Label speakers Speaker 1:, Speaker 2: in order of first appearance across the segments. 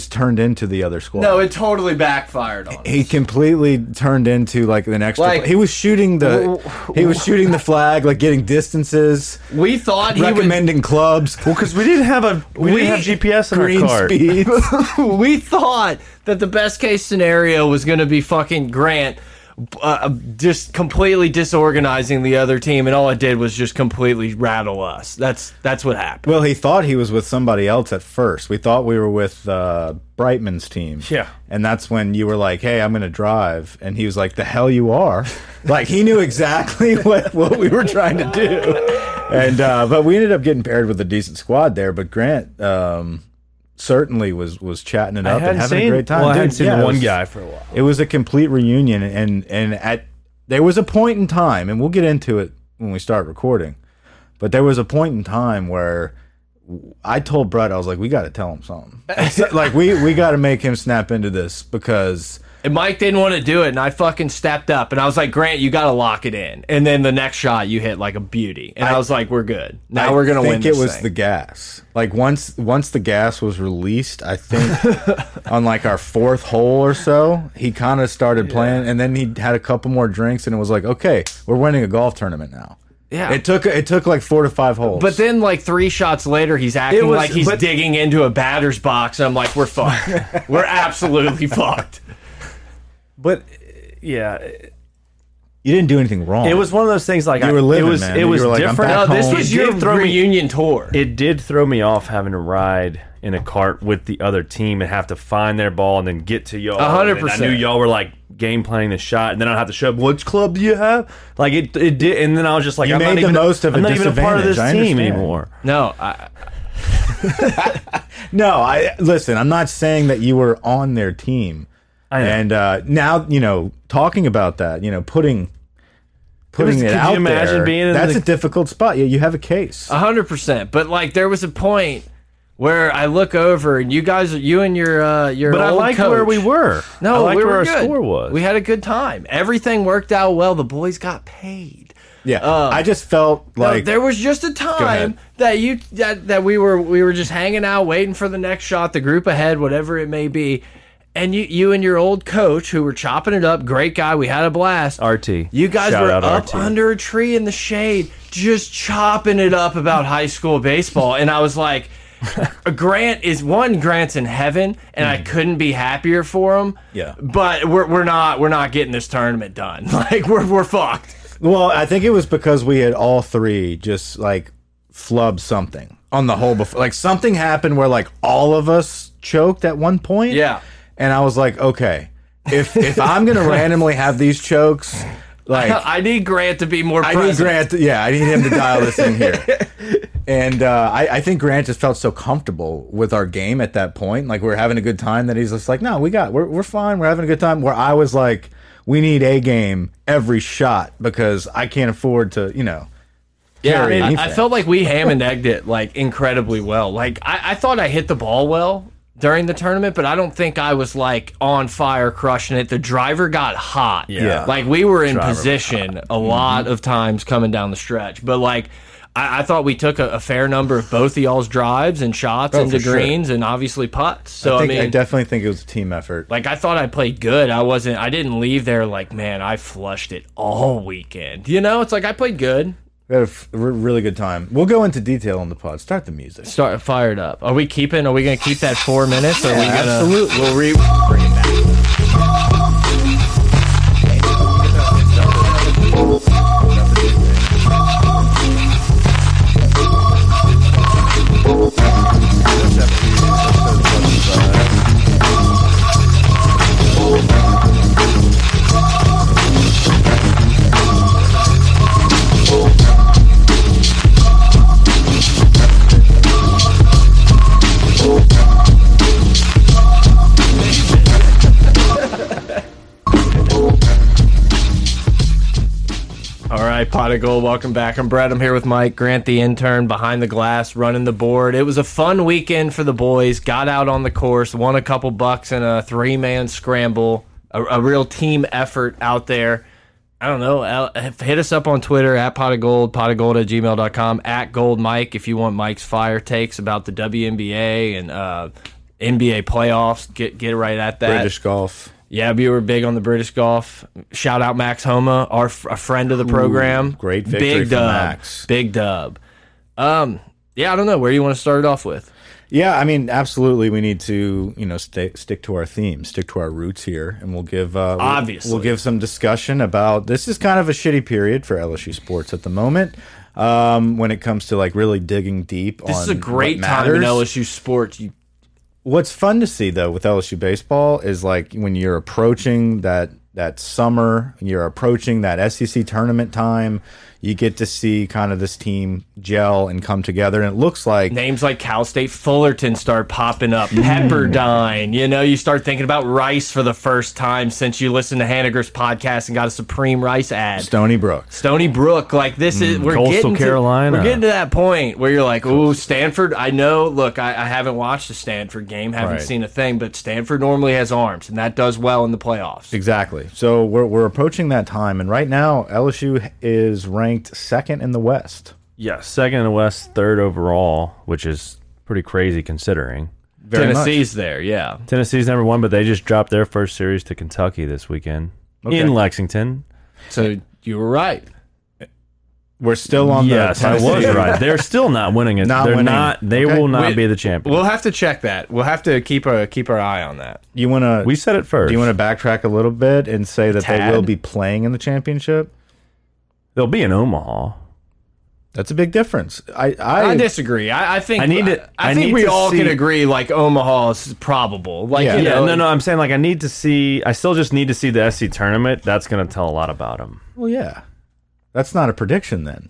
Speaker 1: turned into the other squad.
Speaker 2: No, it totally backfired on.
Speaker 1: he completely turned into like the next.
Speaker 2: Like-
Speaker 1: he was shooting the he was shooting the flag, like getting distances,
Speaker 2: us. We thought he would.
Speaker 1: recommending clubs.
Speaker 3: Well, because we didn't have a we,
Speaker 2: We-
Speaker 3: didn't have GPS in
Speaker 1: Green
Speaker 3: our car.
Speaker 1: speed.
Speaker 2: we thought that the best case scenario was going to be fucking Grant uh, just completely disorganizing the other team, and all it did was just completely rattle us. That's that's what happened.
Speaker 1: Well, he thought he was with somebody else at first. We thought we were with uh, Brightman's team.
Speaker 3: Yeah.
Speaker 1: And that's when you were like, hey, I'm going to drive. And he was like, the hell you are. like, he knew exactly what, what we were trying to do. And, uh, but we ended up getting paired with a decent squad there. But Grant, um, certainly was was chatting it
Speaker 3: I
Speaker 1: up and
Speaker 3: hadn't
Speaker 1: having
Speaker 3: seen,
Speaker 1: a great time.
Speaker 3: Well, I
Speaker 1: Dude,
Speaker 3: hadn't seen
Speaker 1: yeah,
Speaker 3: the
Speaker 1: it
Speaker 3: one
Speaker 1: was-
Speaker 3: guy for a while.
Speaker 1: It was a complete reunion, and and at there was a point in time, and we'll get into it when we start recording. But there was a point in time where I told Brett, I was like, "We got to tell him something. like we we got to make him snap into this because
Speaker 2: And Mike didn't want to do it, and I fucking stepped up, and I was like, Grant, you got to lock it in. And then the next shot, you hit like a beauty, and I, was like, we're good. Now
Speaker 1: I
Speaker 2: we're gonna
Speaker 1: think
Speaker 2: win.
Speaker 1: it
Speaker 2: This
Speaker 1: was
Speaker 2: thing.
Speaker 1: the gas. Like once once the gas was released, I think on like our fourth hole or so, he kind of started playing, and then he had a couple more drinks, and it was like, okay, we're winning a golf tournament now.
Speaker 2: Yeah.
Speaker 1: it took it took like four to five holes.
Speaker 2: But then, like three shots later, he's acting
Speaker 3: was-
Speaker 2: like he's
Speaker 3: but-
Speaker 2: digging into a batter's box. And I'm like, we're fucked. we're absolutely fucked.
Speaker 3: But yeah,
Speaker 1: you didn't do anything wrong.
Speaker 3: it was one of those things. Like
Speaker 1: You
Speaker 3: I,
Speaker 1: were living,
Speaker 3: it was
Speaker 1: man.
Speaker 3: it
Speaker 1: You
Speaker 3: was
Speaker 1: were like, I'm
Speaker 3: different.
Speaker 1: back
Speaker 2: No, Uh, this
Speaker 1: home.
Speaker 2: was
Speaker 3: It
Speaker 2: your
Speaker 3: did throw me-
Speaker 2: reunion tour.
Speaker 3: It did throw me off having to ride in a cart with the other team and have to find their ball and then get to y'all.
Speaker 2: A hundred
Speaker 3: And then
Speaker 2: percent.
Speaker 3: I knew y'all were like game planning the shot, and then I'd have to show up. Which club do you have? Like it, it did, and then I was just like,
Speaker 1: You
Speaker 3: I'm
Speaker 1: made
Speaker 3: not
Speaker 1: the
Speaker 3: even,
Speaker 1: most of
Speaker 3: I'm
Speaker 1: a
Speaker 3: not even a part of this
Speaker 1: disadvantage, I
Speaker 3: team
Speaker 1: understand.
Speaker 3: anymore.
Speaker 2: no, I,
Speaker 1: no. I listen. I'm not saying that you were on their team.
Speaker 3: I know.
Speaker 1: And uh, now you know, talking about that, you know, putting putting it,
Speaker 3: could you
Speaker 1: out
Speaker 3: imagine
Speaker 1: there,
Speaker 3: being in
Speaker 1: that's
Speaker 3: the- Uh,
Speaker 1: a difficult spot. Yeah, you have a case.
Speaker 2: a hundred percent. But like, there was a point where I look over and you guys, you and your uh, your
Speaker 3: But I
Speaker 2: old
Speaker 3: liked
Speaker 2: coach-
Speaker 3: where we were. I
Speaker 2: No,
Speaker 3: liked
Speaker 2: we
Speaker 3: where
Speaker 2: were
Speaker 3: our
Speaker 2: good.
Speaker 3: score was.
Speaker 2: We had a good time. Everything worked out well. The boys got paid.
Speaker 1: Yeah,
Speaker 2: Um,
Speaker 1: I just felt
Speaker 2: No,
Speaker 1: like
Speaker 2: there was just a time
Speaker 1: ahead.
Speaker 2: that you that, that we were we were just hanging out waiting for the next shot the group ahead whatever it may be and you you and your old coach who were chopping it up great guy we had a blast
Speaker 3: RT.
Speaker 2: you guys
Speaker 3: Shout
Speaker 2: were
Speaker 3: out
Speaker 2: up
Speaker 3: RT.
Speaker 2: under a tree in the shade just chopping it up about high school baseball and i was like grant is one grant's in heaven and i couldn't be happier for him
Speaker 1: Hmm. Yeah.
Speaker 2: but we're, we're not we're not getting this tournament done like we're, we're fucked
Speaker 1: well, I think it was because we had all three just like flubbed something on the whole before. Like something happened where like all of us choked at one point.
Speaker 2: Yeah.
Speaker 1: and I was like, okay, if if I'm gonna randomly have these chokes, like
Speaker 2: i need grant to be more
Speaker 1: I
Speaker 2: present.
Speaker 1: need Grant. To, yeah, I need him to dial this in here. And uh, I, I think Grant just felt so comfortable with our game at that point. Like we were having a good time that he's just like, no, we got, we're, we're fine. We're having a good time. Where I was like, we need a game every shot because I can't afford to, you know.
Speaker 2: Yeah, I,
Speaker 1: carry
Speaker 2: mean, I- I
Speaker 1: anything.
Speaker 2: felt like we ham and egged it like incredibly well. Like I, I thought I hit the ball well during the tournament, but I don't think I was like on fire crushing it. The driver got hot.
Speaker 1: Yeah.
Speaker 2: Like we were in position a
Speaker 1: Mm-hmm.
Speaker 2: lot of times coming down the stretch. But like I, I thought we took a, a fair number of both of y'all's drives and shots into
Speaker 1: Oh, for sure.
Speaker 2: greens and obviously putts. So
Speaker 1: I,
Speaker 2: I,
Speaker 1: think, I
Speaker 2: mean
Speaker 1: definitely think it was a team effort.
Speaker 2: like I thought I played good. I wasn't I didn't leave there like, man, I flushed it all weekend. You know, it's like I played good.
Speaker 1: We had a f- re- really good time. We'll go into detail on the pod. Start the music.
Speaker 2: start fired up. Are we keeping? Are we gonna keep that four minutes? Or are we gonna?
Speaker 1: Absolutely.
Speaker 2: We'll re. All right, pot of gold. Welcome back. I'm Brett. I'm here with Mike Grant, the intern behind the glass, running the board. It was a fun weekend for the boys. Got out on the course, won a couple bucks in a three man scramble. A, a real team effort out there. I don't know. Al- Hit us up on Twitter at pot of gold, pot of gold at gmail.com, at gold Mike if you want Mike's fire takes about the WNBA and uh, NBA playoffs. Get get right at that.
Speaker 1: British golf.
Speaker 2: Yeah, we were big on the British golf. Shout out Max Homa, our f a friend of the program.
Speaker 1: great victory
Speaker 2: big
Speaker 1: for
Speaker 2: dub,
Speaker 1: Max.
Speaker 2: big dub. Um, yeah, I don't know where you want to start it off with.
Speaker 1: Yeah, I mean, absolutely. We need to, you know, stay, stick to our theme, stick to our roots here, and we'll give uh, we'll-
Speaker 2: Obviously.
Speaker 1: we'll give some discussion about this is kind of a shitty period for LSU sports at the moment um, when it comes to like really digging deep.
Speaker 2: This
Speaker 1: on
Speaker 2: is a great
Speaker 1: what
Speaker 2: time in
Speaker 1: matters.
Speaker 2: LSU sports. You
Speaker 1: What's fun to see though with LSU baseball is like when you're approaching that that summer, you're approaching that SEC tournament time. You get to see kind of this team gel and come together, and it looks like
Speaker 2: names like Cal State Fullerton start popping up. Pepperdine, you know, you start thinking about rice for the first time since you listened to Haniger's podcast and got a Supreme Rice ad.
Speaker 1: Stony Brook.
Speaker 2: Stony Brook, like this is we're
Speaker 3: Mm, Coastal
Speaker 2: getting to-
Speaker 3: Carolina.
Speaker 2: we're getting to that point where you're like, oh, Stanford. I know. Look, I, I haven't watched a Stanford game, haven't
Speaker 1: Right.
Speaker 2: seen a thing, but Stanford normally has arms, and that does well in the playoffs.
Speaker 1: Exactly. So we're, we're approaching that time, and right now LSU is ranked second in the West.
Speaker 3: Yeah, second in the West, third overall, which is pretty crazy considering.
Speaker 1: Very much.
Speaker 2: Tennessee's there, yeah.
Speaker 3: Tennessee's number one, but they just dropped their first series to Kentucky this weekend in Lexington.
Speaker 2: So you were right.
Speaker 1: We're still on
Speaker 3: yes,
Speaker 1: the
Speaker 3: I was
Speaker 1: Tennessee-
Speaker 3: right. They're still not winning it.
Speaker 1: Not
Speaker 3: They're
Speaker 1: winning.
Speaker 3: not. They
Speaker 1: Okay.
Speaker 3: will not
Speaker 2: Wait.
Speaker 3: be the champion.
Speaker 2: We'll have to check that. We'll have to keep a keep our eye on that.
Speaker 1: You want to?
Speaker 3: we said it first.
Speaker 1: Do you want to backtrack a little bit and say that
Speaker 2: Tad?
Speaker 1: they will be playing in the championship?
Speaker 3: They'll be in Omaha.
Speaker 1: That's a big difference. I I,
Speaker 2: I disagree. I, I think
Speaker 3: I need to-
Speaker 2: I,
Speaker 3: I
Speaker 2: think
Speaker 3: need
Speaker 2: we
Speaker 3: to
Speaker 2: all can
Speaker 3: see-
Speaker 2: agree. Like Omaha is probable. Like
Speaker 1: Yeah.
Speaker 2: you
Speaker 3: Yeah,
Speaker 2: know,
Speaker 3: no, no. I'm saying like I need to see. I still just need to see the SC tournament. That's going to tell a lot about them.
Speaker 1: well, yeah. That's not a prediction then.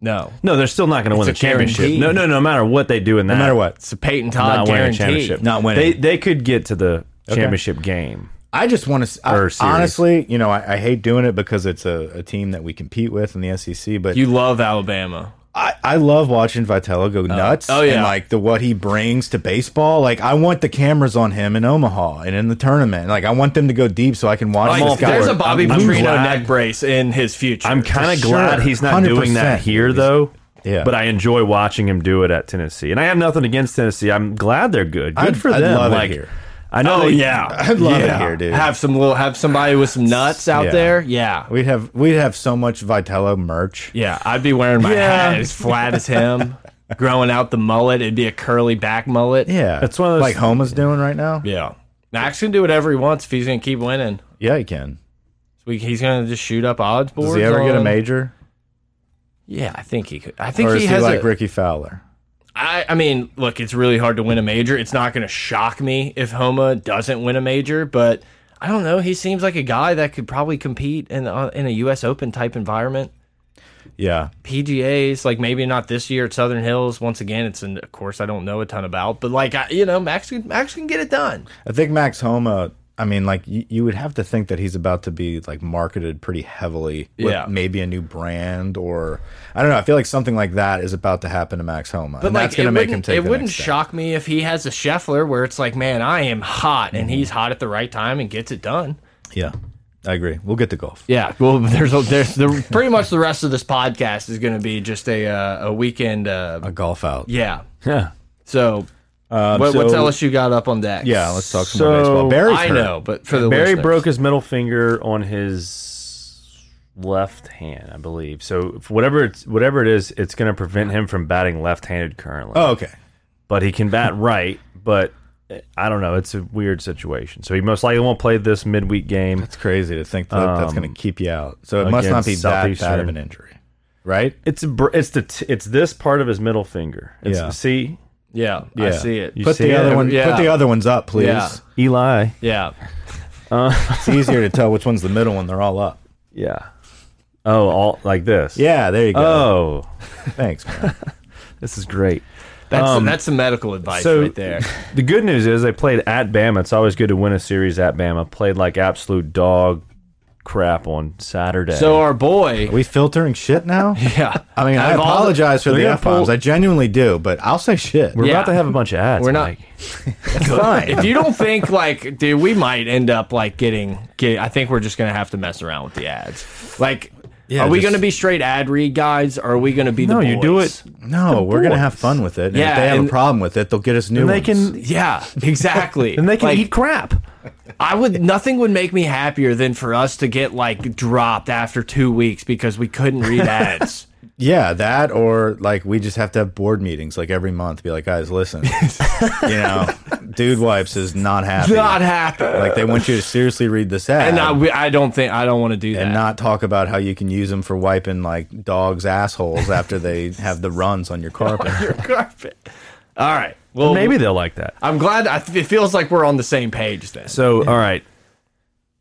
Speaker 2: no.
Speaker 3: No, they're still not going to win
Speaker 2: a
Speaker 3: the championship.
Speaker 2: guarantee.
Speaker 3: No, no, no matter what they do in that,
Speaker 1: No matter what,
Speaker 2: It's a Peyton
Speaker 3: not
Speaker 2: Todd
Speaker 3: winning a
Speaker 2: guarantee.
Speaker 3: championship.
Speaker 1: Not winning.
Speaker 3: They they could get to the championship game.
Speaker 1: I just want to
Speaker 3: Or series.
Speaker 1: honestly, you know, I, I hate doing it because it's a, a team that we compete with in the SEC, but
Speaker 2: You love Alabama.
Speaker 1: I, I love watching Vitello go nuts.
Speaker 2: Oh, yeah.
Speaker 1: And like the what he brings to baseball. Like I want the cameras on him in Omaha and in the tournament. Like I want them to go deep so I can watch
Speaker 2: Like,
Speaker 1: this guy.
Speaker 2: Oh, there's a
Speaker 1: work.
Speaker 2: Bobby
Speaker 1: I'm- I'm
Speaker 2: Petrino
Speaker 1: glad-
Speaker 2: neck brace in his future.
Speaker 3: I'm kind of
Speaker 1: sure.
Speaker 3: glad he's not doing that
Speaker 1: 100%.
Speaker 3: here though.
Speaker 1: Yeah.
Speaker 3: But I enjoy watching him do it at Tennessee, and I have nothing against Tennessee. I'm glad they're good. Good
Speaker 1: I'd-
Speaker 3: for
Speaker 1: I'd
Speaker 3: them.
Speaker 1: love it
Speaker 3: like
Speaker 1: here.
Speaker 3: I
Speaker 2: Oh
Speaker 3: know. they-
Speaker 2: yeah,
Speaker 1: I'd love it
Speaker 2: Yeah.
Speaker 1: here, dude.
Speaker 2: Have some little, have somebody with some nuts out
Speaker 1: Yeah.
Speaker 2: there. Yeah,
Speaker 1: We'd have we'd have so much Vitello merch.
Speaker 2: yeah. I'd be wearing my
Speaker 3: Yeah.
Speaker 2: hat as flat as him, growing out the mullet. It'd be a curly back mullet.
Speaker 1: Yeah.
Speaker 3: That's one of those-
Speaker 1: like Homa's doing right now.
Speaker 2: yeah. Max can do whatever he wants if he's gonna keep winning.
Speaker 1: Yeah, he can.
Speaker 2: So we- He's gonna just shoot up odds boards.
Speaker 1: Does he ever get a
Speaker 2: on-
Speaker 1: major?
Speaker 2: Yeah, I think he could. I think
Speaker 1: Or
Speaker 2: he
Speaker 1: is he
Speaker 2: has
Speaker 1: like
Speaker 2: a,
Speaker 1: Ricky Fowler?
Speaker 2: I, I mean, look, it's really hard to win a major. It's not going to shock me if Homa doesn't win a major, but I don't know. He seems like a guy that could probably compete in uh, in a U.S. Open type environment.
Speaker 1: Yeah.
Speaker 2: PGA's like maybe not this year at Southern Hills. Once again, it's an, of course I don't know a ton about, but like I, you know, Max can Max can get it done.
Speaker 1: I think Max Homa. I mean, like you, you would have to think that he's about to be like marketed pretty heavily with
Speaker 2: Yeah.
Speaker 1: maybe a new brand or I don't know. I feel like something like that is about to happen to Max Homa,
Speaker 2: But
Speaker 1: and
Speaker 2: like
Speaker 1: that's going
Speaker 2: it
Speaker 1: to make him
Speaker 2: wouldn't-
Speaker 1: take.
Speaker 2: it
Speaker 1: the
Speaker 2: wouldn't
Speaker 1: next step.
Speaker 2: shock me if he has a Scheffler where it's like, man, I am hot, and he's hot at the right time and gets it done.
Speaker 1: Yeah, I agree. We'll get to golf.
Speaker 2: Yeah, well, there's a, there's the pretty much the rest of this podcast is going to be just a uh, a weekend. Uh,
Speaker 1: A golf out.
Speaker 2: yeah,
Speaker 3: Yeah.
Speaker 2: so,
Speaker 1: Um,
Speaker 2: what, what's
Speaker 1: so-
Speaker 2: LSU got up on deck?
Speaker 1: Yeah, let's talk some
Speaker 3: So,
Speaker 1: more baseball. Barry's
Speaker 2: I
Speaker 1: hurt.
Speaker 2: know, but for the
Speaker 3: Barry
Speaker 2: listeners.
Speaker 3: broke his middle finger on his left hand, I believe. So if whatever it's whatever it is, it's going to prevent him from batting left-handed currently.
Speaker 1: Oh, okay.
Speaker 3: But he can bat right, but eh, I don't know. It's a weird situation. So he most likely won't play this midweek game.
Speaker 1: It's crazy to think that that's going to keep you out. So it must not
Speaker 3: Um, against
Speaker 1: be that bad of
Speaker 3: Southeastern.
Speaker 1: an injury, right?
Speaker 3: It's a, br- it's the t it's this part of his middle finger. It's,
Speaker 1: Yeah.
Speaker 3: See,
Speaker 2: Yeah, I
Speaker 1: Yeah.
Speaker 2: see it.
Speaker 3: You
Speaker 1: Put
Speaker 3: see
Speaker 1: the
Speaker 3: it?
Speaker 1: other one.
Speaker 2: Yeah.
Speaker 1: Put the other ones up, please.
Speaker 2: Yeah.
Speaker 3: Eli.
Speaker 2: yeah,
Speaker 1: It's easier to tell which one's the middle when they're all up.
Speaker 3: Yeah. Oh, all like this.
Speaker 1: Yeah, there you go.
Speaker 3: Oh,
Speaker 1: Thanks, man.
Speaker 3: this is great.
Speaker 2: that's
Speaker 1: Um,
Speaker 2: that's some medical advice
Speaker 3: so-
Speaker 2: right there.
Speaker 3: The good news is they played at Bama. It's always good to win a series at Bama. Played like absolute dog crap on Saturday.
Speaker 2: So our boy,
Speaker 1: Are we filtering shit now?
Speaker 2: yeah,
Speaker 1: I mean, I
Speaker 2: Out of all the-
Speaker 1: apologize for
Speaker 3: We're
Speaker 1: the
Speaker 3: gonna
Speaker 1: f bombs.
Speaker 3: pull-
Speaker 1: I genuinely do, but I'll say shit.
Speaker 3: we're
Speaker 1: We're
Speaker 2: Yeah.
Speaker 3: about to have a bunch of ads.
Speaker 2: We're not-
Speaker 3: Mike.
Speaker 1: fine.
Speaker 2: if you don't think like, dude, we might end up like getting get. I think we're just gonna have to mess around with the ads. Like,
Speaker 1: Yeah,
Speaker 2: are we
Speaker 1: just-
Speaker 2: going to be straight ad read guys? Or are we going to be the
Speaker 3: No, you do
Speaker 2: boys?
Speaker 3: it.
Speaker 1: No, we're gonna have fun with it. And
Speaker 2: Yeah,
Speaker 1: if they have
Speaker 2: and-
Speaker 1: a problem with it, they'll get us new
Speaker 3: And they
Speaker 1: ones.
Speaker 3: can
Speaker 2: Yeah, exactly.
Speaker 3: and they can
Speaker 2: Like,
Speaker 3: eat crap.
Speaker 2: I would. Nothing would make me happier than for us to get like dropped after two weeks because we couldn't read ads.
Speaker 1: Yeah, that or like we just have to have board meetings like every month. Be like, guys, listen, you know, dude wipes is not happy.
Speaker 2: Not happen.
Speaker 1: like they want you to seriously read this ad
Speaker 2: And I, we- I don't think I don't want to do that.
Speaker 1: and not talk about how you can use them for wiping like dogs' assholes after they have the runs on your carpet.
Speaker 2: your carpet. All right. Well,
Speaker 3: Maybe they'll like that.
Speaker 2: I'm glad. I, it feels like we're on the same page then.
Speaker 3: So, all right.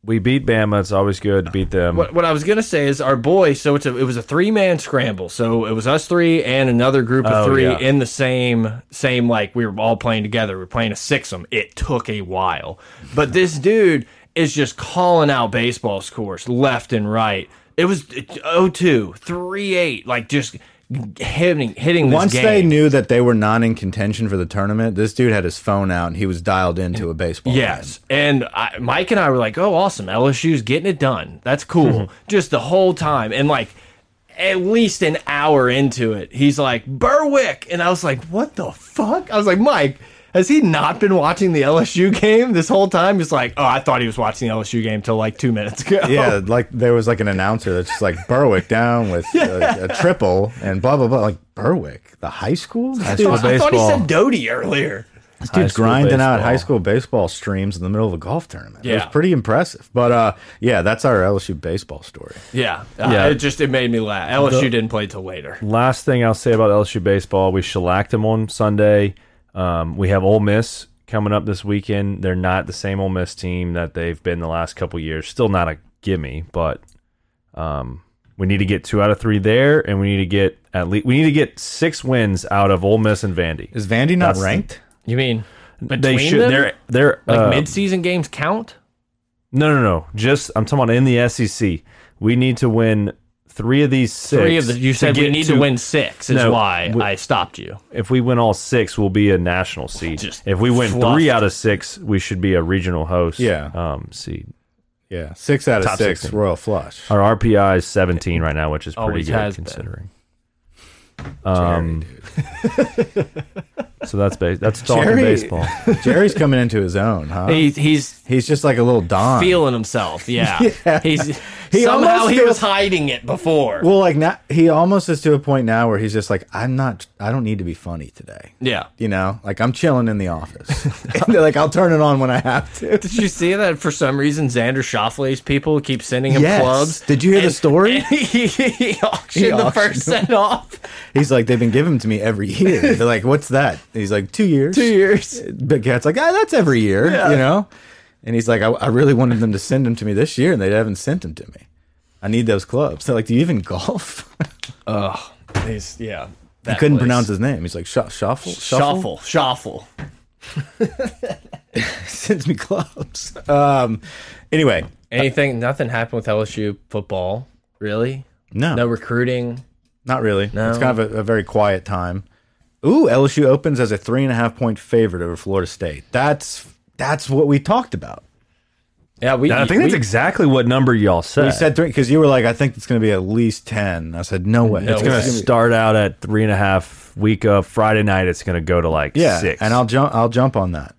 Speaker 3: We beat Bama. It's always good to beat them.
Speaker 2: What, what I was gonna say is our boy. So it's a, it was a three man scramble. So it was us three and another group of
Speaker 3: Oh,
Speaker 2: three
Speaker 3: yeah.
Speaker 2: in the same same like we were all playing together. We were playing a sixum. It took a while, but this dude is just calling out baseball scores left and right. It oh was 0-2, 3-8, like just hitting hitting this
Speaker 1: Once
Speaker 2: game.
Speaker 1: they knew that they were not in contention for the tournament, this dude had his phone out and he was dialed into a baseball.
Speaker 2: Yes. And I, Mike and I were like, oh, awesome. LSU's getting it done. That's cool.
Speaker 3: Hmm.
Speaker 2: Just the whole time. And like, at least an hour into it, he's like, Berwick. And I was like, what the fuck? I was like, Mike, has he not been watching the LSU game this whole time? He's like, oh, I thought he was watching the LSU game till like two minutes ago.
Speaker 1: game. Yeah, like there was like an announcer that's just like Berwick down with a, a triple and blah blah blah. Like Berwick, the high school. This
Speaker 2: I
Speaker 1: dude's-
Speaker 2: thought- I thought he
Speaker 3: baseball.
Speaker 2: said Doty earlier.
Speaker 3: High
Speaker 1: dude's
Speaker 3: school
Speaker 1: grinding out
Speaker 3: baseball.
Speaker 1: high school baseball streams in the middle of a golf tournament. It was
Speaker 2: Yeah.
Speaker 1: pretty impressive. But uh, yeah, that's our LSU baseball story.
Speaker 2: Yeah. Uh,
Speaker 3: Yeah.
Speaker 2: It just, it made me laugh. LSU didn't play till later.
Speaker 3: Last thing I'll say about LSU baseball, we shellacked them on Sunday. Um, we have Ole Miss coming up this weekend. They're not the same Ole Miss team that they've been the last couple years. Still not a gimme, but um, we need to get two out of three there, and we need to get at least we need to get six wins out of Ole Miss and Vandy.
Speaker 1: Is Vandy not
Speaker 3: That's the-
Speaker 1: ranked?
Speaker 2: You mean, between
Speaker 3: they should.
Speaker 2: them?
Speaker 3: They're they're
Speaker 2: like
Speaker 3: uh,
Speaker 2: mid-season games count?
Speaker 3: No, no, no. Just I'm talking about in the SEC. We need to win three of these six.
Speaker 2: three of the you
Speaker 3: to
Speaker 2: said we
Speaker 3: get
Speaker 2: need to, win six is
Speaker 3: No,
Speaker 2: why
Speaker 3: we-
Speaker 2: I stopped you.
Speaker 3: If we win all six, we'll be a national seed.
Speaker 2: Just
Speaker 3: if we win
Speaker 2: fluffed.
Speaker 3: three out of six, we should be a regional host.
Speaker 1: Yeah.
Speaker 3: Um, seed.
Speaker 1: Yeah, six out of
Speaker 3: Top
Speaker 1: six
Speaker 3: 16.
Speaker 1: royal flush.
Speaker 3: Our RPI is 17 right now, which is pretty
Speaker 2: Always
Speaker 3: good
Speaker 2: has been.
Speaker 3: considering. Um, so that's base. That's talking
Speaker 1: Jerry-
Speaker 3: baseball.
Speaker 1: Jerry's coming into his own, huh?
Speaker 2: He, he's
Speaker 1: He's just like a little don.
Speaker 2: feeling himself. Yeah. He's
Speaker 1: He
Speaker 2: somehow
Speaker 1: almost
Speaker 2: he
Speaker 1: feels-
Speaker 2: was hiding it before.
Speaker 1: well, like now he almost is to a point now where he's just like, I'm not, I don't need to be funny today.
Speaker 2: yeah.
Speaker 1: You know, like I'm chilling in the office. And they're like, I'll turn it on when I have to.
Speaker 2: Did you see that for some reason Xander Schauffele's people keep sending him
Speaker 1: Yes.
Speaker 2: clubs?
Speaker 1: Did you hear the story?
Speaker 2: and he, he auctioned
Speaker 1: He
Speaker 2: the
Speaker 1: auctioned
Speaker 2: person off
Speaker 1: He's like, they've been giving them to me every year. They're like, what's that? And he's like, two years.
Speaker 2: two years.
Speaker 1: Big Cat's like, ah, that's every year, you know? And he's like, I, I really wanted them to send them to me this year, and they haven't sent them to me. I need those clubs. They're like, do you even golf?
Speaker 2: He's, yeah.
Speaker 1: I couldn't pronounce his name. He's like, Sh shuffle, shuffle,
Speaker 2: Shuffle, shuffle.
Speaker 1: sends me clubs. Um, anyway,
Speaker 2: Anything? Nothing happened with LSU football, really.
Speaker 1: no,
Speaker 2: No recruiting.
Speaker 1: not really. It's kind of a, a very quiet time. Ooh, LSU opens as a three and a half point favorite over Florida State. That's that's what we talked about.
Speaker 2: Yeah, we.
Speaker 3: I think
Speaker 2: we-
Speaker 3: that's exactly what number y'all said.
Speaker 1: You said three because you were like, I think it's going to be at least ten. I said, no way.
Speaker 3: it's going to start out at three and a half week of Friday night. It's going to go to like
Speaker 1: yeah,
Speaker 3: six.
Speaker 1: and I'll jump. I'll jump on that.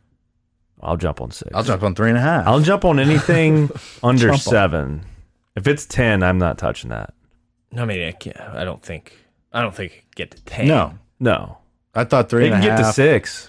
Speaker 3: I'll jump on six.
Speaker 1: I'll jump on three and a half.
Speaker 3: I'll jump on anything under
Speaker 1: Jump on.
Speaker 3: seven. If it's ten, I'm not touching that.
Speaker 2: I mean, I, can't, I don't think I don't think it could get to ten.
Speaker 1: no,
Speaker 3: No,
Speaker 1: I thought three
Speaker 3: they
Speaker 1: and a
Speaker 3: can
Speaker 1: half.
Speaker 3: get to six.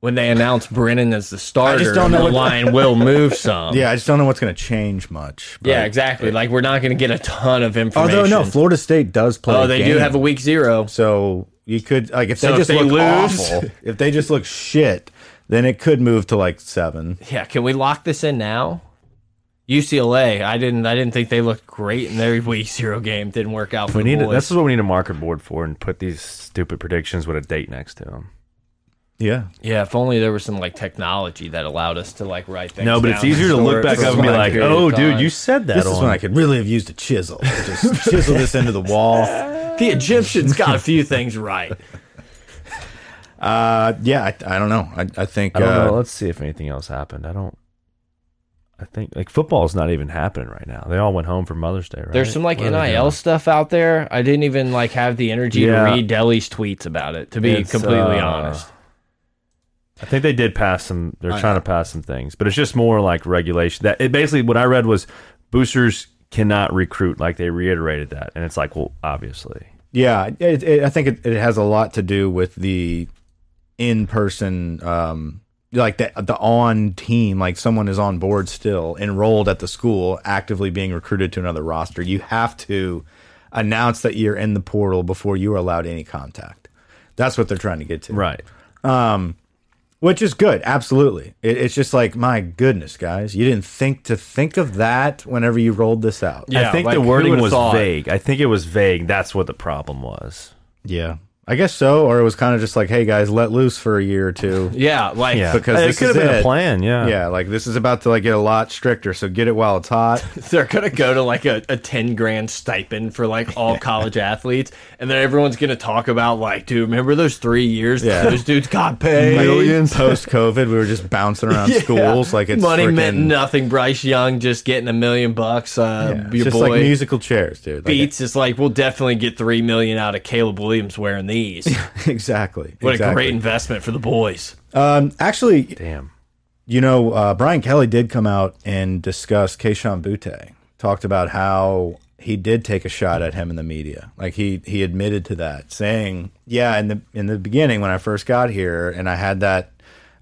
Speaker 2: when they announce Brennan as the starter,
Speaker 1: just don't know
Speaker 2: the
Speaker 1: what-
Speaker 2: line will move some.
Speaker 1: Yeah, I just don't know what's going to change much. but-
Speaker 2: yeah, exactly. Like we're not going to get a ton of information.
Speaker 1: Although no, Florida State does play.
Speaker 2: oh,
Speaker 1: a
Speaker 2: they do
Speaker 1: game.
Speaker 2: have a week zero.
Speaker 1: So you could like if they
Speaker 2: So if
Speaker 1: just
Speaker 2: they
Speaker 1: look
Speaker 2: lose-
Speaker 1: awful, if they just look shit, then it could move to like seven.
Speaker 2: Yeah, can we lock this in now? UCLA, I didn't. I didn't think they looked great in their week zero game. Didn't work out for
Speaker 3: We
Speaker 2: the
Speaker 3: need.
Speaker 2: boys.
Speaker 3: This is what we need a marker board for, and put these stupid predictions with a date next to them.
Speaker 1: Yeah,
Speaker 2: yeah, if only there was some like technology that allowed us to like write things.
Speaker 3: No, but it's
Speaker 2: down
Speaker 3: easier to
Speaker 2: and
Speaker 3: look
Speaker 2: store it
Speaker 3: back
Speaker 2: for
Speaker 3: up and be
Speaker 2: some
Speaker 3: like,
Speaker 2: period of
Speaker 3: "Oh,
Speaker 2: time."
Speaker 3: dude, you said that."
Speaker 1: this
Speaker 3: on.
Speaker 1: is when I could really have used a chisel. Just chisel this into the wall.
Speaker 2: the Egyptians got a few things right.
Speaker 1: Uh, yeah, I, I don't know. I, I think
Speaker 3: I don't
Speaker 1: uh,
Speaker 3: know. Let's see if anything else happened. I don't. I think like football's not even happening right now. They all went home for Mother's Day, right?
Speaker 2: There's some like
Speaker 3: What are they
Speaker 2: NIL
Speaker 3: doing?
Speaker 2: stuff out there. I didn't even like have the energy
Speaker 3: Yeah.
Speaker 2: to read Delhi's tweets about it, to be
Speaker 3: It's,
Speaker 2: completely
Speaker 3: uh,
Speaker 2: honest.
Speaker 3: I think they did pass some. They're
Speaker 1: I-
Speaker 3: trying to pass some things, but it's just more like regulation. That it basically what I read was boosters cannot recruit. Like they reiterated that, and it's like, well, obviously,
Speaker 1: Yeah, it, it, I think it, it has a lot to do with the in-person, um, like the the on team, like someone is on board still, enrolled at the school, actively being recruited to another roster. You have to announce that you're in the portal before you are allowed any contact. That's what they're trying to get to,
Speaker 3: right?
Speaker 1: which is good, absolutely. It, it's just like my goodness, guys, you didn't think to think of that whenever you rolled this out.
Speaker 2: Yeah,
Speaker 3: I think
Speaker 2: like,
Speaker 3: the
Speaker 2: who
Speaker 3: wording
Speaker 2: would've
Speaker 3: was
Speaker 2: thought?
Speaker 3: vague. I think it was vague. That's what the problem was.
Speaker 1: Yeah, I guess so. Or it was kind of just like, hey guys, let loose for a year or two.
Speaker 2: Yeah, like
Speaker 3: Yeah,
Speaker 1: Because
Speaker 3: it
Speaker 1: this
Speaker 3: could
Speaker 1: is
Speaker 3: have been
Speaker 1: it.
Speaker 3: a plan. Yeah,
Speaker 1: Yeah, like this is about to like get a lot stricter, so get it while it's hot.
Speaker 2: they're gonna go to like a, a 10 grand stipend for like all college athletes and then everyone's gonna talk about like dude remember those three years
Speaker 1: Yeah.
Speaker 2: those dudes got paid
Speaker 1: post COVID, we were just bouncing around
Speaker 2: Yeah.
Speaker 1: schools like it's
Speaker 2: money
Speaker 1: freaking-
Speaker 2: meant nothing bryce young just getting a million bucks uh
Speaker 1: Yeah, it's
Speaker 2: your
Speaker 1: just
Speaker 2: boy
Speaker 1: like musical chairs, dude. Like,
Speaker 2: beats is like we'll definitely get three million out of caleb williams wearing these
Speaker 1: exactly.
Speaker 2: what a
Speaker 1: exactly.
Speaker 2: great investment for the boys
Speaker 1: Um, actually,
Speaker 3: damn.
Speaker 1: you know, uh, Brian Kelly did come out and discuss Keishon Butte. Talked about how he did take a shot at him in the media. Like he he admitted to that, saying, "Yeah, in the in the beginning when I first got here and I had that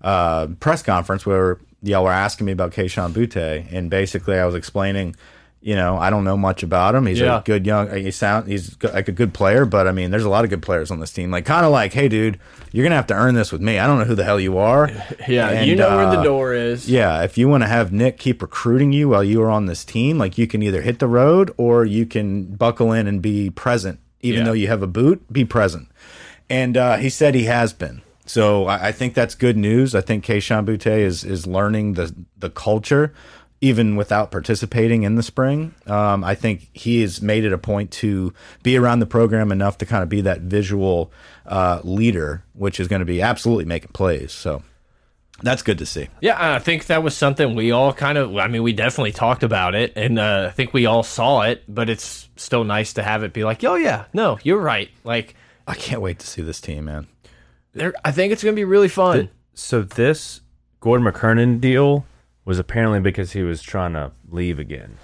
Speaker 1: uh, press conference where y'all were asking me about Keishon Butte, and basically I was explaining." You know, I don't know much about him. He's
Speaker 2: Yeah.
Speaker 1: a good young. He sound. He's go- like a good player, but I mean, there's a lot of good players on this team. Like, kind of like, hey, dude, you're gonna have to earn this with me. I don't know who the hell you are.
Speaker 2: yeah
Speaker 1: And,
Speaker 2: you know where the
Speaker 1: uh,
Speaker 2: door is
Speaker 1: yeah, if you want to have Nick keep recruiting you while you are on this team, like you can either hit the road or you can buckle in and be present. Even
Speaker 2: Yeah.
Speaker 1: though you have a boot, be present. And uh, he said he has been. So I, I think that's good news. I think Keishan Butte is is learning the the culture, even without participating in the spring. Um, I think he has made it a point to be around the program enough to kind of be that visual uh, leader, which is going to be absolutely making plays. So that's good to see.
Speaker 2: Yeah, and I think that was something we all kind of, I mean, we definitely talked about it, and uh, I think we all saw it, but it's still nice to have it be like, oh, yeah, no, you're right. Like,
Speaker 1: I can't wait to see this team, man.
Speaker 2: they're, I think it's going to be really fun.
Speaker 3: So this Gordon McKernan deal was apparently because he was trying to leave again.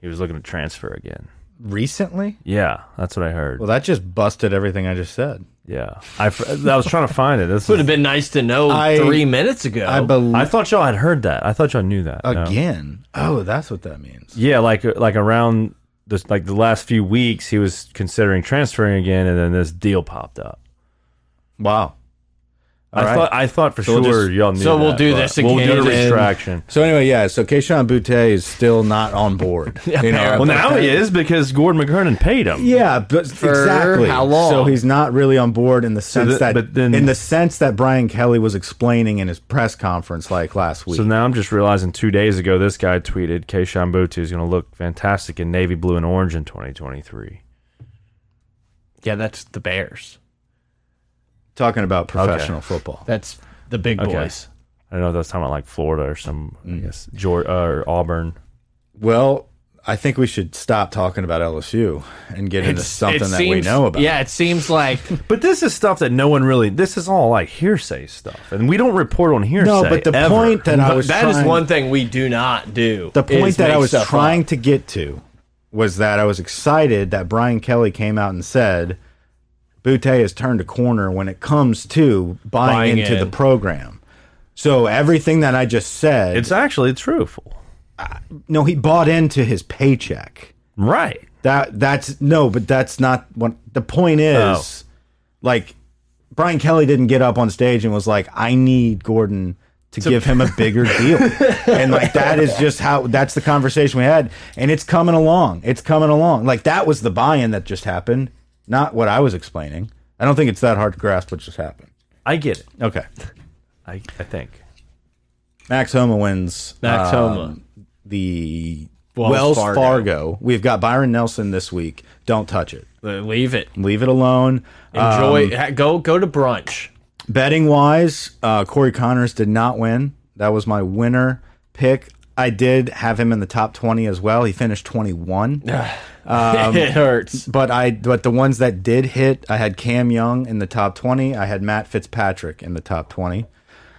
Speaker 3: He was looking to transfer again.
Speaker 1: Recently?
Speaker 3: Yeah, that's what I heard.
Speaker 1: Well, that just busted everything I just said.
Speaker 3: Yeah, I, fr- I was trying to find it. This
Speaker 2: Would have
Speaker 3: is,
Speaker 2: been nice to know
Speaker 1: I-
Speaker 2: three minutes ago.
Speaker 1: Oh, I believe
Speaker 3: I thought y'all had heard that. I thought y'all knew that. no?
Speaker 1: again. Oh, that's what that means.
Speaker 3: Yeah, like like around this like the last few weeks, he was considering transferring again, and then this deal popped up.
Speaker 1: Wow.
Speaker 3: I
Speaker 1: right.
Speaker 3: thought I thought for
Speaker 1: we'll
Speaker 3: sure
Speaker 1: just-
Speaker 3: y'all knew.
Speaker 2: so we'll
Speaker 3: that,
Speaker 2: do
Speaker 3: but
Speaker 2: this
Speaker 3: We'll do
Speaker 2: again
Speaker 3: a
Speaker 2: and-
Speaker 3: retraction.
Speaker 1: So anyway, yeah. So Keishon Butte is still not on board. You know,
Speaker 3: Well, now he is because Gordon McKernan paid him.
Speaker 1: Yeah, but exactly.
Speaker 2: how long?
Speaker 1: So he's not really on board in the sense
Speaker 3: the-
Speaker 1: that,
Speaker 3: but then-
Speaker 1: in the sense that Brian Kelly was explaining in his press conference like last week.
Speaker 3: So now I'm just realizing two days ago, this guy tweeted Keishon Butte is going to look fantastic in navy blue and orange in 2023.
Speaker 2: yeah, that's the Bears.
Speaker 1: Talking about professional football.
Speaker 2: That's the big
Speaker 3: Okay.
Speaker 2: boys.
Speaker 3: I don't know if that's talking about like Florida or some,
Speaker 1: Mm.
Speaker 3: I guess, Georgia or Auburn.
Speaker 1: Well, I think we should stop talking about LSU and get into something
Speaker 2: It
Speaker 1: that we
Speaker 2: seems-
Speaker 1: know about.
Speaker 2: Yeah, it seems like
Speaker 3: But this is stuff that no one really. This is all like hearsay stuff, and we don't report on hearsay.
Speaker 1: No, but the
Speaker 3: ever.
Speaker 1: point that I
Speaker 2: that
Speaker 1: was
Speaker 2: is
Speaker 1: trying,
Speaker 2: one thing we do not do.
Speaker 1: the point
Speaker 2: is
Speaker 1: that I
Speaker 2: make
Speaker 1: was
Speaker 2: stuff up.
Speaker 1: trying to get to was that I was excited that Brian Kelly came out and said Butte has turned a corner when it comes to buying,
Speaker 2: Buying
Speaker 1: into
Speaker 2: in.
Speaker 1: the program. So everything that I just said,
Speaker 3: It's actually truthful,
Speaker 1: no, he bought into his paycheck.
Speaker 3: right?
Speaker 1: That that's no, but that's not what the point is. Like Brian Kelly didn't get up on stage and was like, "I need Gordon to give him a bigger deal," and like that is just how that's the conversation we had, and it's coming along. It's coming along. Like that was the buy-in that just happened, not what I was explaining. I don't think it's that hard to grasp what just happened.
Speaker 3: I get it.
Speaker 1: Okay,
Speaker 3: I, I think.
Speaker 1: Max Homa wins.
Speaker 2: Max
Speaker 1: um,
Speaker 2: Homa.
Speaker 1: the
Speaker 2: Wells
Speaker 1: Wells,
Speaker 2: Fargo.
Speaker 1: Fargo. We've got Byron Nelson this week. Don't touch it.
Speaker 2: Leave it.
Speaker 1: Leave it alone.
Speaker 2: Enjoy. go go to brunch.
Speaker 1: Betting wise, uh, Corey Connors did not win. That was my winner pick. I did have him in the top 20 as well. He finished 21. um,
Speaker 2: it hurts.
Speaker 1: But I but the ones that did hit, I had Cam Young in the top 20. I had Matt Fitzpatrick in the top 20.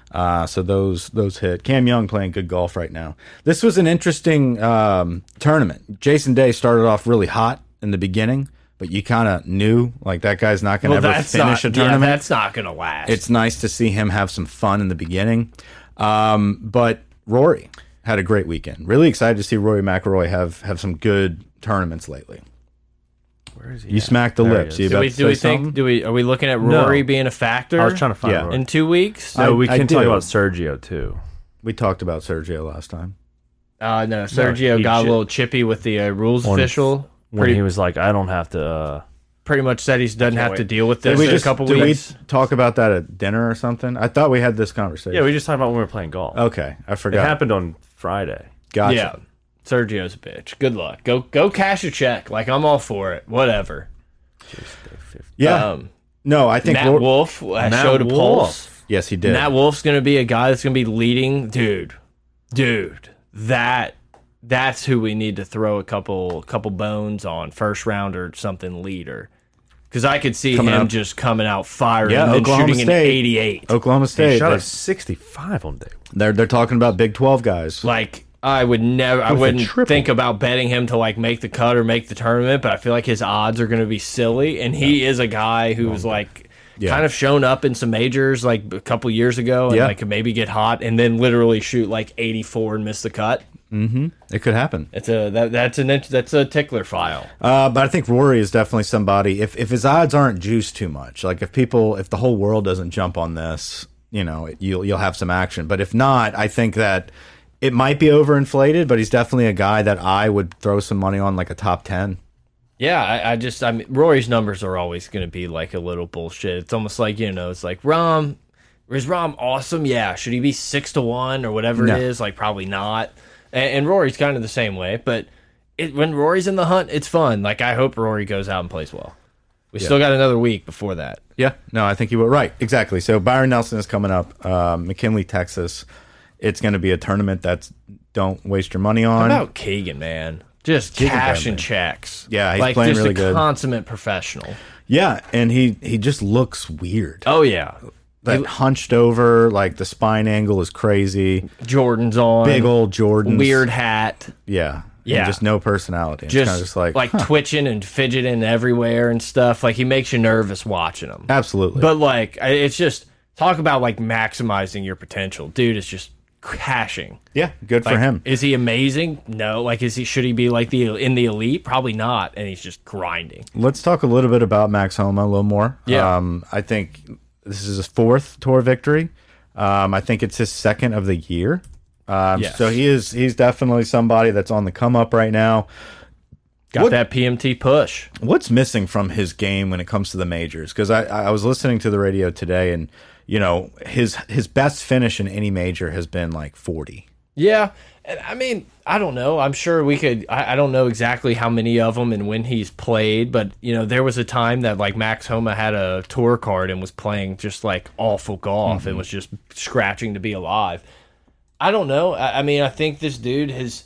Speaker 1: Uh, so those those hit. Cam Young playing good golf right now. This was an interesting um, tournament. Jason Day started off really hot in the beginning, but you kind of knew like that guy's not going to ever finish
Speaker 2: not,
Speaker 1: a
Speaker 2: yeah,
Speaker 1: tournament
Speaker 2: that's not gonna last.
Speaker 1: it's nice to see him have some fun in the beginning. Um, but Rory had a great weekend. Really excited to see Rory McIlroy have have some good tournaments lately.
Speaker 3: Where is he?
Speaker 1: You smacked the
Speaker 3: there he
Speaker 1: lips.
Speaker 3: is.
Speaker 1: You
Speaker 2: do
Speaker 1: about
Speaker 2: we
Speaker 1: to
Speaker 2: do we
Speaker 1: say
Speaker 2: think
Speaker 1: something?
Speaker 2: do we are we looking at
Speaker 3: No.
Speaker 2: Rory being a factor?
Speaker 3: I was trying to find.
Speaker 1: Yeah.
Speaker 3: Rory.
Speaker 2: in two weeks.
Speaker 3: No,
Speaker 1: I-
Speaker 3: we
Speaker 1: I
Speaker 3: can talk
Speaker 1: do.
Speaker 3: about Sergio too.
Speaker 1: we talked about Sergio last time?
Speaker 2: Uh, no, Sergio
Speaker 3: he
Speaker 2: got
Speaker 3: should-
Speaker 2: a little chippy with the uh, rules
Speaker 3: When-
Speaker 2: official.
Speaker 3: When
Speaker 2: Pretty,
Speaker 3: he was like, "I don't have to." Uh,
Speaker 2: pretty much said he doesn't have to
Speaker 3: wait.
Speaker 2: deal with
Speaker 1: Did
Speaker 2: this
Speaker 1: we
Speaker 2: in
Speaker 1: just
Speaker 2: a couple
Speaker 1: did
Speaker 2: weeks.
Speaker 1: we talk about that at dinner or something? I thought we had this conversation.
Speaker 3: yeah, we just talked about when we were playing golf.
Speaker 2: Oh,
Speaker 1: okay, I
Speaker 3: It
Speaker 1: forgot.
Speaker 3: happened on Friday.
Speaker 1: Gotcha.
Speaker 2: Yeah, Sergio's a bitch. Good luck. Go go cash a check. Like I'm all for it. Whatever.
Speaker 1: Yeah.
Speaker 2: Um,
Speaker 1: no, I think
Speaker 2: Matt
Speaker 1: Ro-
Speaker 2: Wolf uh,
Speaker 3: Matt
Speaker 2: showed a pulse.
Speaker 3: Wolf.
Speaker 1: yes, he did.
Speaker 2: Matt Wolf's gonna be a guy that's gonna be leading, dude, dude. That that's who we need to throw a couple couple bones on first round or something leader, because I could see
Speaker 1: Coming
Speaker 2: him
Speaker 1: up.
Speaker 2: just coming out firing
Speaker 1: Yeah,
Speaker 2: and then
Speaker 1: Oklahoma
Speaker 2: shooting
Speaker 1: State.
Speaker 2: an eighty eight.
Speaker 1: Oklahoma
Speaker 3: He
Speaker 1: State.
Speaker 3: shot a
Speaker 1: They're,
Speaker 3: 65 on day. one.
Speaker 1: they're they're talking about Big Twelve guys.
Speaker 2: Like I would never, I
Speaker 3: With a
Speaker 2: wouldn't
Speaker 3: triple.
Speaker 2: think about betting him to like make the cut or make the tournament, but I feel like his odds are gonna be silly, and he is a guy who's like.
Speaker 1: Yeah.
Speaker 2: Kind of shown up in some majors like a couple years ago, and
Speaker 1: Yeah.
Speaker 2: like could maybe get hot, and then literally shoot like 84 and miss the cut.
Speaker 1: It could happen.
Speaker 2: It's a that, that's an int- that's a tickler file.
Speaker 1: Uh, but I think Rory is definitely somebody. If if his odds aren't juiced too much, like if people, if the whole world doesn't jump on this, you know, it, you'll you'll have some action. But if not, I think that it might be overinflated. But he's definitely a guy that I would throw some money on, like a top ten.
Speaker 2: Yeah, I, I just I mean Rory's numbers are always going to be like a little bullshit. It's almost like you know, it's like Rom is Rom awesome? Yeah, should he be six to one or whatever
Speaker 1: No.
Speaker 2: it is? Like probably not. And, and Rory's kind of the same way, but it, when Rory's in the hunt, it's fun. Like I hope Rory goes out and plays well. We still got another week before that.
Speaker 1: Yeah, no, I think you were right. Exactly. So Byron Nelson is coming up, um, McKinley, Texas. It's going to be a tournament that's don't waste your money on.
Speaker 2: What about Keegan, man? Just cash
Speaker 1: Bradley.
Speaker 2: and checks.
Speaker 1: Yeah, he's
Speaker 2: like
Speaker 1: playing
Speaker 2: just
Speaker 1: really
Speaker 2: a
Speaker 1: good.
Speaker 2: consummate professional.
Speaker 1: Yeah, and he he just looks weird.
Speaker 2: Oh yeah,
Speaker 1: That hunched over, like the spine angle is crazy.
Speaker 2: Jordan's on
Speaker 1: Big old Jordan.
Speaker 2: weird hat.
Speaker 1: Yeah. And
Speaker 2: Yeah.
Speaker 1: just no personality. It's
Speaker 2: just,
Speaker 1: kind of just like, huh,
Speaker 2: twitching and fidgeting everywhere and stuff. Like he makes you nervous watching him.
Speaker 1: absolutely.
Speaker 2: But like I- it's just talk about like maximizing your potential, dude. It's just cashing
Speaker 1: yeah, good for
Speaker 2: Like,
Speaker 1: him.
Speaker 2: Is he amazing? No. Like is he should he be like the in the elite? Probably not. And he's just grinding.
Speaker 1: Let's talk a little bit about Max Homa a little more.
Speaker 2: Yeah.
Speaker 1: Um, I think this is his fourth tour victory. Um, I think it's his second of the year. Um,
Speaker 2: Yes.
Speaker 1: So he is he's definitely somebody that's on the come up right now.
Speaker 2: Got
Speaker 1: What-
Speaker 2: that PMT push.
Speaker 1: what's missing from his game when it comes to the majors? Because I, I was listening to the radio today, and you know his his best finish in any major has been like forty.
Speaker 2: Yeah. And I mean, I don't know. I'm sure we could. I, I don't know exactly how many of them and when he's played, but, you know, there was a time that, like, Max Homa had a tour card and was playing just, like, awful golf and was just scratching to be alive. I don't know. I, I mean, I think this dude has.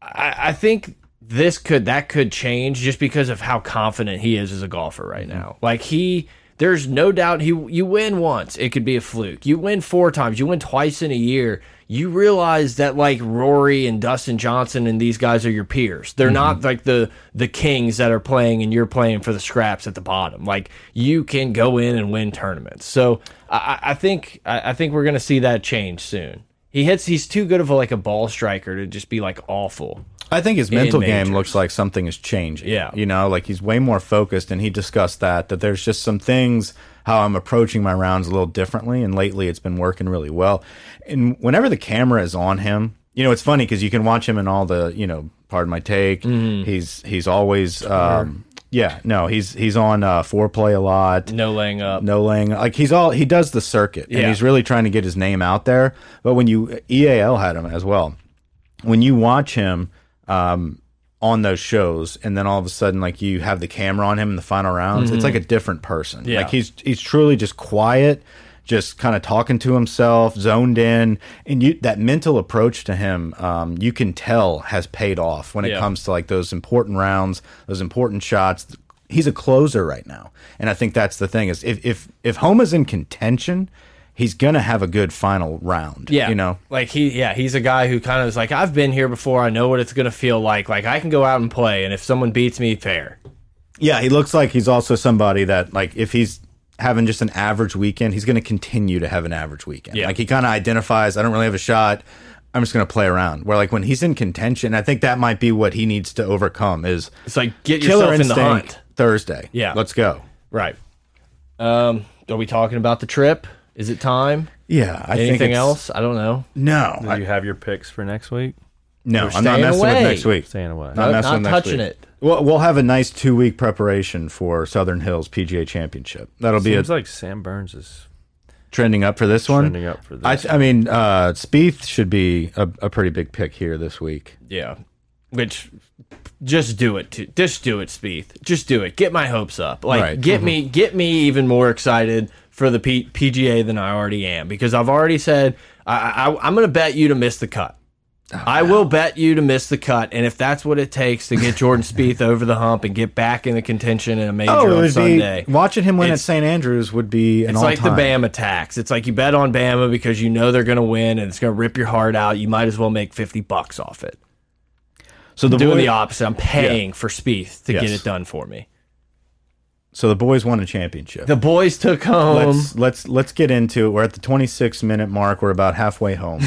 Speaker 2: I, I think this could that could change just because of how confident he is as a golfer right now. Like he, there's no doubt he. You win once, it could be a fluke. You win four times, you win twice in a year. You realize that like Rory and Dustin Johnson and these guys are your peers. They're not like the the kings that are playing and you're playing for the scraps at the bottom. Like you can go in and win tournaments. So I, I- I think I, I think we're gonna see that change soon. He hits. He's too good of a, like a ball striker to just be like awful.
Speaker 1: I think his mental
Speaker 2: majors.
Speaker 1: game looks like something is changing.
Speaker 2: Yeah.
Speaker 1: You know, like he's way more focused and he discussed that that there's just some things how I'm approaching my rounds a little differently and lately it's been working really well. And whenever the camera is on him, you know, it's funny cuz you can watch him in all the, you know, pardon my take.
Speaker 2: Mm-hmm.
Speaker 1: He's he's always um yeah, no, he's he's on uh foreplay a lot
Speaker 2: No laying up.
Speaker 1: no laying like he's all he does the circuit and
Speaker 2: Yeah.
Speaker 1: he's really trying to get his name out there but when you eal had him as well when you watch him um on those shows and then all of a sudden like you have the camera on him in the final rounds it's like a different person
Speaker 2: Mm-hmm. Yeah.
Speaker 1: like he's he's truly just quiet just kind of talking to himself, zoned in, and you that mental approach to him, um, you can tell has paid off when it
Speaker 2: Yeah.
Speaker 1: comes to like those important rounds, those important shots. He's a closer right now, and I think that's the thing is if if if Homa's in contention, he's gonna have a good final round.
Speaker 2: Yeah.
Speaker 1: you know.
Speaker 2: Like he yeah, he's a guy who kind of is like, I've been here before, I know what it's gonna feel like. Like I can go out and play, and if someone beats me, fair.
Speaker 1: Yeah, he looks like he's also somebody that like if he's having just an average weekend, he's going to continue to have an average weekend.
Speaker 2: Yeah.
Speaker 1: Like he kind of identifies, I don't really have a shot. I'm just going to play around. Where like when he's in contention, I think that might be what he needs to overcome is
Speaker 2: It's like get
Speaker 1: killer
Speaker 2: yourself in the
Speaker 1: instinct
Speaker 2: hunt.
Speaker 1: Thursday.
Speaker 2: Yeah.
Speaker 1: let's go.
Speaker 2: Right. Um, are we talking about the trip? Is it time?
Speaker 1: Yeah, I think
Speaker 2: Anything
Speaker 1: it's-
Speaker 2: else? I don't know.
Speaker 1: No,
Speaker 3: Do
Speaker 1: I-
Speaker 3: you have your picks for next week?
Speaker 1: no, I'm not
Speaker 2: staying
Speaker 1: messing
Speaker 2: away.
Speaker 1: with next week.
Speaker 3: Staying away.
Speaker 1: Not
Speaker 2: Nope,
Speaker 1: messing
Speaker 2: not
Speaker 1: with next
Speaker 2: touching
Speaker 1: week.
Speaker 2: it.
Speaker 1: We'll, we'll have a nice two week preparation for Southern Hills PGA Championship. That'll be a,
Speaker 3: Seems like Sam Burns is
Speaker 1: trending up for this one.
Speaker 3: trending up for this.
Speaker 1: I, I mean, uh, Spieth should be a, a pretty big pick here this week.
Speaker 2: Yeah. Which just do it to just do it, Speeth. Just do it. Get my hopes up. Like
Speaker 1: Right. Mm-hmm.
Speaker 2: get me get me even more excited for the P PGA than I already am because I've already said I, I I'm gonna bet you to miss the cut.
Speaker 1: Oh,
Speaker 2: I will bet you to miss the cut, and if that's what it takes to get Jordan Spieth over the hump and get back in the contention in a major on Sunday,
Speaker 1: Oh, be watching him win
Speaker 2: It's-
Speaker 1: at St. Andrews would be an
Speaker 2: It's
Speaker 1: all
Speaker 2: like the Bama tax. It's like you bet on Bama because you know they're going to win and it's going to rip your heart out. You might as well make 50 bucks off it.
Speaker 1: So the
Speaker 2: Doing
Speaker 1: boy-
Speaker 2: the opposite. I'm paying for Spieth to get
Speaker 1: Yes.
Speaker 2: it done for me.
Speaker 1: so the boys won a championship.
Speaker 2: The boys took home.
Speaker 1: let's let's let's get into it. We're at the 26 minute mark. We're about halfway home.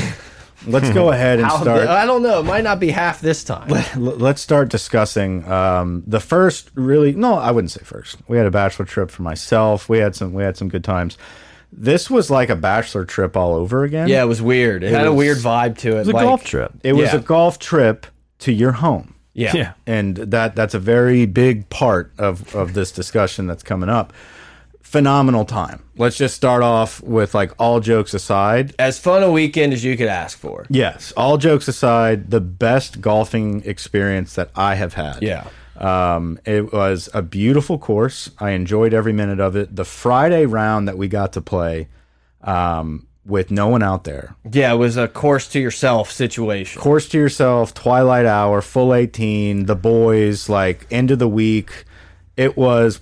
Speaker 1: let's go ahead and
Speaker 2: How-
Speaker 1: start.
Speaker 2: I don't know. It might not be half this time.
Speaker 1: L- let's start discussing um, the first really no i wouldn't say first we had a bachelor trip for myself we had some we had some good times this was like a bachelor trip all over again
Speaker 2: yeah, it was weird. It, had a
Speaker 1: was-
Speaker 2: weird vibe to it.
Speaker 3: it's a golf trip.
Speaker 1: it was
Speaker 2: Yeah.
Speaker 1: a golf trip to your home
Speaker 2: Yeah.
Speaker 3: yeah.
Speaker 1: and that that's a very big part of of this discussion that's coming up phenomenal time let's just start off with like all jokes aside
Speaker 2: As fun a weekend as you could ask for.
Speaker 1: yes all jokes aside the best golfing experience that i have had
Speaker 2: Yeah.
Speaker 1: um, it was a beautiful course. I enjoyed every minute of it. The Friday round that we got to play um, with no one out there,
Speaker 2: Yeah, it was a course to yourself situation.
Speaker 1: course to yourself, twilight hour, full 18, the boys, like end of the week. It was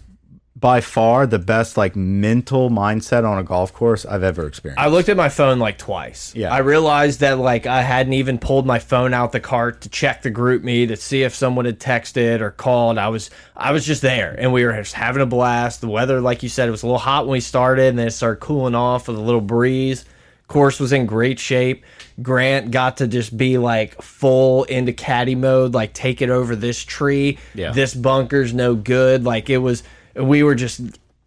Speaker 1: by far the best like mental mindset on a golf course I've ever experienced.
Speaker 2: I looked at my phone like twice.
Speaker 1: Yeah.
Speaker 2: I realized that like I hadn't even pulled my phone out the cart to check the group me to see if someone had texted or called. I was I was just there and we were just having a blast. The weather, like you said, it was a little hot when we started and then it started cooling off with a little breeze. Course was in great shape. Grant got to just be like full into caddy mode, like take it over this tree.
Speaker 1: Yeah.
Speaker 2: This bunker's no good. Like it was we were just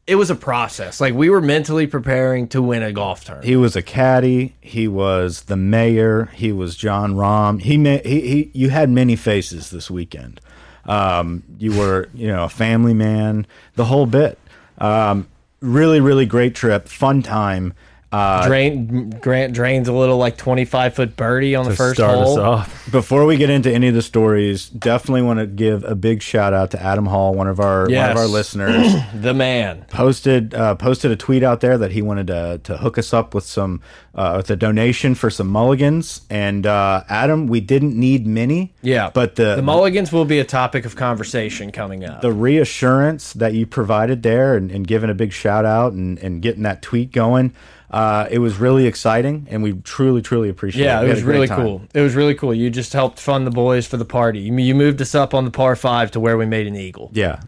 Speaker 2: it was a process. Like we were mentally preparing to win a golf tournament.
Speaker 1: he was a caddy. He was the mayor. He was John Rahm. He ma he, he you had many faces this weekend. Um, you were you know a family man, the whole bit. Um, really, really great trip, fun time. Uh,
Speaker 2: Drain Grant drains a little like twenty five foot birdie on the first
Speaker 3: Start us
Speaker 2: hole.
Speaker 3: off.
Speaker 1: before we get into any of the stories, definitely want to give a big shout out to Adam Hall, one of our one
Speaker 2: Yes.
Speaker 1: of our listeners.
Speaker 2: The man.
Speaker 1: posted uh, posted a tweet out there that he wanted to, to hook us up with some uh, with a donation for some mulligans. And uh, Adam, we didn't need many.
Speaker 2: Yeah.
Speaker 1: but the
Speaker 2: The
Speaker 1: the,
Speaker 2: mulligans will be a topic of conversation coming up.
Speaker 1: reassurance that you provided there and, and giving a big shout out and, and getting that tweet going, uh, it was really exciting, and we truly truly appreciate.
Speaker 2: yeah,
Speaker 1: it.
Speaker 2: it
Speaker 1: We had
Speaker 2: was
Speaker 1: a great
Speaker 2: really
Speaker 1: time.
Speaker 2: cool. It was really cool. You just helped fund the boys for the party. You, you moved us up on the par five to where we made an eagle.
Speaker 1: Yeah,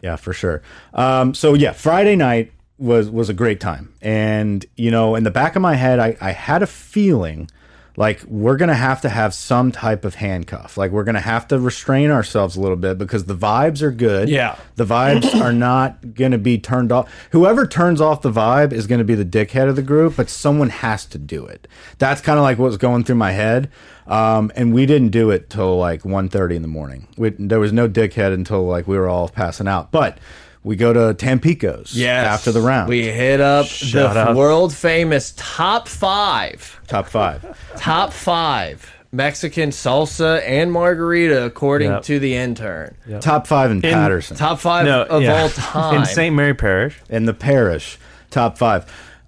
Speaker 1: yeah, for sure. Um, so yeah, Friday night was was a great time, and you know, in the back of my head, I, I had a feeling like we're gonna have to have some type of handcuff. Like we're gonna have to restrain ourselves a little bit because the vibes are good.
Speaker 2: Yeah.
Speaker 1: the vibes are not gonna be turned off. Whoever turns off the vibe is gonna be the dickhead of the group, but someone has to do it. That's kind of like what was going through my head. Um, and we didn't do it till like 1.30 in the morning. We, there was no dickhead until like we were all passing out. But we go to Tampico's
Speaker 2: Yes.
Speaker 1: after the round,
Speaker 2: we hit up
Speaker 3: Shout
Speaker 2: the
Speaker 3: out.
Speaker 2: world famous top five,
Speaker 1: top five.
Speaker 2: top five Mexican salsa and margarita, according
Speaker 3: Yep.
Speaker 2: to the intern.
Speaker 1: top five in, Patterson.
Speaker 2: Top five
Speaker 3: No,
Speaker 2: of
Speaker 3: yeah.
Speaker 2: all time.
Speaker 3: in St. Mary Parish.
Speaker 1: in the parish. Top five.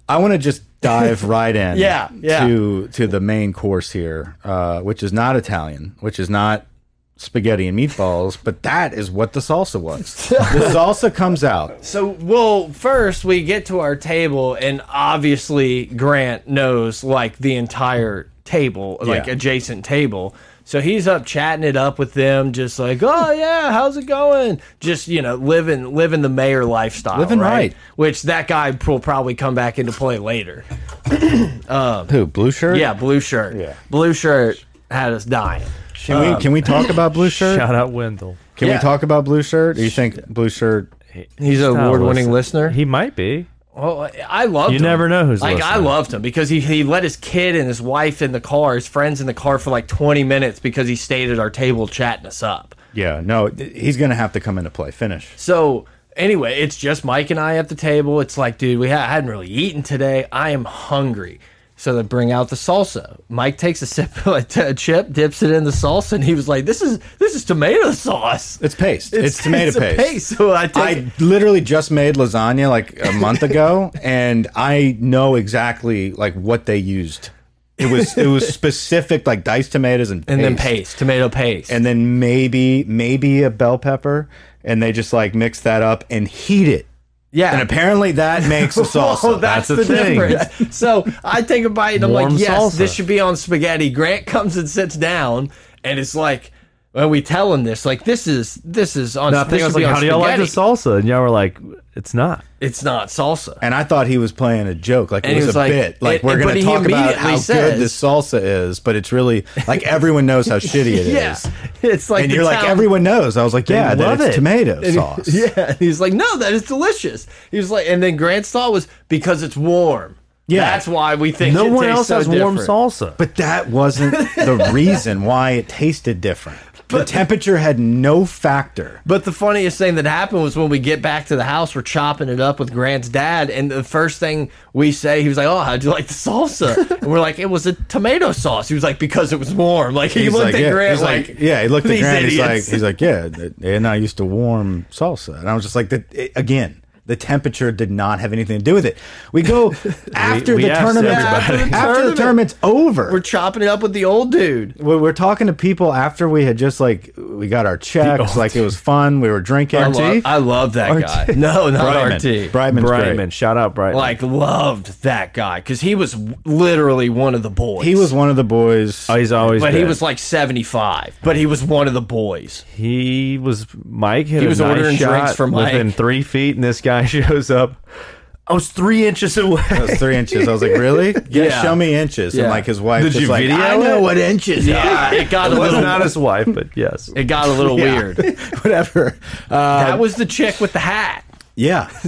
Speaker 1: I want to just dive right in.
Speaker 2: Yeah, yeah.
Speaker 1: To to the main course here, uh, which is not Italian, which is not spaghetti and meatballs, but that is what the salsa was. the salsa comes out.
Speaker 2: So, well, first we get to our table, and obviously Grant knows like the entire table, like
Speaker 1: Yeah.
Speaker 2: adjacent table. So he's up chatting it up with them, just like, "Oh yeah, how's it going?" Just you know, living living the mayor lifestyle,
Speaker 1: Living right.
Speaker 2: Which that guy will probably come back into play later.
Speaker 1: Who blue shirt?
Speaker 2: Yeah, blue shirt.
Speaker 1: Yeah.
Speaker 2: blue shirt had us dying.
Speaker 1: Can we can we talk about blue shirt?
Speaker 3: Shout out Wendell.
Speaker 1: Can
Speaker 2: Um, Yeah.
Speaker 1: we talk about blue shirt? Do you think blue shirt?
Speaker 2: He's an
Speaker 3: Stop
Speaker 2: award-winning
Speaker 3: listening.
Speaker 2: listener.
Speaker 3: He might be.
Speaker 2: Well, I loved
Speaker 3: You
Speaker 2: him.
Speaker 3: never know who's
Speaker 2: like I
Speaker 3: listening.
Speaker 2: loved him because he he let his kid and his wife in the car, his friends in the car for like twenty minutes because he stayed at our table chatting us up.
Speaker 1: Yeah, no, th- he's gonna have to come into play. Finish.
Speaker 2: So anyway, it's just Mike and I at the table. It's like, dude, we ha I hadn't really eaten today. I am hungry. So they bring out the salsa. Mike takes a sip of a t- a chip, dips it in the salsa, and he was like, "This is this is tomato sauce.
Speaker 1: It's paste. It's, tomato
Speaker 2: it's a
Speaker 1: paste.
Speaker 2: So I take
Speaker 1: I literally just made lasagna like a month ago, and I know exactly like what they used. It was it was specific like diced tomatoes and paste,
Speaker 2: and then paste tomato paste.
Speaker 1: and then maybe maybe a bell pepper, and they just like mix that up and heat it.
Speaker 2: yeah,
Speaker 1: And apparently that makes a salsa.
Speaker 2: Oh, that's,
Speaker 3: That's
Speaker 2: the,
Speaker 3: the thing.
Speaker 2: difference. so I take a bite and I'm
Speaker 3: Warm
Speaker 2: like, yes,
Speaker 3: salsa.
Speaker 2: this should be on spaghetti. Grant comes and sits down, and it's like, when we tell him this, like this is this is on.
Speaker 3: I think
Speaker 2: this
Speaker 3: I was
Speaker 2: should be
Speaker 3: like,
Speaker 2: on
Speaker 3: "How do y'all like the
Speaker 2: spaghetti.
Speaker 3: salsa?" And y'all were like, "It's not."
Speaker 2: It's not salsa.
Speaker 1: and I thought he was playing a joke, like
Speaker 2: And
Speaker 1: it
Speaker 2: he
Speaker 1: was,
Speaker 2: was
Speaker 1: a
Speaker 2: like-
Speaker 1: bit. Like
Speaker 2: and-
Speaker 1: we're
Speaker 2: and-
Speaker 1: going
Speaker 2: but
Speaker 1: to
Speaker 2: he
Speaker 1: talk about
Speaker 2: immediately
Speaker 1: how
Speaker 2: says-
Speaker 1: good this salsa is, but it's really like everyone knows how shitty it is.
Speaker 2: Yeah, it's like
Speaker 1: And
Speaker 2: the
Speaker 1: you're like
Speaker 2: town-
Speaker 1: everyone knows. I was like, yeah, that
Speaker 3: love
Speaker 1: it's
Speaker 3: it.
Speaker 1: tomato
Speaker 2: and he-
Speaker 1: sauce.
Speaker 2: Yeah, and he's like, no, that is delicious. He was like, and then Grant's thought was because it's warm.
Speaker 1: Yeah.
Speaker 2: that's why we think
Speaker 3: No
Speaker 2: it
Speaker 3: one
Speaker 2: tastes
Speaker 3: else
Speaker 2: so
Speaker 3: has warm
Speaker 2: different.
Speaker 3: salsa.
Speaker 1: But that wasn't the reason why it tasted different. the temperature had no factor.
Speaker 2: But the funniest thing that happened was when we get back to the house, we're chopping it up with Grant's dad, and the first thing we say, he was like, "Oh, how'd you like the salsa?" and we're like, "It was a tomato sauce." He was like, "Because it was warm." Like he
Speaker 1: He's
Speaker 2: looked at
Speaker 1: yeah.
Speaker 2: Grant
Speaker 1: he's
Speaker 2: like,
Speaker 1: yeah, he looked at
Speaker 2: "These
Speaker 1: Grant. He's like,
Speaker 2: idiots."
Speaker 1: he's like, yeah, th- they're not used to warm salsa. And I was just like, that it- again, the temperature did not have anything to do with it. We go after
Speaker 3: we
Speaker 1: the
Speaker 3: asked
Speaker 1: tournament,
Speaker 2: everybody.
Speaker 1: after the
Speaker 2: Tournament.
Speaker 1: tournament's over.
Speaker 2: "We're chopping it up with the old dude."
Speaker 1: we were talking to people after we had just like we got our checks, like it was fun. We were drinking.
Speaker 2: I love, I love that guy. No, not
Speaker 1: Brightman.
Speaker 2: RT.
Speaker 1: Brightman's great.
Speaker 3: Brightman, shout out Brightman.
Speaker 2: Like loved that guy because he was w- literally one of the boys.
Speaker 1: He was one of the boys.
Speaker 3: oh, he's always.
Speaker 2: but he
Speaker 3: been.
Speaker 2: was like seventy five. But he was one of the boys.
Speaker 3: He was Mike. Hit he
Speaker 2: was
Speaker 3: a nice
Speaker 2: ordering
Speaker 3: shot
Speaker 2: drinks for Mike.
Speaker 3: within three feet, and this guy shows up. I was three inches away.
Speaker 1: It was three inches. I was like, really? Yeah.
Speaker 2: Yeah.
Speaker 1: Show me inches.
Speaker 2: Yeah.
Speaker 1: And like his wife
Speaker 3: Did
Speaker 1: just
Speaker 3: you
Speaker 1: like,
Speaker 3: video
Speaker 1: I know
Speaker 3: it?
Speaker 1: what inches are.
Speaker 2: Yeah, it got a
Speaker 3: it was
Speaker 2: little.
Speaker 3: not his wife, but yes.
Speaker 2: it got a little
Speaker 1: Yeah.
Speaker 2: weird.
Speaker 1: Whatever. Uh,
Speaker 2: That was the chick with the hat.
Speaker 1: yeah. yeah.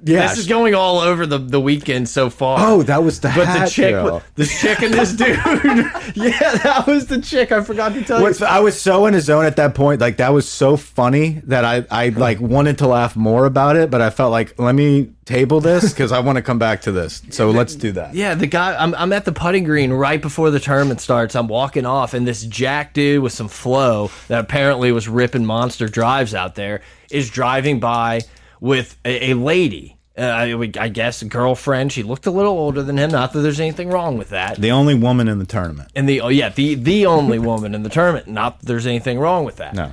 Speaker 2: This is going all over the, the weekend so far.
Speaker 1: oh, that was the
Speaker 2: but
Speaker 1: hat
Speaker 2: the chick,
Speaker 1: girl.
Speaker 2: the chick and this dude. yeah, that was the chick. I forgot to tell
Speaker 1: What's,
Speaker 2: you.
Speaker 1: I was so in his zone at that point. Like that was so funny that I, I like wanted to laugh more about it, but I felt like let me table this because I want to come back to this. So let's do that.
Speaker 2: Yeah, the guy. I'm, I'm at the putting green right before the tournament starts. I'm walking off, and this jack dude with some flow that apparently was ripping monster drives out there is driving by with a, a lady. Uh, I, would- I guess a girlfriend. She looked a little older than him. Not that there's anything wrong with that.
Speaker 1: The only woman in the tournament.
Speaker 2: And the oh yeah, the the only woman in the tournament. Not that there's anything wrong with that.
Speaker 1: No.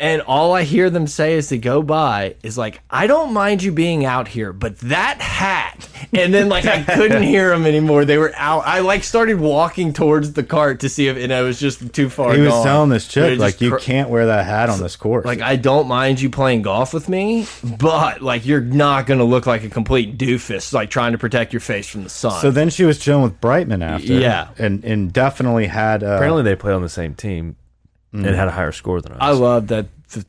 Speaker 2: And all I hear them say as they go by is like, "I don't mind you being out here, but that hat." And then like I couldn't hear them anymore. They were out. I like started walking towards the cart to see if, and I was just too far.
Speaker 1: He was
Speaker 2: gone.
Speaker 1: telling this
Speaker 2: They
Speaker 1: chick
Speaker 2: just
Speaker 1: like you
Speaker 2: cr-
Speaker 1: can't wear that hat on this course.
Speaker 2: Like I don't mind you playing golf with me, but like you're not gonna look like a complete doofus, like trying to protect your face from the sun.
Speaker 1: so then she was chilling with Brightman after.
Speaker 2: Yeah.
Speaker 1: And and definitely had uh,
Speaker 3: Apparently, they played on the same team and had a higher score than us.
Speaker 2: I love that th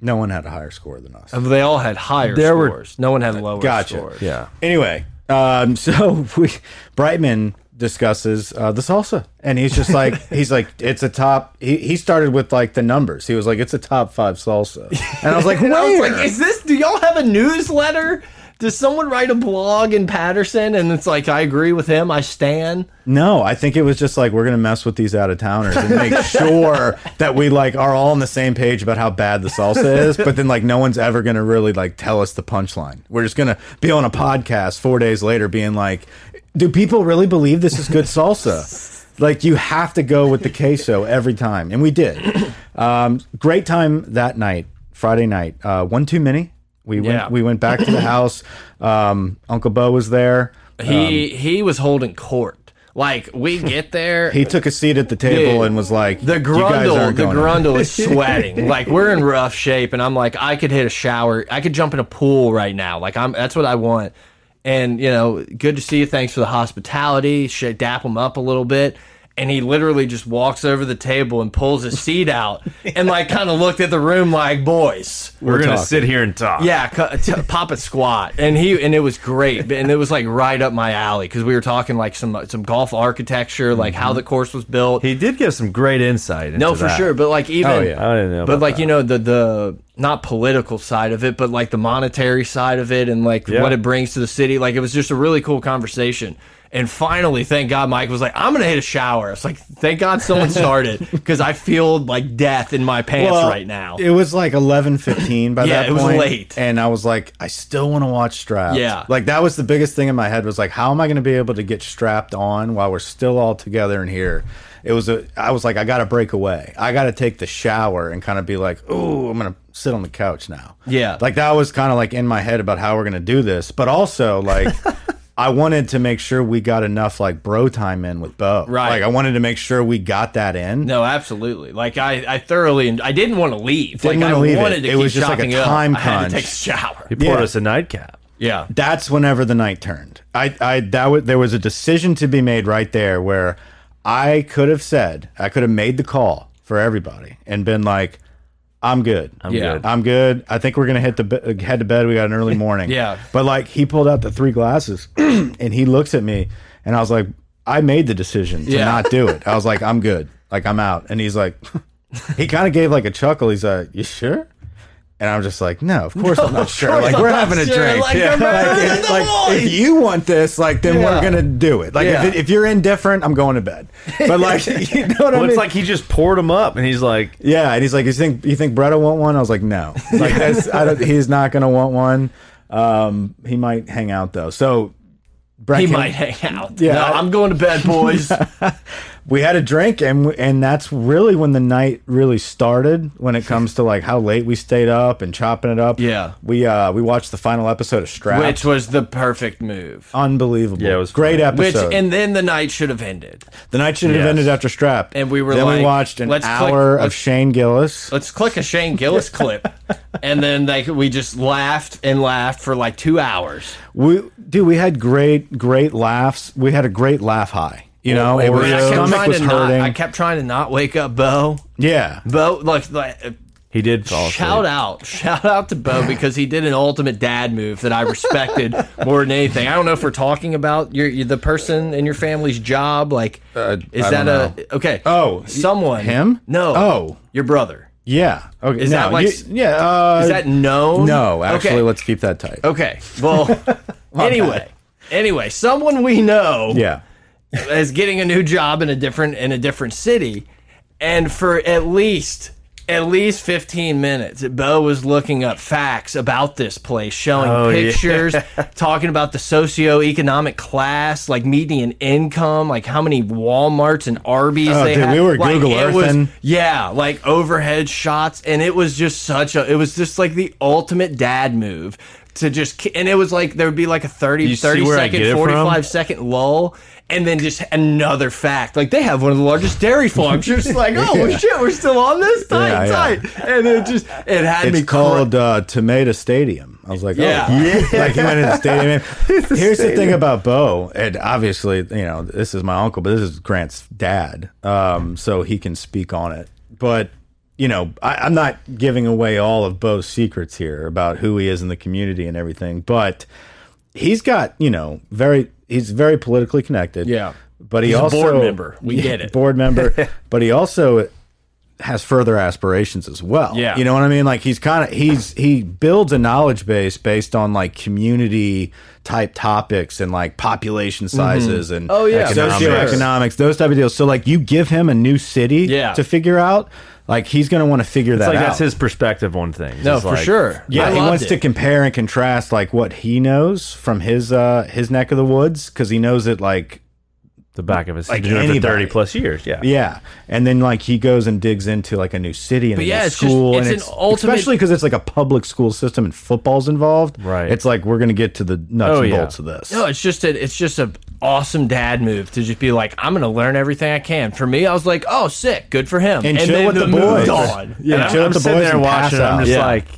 Speaker 1: No one had a higher score than us.
Speaker 2: they all had higher
Speaker 3: There were-
Speaker 2: scores. no one had lower
Speaker 1: Gotcha.
Speaker 2: scores.
Speaker 3: yeah.
Speaker 1: Anyway, um, so we Brightman discusses uh, the salsa, and he's just like he's like it's a top. He, he started with like the numbers. He was like it's a top five salsa, and I was like
Speaker 2: And I was
Speaker 1: where?
Speaker 2: like, is this, do y'all have a newsletter? Does someone write a blog in Patterson and it's like I agree with him, I stand?
Speaker 1: No, I think it was just like we're gonna mess with these out of towners and make sure that we like are all on the same page about how bad the salsa is. But then like no one's ever gonna really like tell us the punchline. We're just gonna be on a podcast four days later, being like, "Do people really believe this is good salsa?" like you have to go with the queso every time, and we did. Um, great time that night, Friday night. Uh, one too many. We went.
Speaker 2: Yeah.
Speaker 1: We went back to the house. Um, Uncle Bo was there.
Speaker 2: He he was holding court. Like we get there,
Speaker 1: He took a seat at the table
Speaker 2: Dude,
Speaker 1: and was like,
Speaker 2: the
Speaker 1: "You guys
Speaker 2: grundle
Speaker 1: aren't
Speaker 2: the
Speaker 1: going out."
Speaker 2: grundle is sweating. like we're in rough shape, and I'm like, I could hit a shower, I could jump in a pool right now. Like I'm that's what I want. And you know, good to see you. Thanks for the hospitality. Should dap him up a little bit. And he literally just walks over the table and pulls his seat out and like kind of looked at the room like, boys.
Speaker 3: We're, gonna
Speaker 1: talking.
Speaker 3: sit here and talk.
Speaker 2: Yeah, cu- t pop it squat, and he and it was great, and it was like right up my alley because we were talking like some some golf architecture, like
Speaker 1: Mm-hmm.
Speaker 2: how the course was built.
Speaker 3: He did give some great insight. Into
Speaker 2: no, for
Speaker 3: that.
Speaker 2: sure, but like even
Speaker 1: Oh, yeah.
Speaker 3: I didn't know.
Speaker 2: but
Speaker 3: about
Speaker 2: like
Speaker 3: that.
Speaker 2: you know the the not political side of it but like the monetary side of it and like
Speaker 3: Yeah.
Speaker 2: what it brings to the city like it was just a really cool conversation and finally thank god mike was like i'm gonna hit a shower it's like thank god someone started because i feel like death in my pants
Speaker 1: Well,
Speaker 2: right now
Speaker 1: It was like eleven fifteen by
Speaker 2: Yeah,
Speaker 1: that
Speaker 2: it was
Speaker 1: point,
Speaker 2: late.
Speaker 1: and I was like, I still want to watch Strapped.
Speaker 2: Yeah.
Speaker 1: like that was the biggest thing in my head was like, how am I going to be able to get strapped on while we're still all together in here? It was a. I was like, I got to break away. I got to take the shower and kind of be like, oh, I'm gonna sit on the couch now.
Speaker 2: Yeah.
Speaker 1: like that was kind of like in my head about how we're gonna do this, but also like. I wanted to make sure we got enough like bro time in with Bo.
Speaker 2: Right.
Speaker 1: Like I wanted to make sure we got that in.
Speaker 2: no absolutely like i i thoroughly and i didn't want to leave
Speaker 1: Didn't
Speaker 2: like i
Speaker 1: wanna leave it.
Speaker 2: wanted to
Speaker 1: It
Speaker 2: keep
Speaker 1: was just like a
Speaker 2: shopping
Speaker 1: time
Speaker 2: up. i had
Speaker 1: crunch.
Speaker 2: to take a shower
Speaker 3: he poured
Speaker 1: yeah.
Speaker 3: us a nightcap.
Speaker 2: yeah
Speaker 1: that's whenever the night turned. I, I that was there was a decision to be made right there where I could have said I could have made the call for everybody and been like, I'm good. I'm
Speaker 2: Yeah.
Speaker 3: good.
Speaker 1: I'm good. I think we're gonna hit the be- head to bed. We got an early morning.
Speaker 2: Yeah.
Speaker 1: But like he pulled out the three glasses and he looks at me and I was like, I made the decision to
Speaker 2: Yeah.
Speaker 1: not do it. I was like, I'm good. Like I'm out. And he's like, he kind of gave like a chuckle. He's like, you sure? And I'm just like, no, of course I'm not sure. Like
Speaker 2: I'm
Speaker 3: Oh,
Speaker 1: we're
Speaker 2: not
Speaker 1: having a
Speaker 2: sure.
Speaker 1: drink.
Speaker 2: Like,
Speaker 1: Yeah.
Speaker 2: I'm not in the
Speaker 1: like, if you want this, like then
Speaker 2: Yeah.
Speaker 1: we're gonna do it. Like
Speaker 2: Yeah.
Speaker 1: if, it, if you're indifferent, I'm going to bed. But like, you know what I
Speaker 3: Well,
Speaker 1: mean?
Speaker 3: it's like he just poured them up, and he's like,
Speaker 1: Yeah, and he's like, "You think you think Bretta want one?" I was like, "No, like that's I don't, he's not gonna want one. Um, he might hang out though." So Brett
Speaker 2: he
Speaker 1: came-
Speaker 2: might hang out yeah
Speaker 1: Yeah.
Speaker 2: i'm going to bed boys
Speaker 1: We had a drink, and w- and that's really when the night really started. When it comes to like how late we stayed up and chopping it up.
Speaker 2: Yeah.
Speaker 1: we uh we watched the final episode of Strap.
Speaker 2: which was the perfect move
Speaker 1: Unbelievable.
Speaker 3: Yeah, it was
Speaker 1: great
Speaker 3: fun.
Speaker 2: Which
Speaker 1: episode.
Speaker 2: and then the night should have ended.
Speaker 1: the night should have
Speaker 3: Yes.
Speaker 1: ended after Strap.
Speaker 2: And we were
Speaker 1: then
Speaker 2: like,
Speaker 1: we watched an
Speaker 2: let's click-
Speaker 1: hour of
Speaker 2: let's-
Speaker 1: Shane Gillis.
Speaker 2: Let's click a Shane Gillis clip, and then like we just laughed and laughed for like two hours.
Speaker 1: We dude, we had great, great laughs. We had a great laugh high. You know, it was,
Speaker 2: And
Speaker 1: your
Speaker 2: I kept
Speaker 1: stomach
Speaker 2: trying
Speaker 1: was
Speaker 2: to not.
Speaker 1: hurting.
Speaker 2: I kept trying to not wake up Bo.
Speaker 1: yeah,
Speaker 2: Bo, like, like uh,
Speaker 3: he did fall asleep.
Speaker 2: shout out, shout out to Bo because he did an ultimate dad move that I respected more than anything. I don't know if we're talking about your, your the person in your family's job. Like, is
Speaker 1: Uh, I
Speaker 2: that
Speaker 1: don't
Speaker 2: a okay?
Speaker 1: Oh,
Speaker 2: someone
Speaker 1: him?
Speaker 2: No.
Speaker 1: Oh.
Speaker 2: your brother.
Speaker 1: yeah. Okay,
Speaker 2: Is
Speaker 1: no,
Speaker 2: that like-
Speaker 1: you- yeah? Uh,
Speaker 2: Is that known?
Speaker 1: no? Actually,
Speaker 2: Okay. Oh.
Speaker 1: let's keep that tight.
Speaker 2: Okay. Well, anyway, anyway, someone we know
Speaker 1: Yeah,
Speaker 2: is getting a new job in a different in a different city, and for at least at least 15 minutes, Bo was looking up facts about this place, showing
Speaker 3: Oh, yeah.
Speaker 2: pictures, talking about the socioeconomic class, like median income, like how many Walmarts and Arby's
Speaker 1: Oh,
Speaker 2: they
Speaker 1: dude,
Speaker 2: had.
Speaker 1: we were
Speaker 2: like,
Speaker 1: Google
Speaker 2: it was-
Speaker 1: Earthing.
Speaker 2: yeah, like overhead shots, and it was just such a. It was just like the ultimate dad move to just, ki- and it was like there would be like a 30,
Speaker 3: You see
Speaker 2: 30
Speaker 3: where I get it
Speaker 2: second,
Speaker 3: from?
Speaker 2: 45 second lull, and then just another fact. Like they have one of the largest dairy farms. You're just like, oh
Speaker 1: Yeah.
Speaker 2: shit, we're still on this tight,
Speaker 1: Yeah, yeah.
Speaker 2: tight, and it just it had
Speaker 1: it's
Speaker 2: me
Speaker 1: called uh, Tomato Stadium. I was like,
Speaker 2: Yeah.
Speaker 1: oh, like he went in the stadium. Here's the thing about Bo, and obviously, you know, this is my uncle, but this is Grant's dad, um, so he can speak on it. But you know, I, I'm not giving away all of Bo's secrets here about who he is in the community and everything, but he's got you know very he's very politically connected.
Speaker 2: Yeah.
Speaker 1: but he
Speaker 2: He's a
Speaker 1: also
Speaker 2: board member. We get it.
Speaker 1: board member, but he also has further aspirations as well.
Speaker 2: Yeah.
Speaker 1: You know what I mean? Like he's kind of he's he builds a knowledge base based on like community type topics and like population sizes and
Speaker 2: Oh, yeah, for
Speaker 1: socioeconomics, those type of deals. So like you give him a new city
Speaker 2: Yeah.
Speaker 1: to figure out, like he's gonna want to figure that
Speaker 3: like
Speaker 1: out.
Speaker 3: that's his perspective on things.
Speaker 2: No,
Speaker 3: It's
Speaker 2: for
Speaker 3: like-
Speaker 2: sure.
Speaker 1: yeah,
Speaker 2: I
Speaker 1: he
Speaker 2: loved
Speaker 1: wants
Speaker 2: it.
Speaker 1: to compare and contrast like what he knows from his uh his neck of the woods because he knows it like
Speaker 3: The back of his
Speaker 1: Like
Speaker 3: he's been doing it for
Speaker 1: anybody.
Speaker 3: thirty plus years. Yeah.
Speaker 1: Yeah, and then like he goes and digs into like a new city and a
Speaker 2: yeah,
Speaker 1: new
Speaker 2: it's just-
Speaker 1: school,
Speaker 2: it's an
Speaker 1: and
Speaker 2: ultimate-
Speaker 1: especially because it's like a public school system and football's involved.
Speaker 3: Right.
Speaker 1: It's like we're gonna get to the nuts
Speaker 3: Oh,
Speaker 1: and
Speaker 3: yeah.
Speaker 1: bolts of this.
Speaker 2: No, it's just a, it's just a awesome dad move to just be like, I'm gonna learn everything I can. For me, I was like, oh, sick, good for him.
Speaker 1: And chill
Speaker 2: then
Speaker 1: with the boys.
Speaker 2: moved on.
Speaker 1: Yeah,
Speaker 3: And I'm,
Speaker 1: chill with
Speaker 3: I'm
Speaker 1: the
Speaker 3: sitting
Speaker 1: boys
Speaker 3: there
Speaker 1: and
Speaker 3: watching.
Speaker 1: pass
Speaker 3: I'm
Speaker 1: out.
Speaker 3: just
Speaker 2: Yeah.
Speaker 3: like,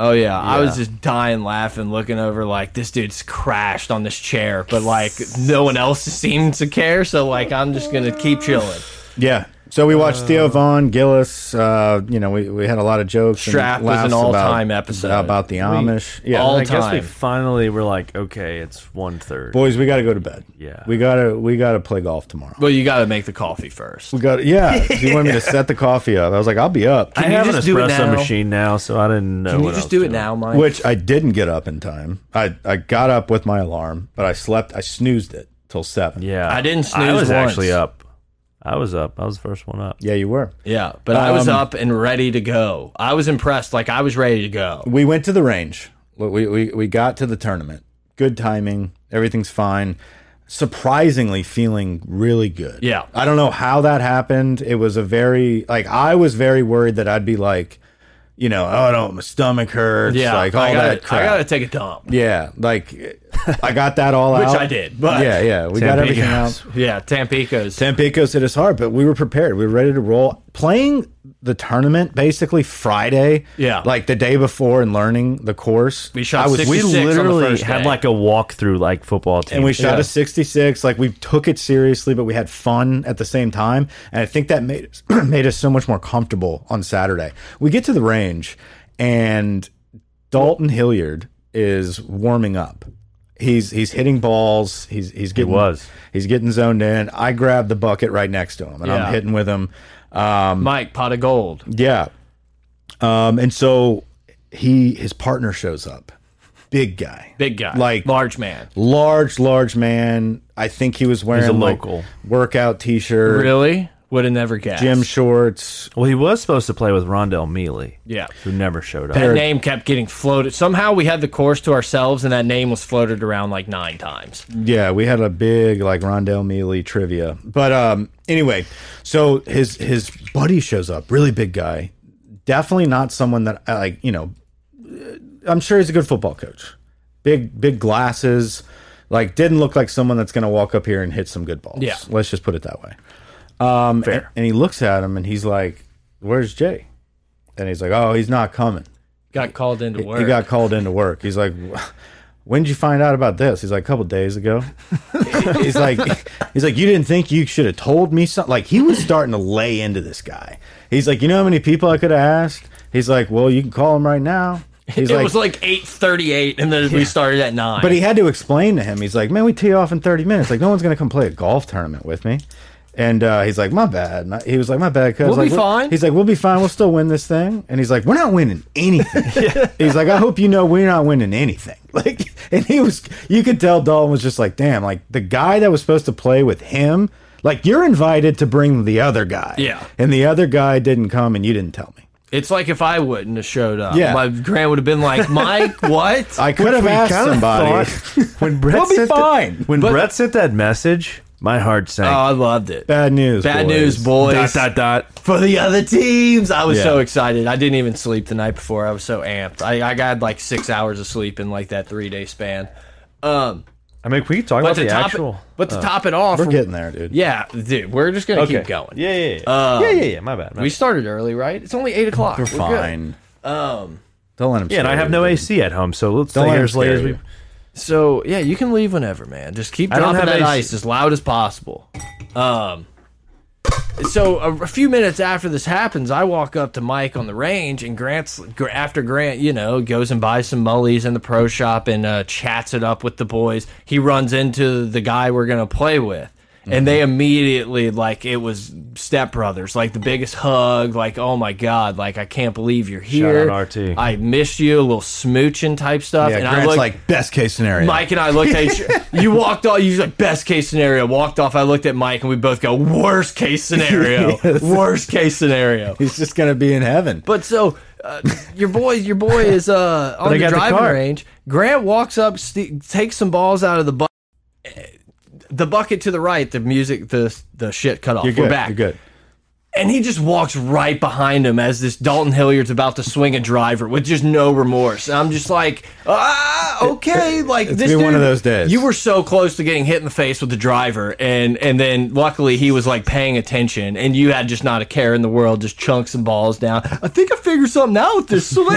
Speaker 2: Oh yeah. I was just dying laughing, looking over like this dude's crashed on this chair, but like no one else seemed to care, so like I'm just gonna keep chilling.
Speaker 1: Yeah. So we watched Theo Vaughn, Gillis. Uh, you know, we, we had a lot of jokes.
Speaker 2: Straff
Speaker 1: and
Speaker 2: was an
Speaker 1: laughs
Speaker 2: all-time
Speaker 1: about-
Speaker 2: episode.
Speaker 1: about the Amish. yeah.
Speaker 2: all
Speaker 3: I guess we
Speaker 2: time.
Speaker 3: finally were like, okay, it's one third.
Speaker 1: Boys, we gotta go to bed.
Speaker 3: Yeah.
Speaker 1: We gotta we gotta play golf tomorrow.
Speaker 2: Well, you gotta make the coffee first.
Speaker 1: We got yeah. Do you want me to set the coffee up? I was like, I'll be up.
Speaker 3: I
Speaker 2: you
Speaker 3: have an
Speaker 2: just do it
Speaker 3: espresso
Speaker 2: now?
Speaker 3: machine now, so I didn't know.
Speaker 2: Can
Speaker 3: what
Speaker 2: you
Speaker 3: I
Speaker 2: just
Speaker 3: was
Speaker 2: do it
Speaker 3: doing.
Speaker 2: now, Mike?
Speaker 1: Which I didn't get up in time. I, I got up with my alarm, but I slept. I snoozed it till seven.
Speaker 3: Yeah,
Speaker 2: I didn't
Speaker 3: I
Speaker 2: snooze
Speaker 3: was actually
Speaker 2: once.
Speaker 3: up. I was up. I was the first one up.
Speaker 1: Yeah, you were.
Speaker 2: Yeah, but I
Speaker 1: um,
Speaker 2: was up and ready to go. I was impressed. Like I was ready to go.
Speaker 1: We went to the range. We, we, we got to the tournament. Good timing. Everything's fine. Surprisingly, feeling really good.
Speaker 2: Yeah.
Speaker 1: I don't know how that happened. It was a very, like, I was very worried that I'd be like, you know, oh, no, my stomach hurts.
Speaker 2: Yeah,
Speaker 1: Like, all
Speaker 2: I gotta,
Speaker 1: that crap.
Speaker 2: I gotta take a dump.
Speaker 1: yeah. Like, I got that all
Speaker 2: Which
Speaker 1: out.
Speaker 2: I did, but-
Speaker 1: yeah, yeah. We got everything out.
Speaker 3: Tampicos.
Speaker 2: Yeah, Tampico's.
Speaker 1: Tampico's hit us hard, but we were prepared. We were ready to roll. Playing the tournament basically Friday,
Speaker 2: Yeah.
Speaker 1: like the day before, and learning the course.
Speaker 2: We shot
Speaker 1: I was,
Speaker 2: 60
Speaker 1: we,
Speaker 3: We
Speaker 2: 66 on the
Speaker 3: literally
Speaker 2: first
Speaker 3: had
Speaker 2: day.
Speaker 3: like a walkthrough, like football team.
Speaker 1: and we shot
Speaker 2: Yeah.
Speaker 1: a sixty-six. Like we took it seriously, but we had fun at the same time, and I think that made us, made us so much more comfortable on Saturday. We get to the range, and Dalton Hilliard is warming up. He's he's hitting balls. He's he's getting
Speaker 3: was.
Speaker 1: he's getting zoned in. I grab the bucket right next to him, and
Speaker 2: Yeah.
Speaker 1: I'm hitting with him. Um,
Speaker 2: Mike pot of gold.
Speaker 1: yeah. Um, and so he his partner shows up. Big guy.
Speaker 2: Big guy.
Speaker 1: Like-
Speaker 2: large man.
Speaker 1: Large, large man. I think he was wearing
Speaker 3: a
Speaker 1: like,
Speaker 3: local.
Speaker 1: workout t shirt,
Speaker 2: Really? Would have never guessed.
Speaker 1: gym shorts.
Speaker 3: well, he was supposed to play with Rondell Mealy,
Speaker 2: Yeah.
Speaker 3: who never showed up.
Speaker 2: That name kept getting floated. Somehow we had the course to ourselves, and that name was floated around like nine times.
Speaker 1: Yeah, we had a big like Rondell Mealy trivia. But um anyway, so his his buddy shows up, really big guy. Definitely not someone that I like, you know, uh, I'm sure he's a good football coach. Big big glasses, like didn't look like someone that's going to walk up here and hit some good balls.
Speaker 2: Yeah.
Speaker 1: Let's just put it that way. Um Fair. And, and he looks at him and he's like, "Where's Jay?" And he's like, "Oh, he's not coming."
Speaker 2: Got called into work.
Speaker 1: He got called into work. He's like, "When did you find out about this?" He's like, "A couple days ago." he's like, "He's like, you didn't think you should have told me something." Like he was starting to lay into this guy. He's like, "You know how many people I could have asked?" He's like, "Well, you can call him right now." He's
Speaker 2: it was like eight thirty-eight, and then we started at nine.
Speaker 1: but he had to explain to him. He's like, "Man, we tee off in 30 minutes. Like, no one's gonna come play a golf tournament with me." And uh, he's like, "My bad." And I- he was like, "My bad." Cause
Speaker 2: We'll
Speaker 1: like,
Speaker 2: be
Speaker 1: we're-"
Speaker 2: fine.
Speaker 1: He's like, "We'll be fine. We'll still win this thing." And he's like, "We're not winning anything." He's like, "I hope you know we're not winning anything." Like, and he was, you could tell Dalton was just like, "Damn!" Like the guy that was supposed to play with him, like you're invited to bring the other guy.
Speaker 2: Yeah.
Speaker 1: And the other guy didn't come, and you didn't tell me.
Speaker 2: it's like if I wouldn't have showed up,
Speaker 1: Yeah.
Speaker 2: my Grant would have been like, Mike, what?
Speaker 1: I could have
Speaker 3: We
Speaker 1: asked
Speaker 3: kinda
Speaker 1: somebody.
Speaker 3: thought- when Brett
Speaker 1: We'll be
Speaker 3: sent the-
Speaker 1: fine.
Speaker 3: when Brett sent that message, my heart sank.
Speaker 2: oh, I loved it.
Speaker 1: Bad news.
Speaker 2: Bad
Speaker 1: boys.
Speaker 2: news, boys.
Speaker 3: dot dot dot.
Speaker 2: for the other teams. I was
Speaker 1: Yeah.
Speaker 2: so excited. I didn't even sleep the night before. I was so amped. I, I got like six hours of sleep in like that three day span. Um,
Speaker 3: I mean, we can talk
Speaker 2: but
Speaker 3: about
Speaker 2: to
Speaker 3: the
Speaker 2: top
Speaker 3: actual.
Speaker 2: it, but to top it off,
Speaker 1: We're getting there, dude.
Speaker 2: yeah, dude, we're just gonna keep going.
Speaker 3: Yeah, yeah, yeah. yeah, yeah, yeah. My bad. my
Speaker 2: We
Speaker 3: bad.
Speaker 2: started early, right? It's only eight o'clock.
Speaker 1: We're
Speaker 2: good.
Speaker 1: fine. Um, don't let him.
Speaker 3: Yeah, and I have no AC at home, so let's
Speaker 1: Don't let
Speaker 3: stay here
Speaker 1: him
Speaker 3: as late
Speaker 1: scare
Speaker 3: as we.
Speaker 1: you.
Speaker 2: So yeah, you can leave whenever, man. Just keep
Speaker 3: I don't
Speaker 2: dropping
Speaker 3: have
Speaker 2: that
Speaker 3: AC.
Speaker 2: ice as loud as possible. Um. So a, a few minutes after this happens, I walk up to Mike on the range, and Grant's Gr- after Grant, you know, goes and buys some mullies in the pro shop and uh, chats it up with the boys.
Speaker 3: Mm-hmm.
Speaker 2: He runs into the guy we're gonna play with, and they immediately like it was stepbrothers, like the biggest hug, like, oh my God, like, I can't believe you're here.
Speaker 3: out RT.
Speaker 2: I missed you, a little smooching type stuff.
Speaker 1: Yeah,
Speaker 2: and I
Speaker 1: Grant's
Speaker 2: looked,
Speaker 1: like best case scenario.
Speaker 2: Mike and I looked at each You walked off, you was like, best case scenario. Walked off, I looked at Mike, and we both go, worst case scenario. Worst case scenario.
Speaker 1: he's just gonna be in heaven.
Speaker 2: But so uh, your boy, your boy is uh, on
Speaker 3: I
Speaker 2: the
Speaker 3: got the
Speaker 2: driving
Speaker 3: car.
Speaker 2: range. Grant walks up, st takes some balls out of the bucket. The bucket to the right, the music, the the shit cut off.
Speaker 1: You're
Speaker 2: We're
Speaker 1: good.
Speaker 2: back,
Speaker 1: You're good.
Speaker 2: and he just walks right behind him as this Dalton Hilliard's about to swing a driver with just no remorse. And I'm just like, ah, okay, like this.
Speaker 1: been one
Speaker 2: dude-
Speaker 1: of those days.
Speaker 2: You were so close to getting hit in the face with the driver, and and then luckily he was like paying attention, and you had just not a care in the world, just chunks and balls down. I think I figured something out with this swing.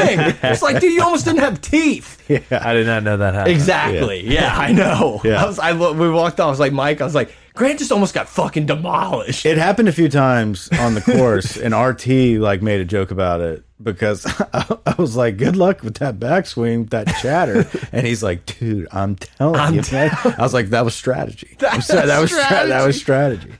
Speaker 2: it's like, dude, you almost didn't have teeth.
Speaker 3: I did not know that happened.
Speaker 2: Exactly. Yeah, I know.
Speaker 1: Yeah.
Speaker 2: I was, I, lo- we walked off. I was like, Mike. I was like, Grant just almost got fucking demolished.
Speaker 1: It happened a few times on the course, and RT like made a joke about it because I, I was like, "Good luck with that backswing, with that chatter," and he's like, "Dude, I'm telling
Speaker 2: I'm
Speaker 1: you." man." I was like, "That was strategy. I'm sorry, that was stra- that was strategy."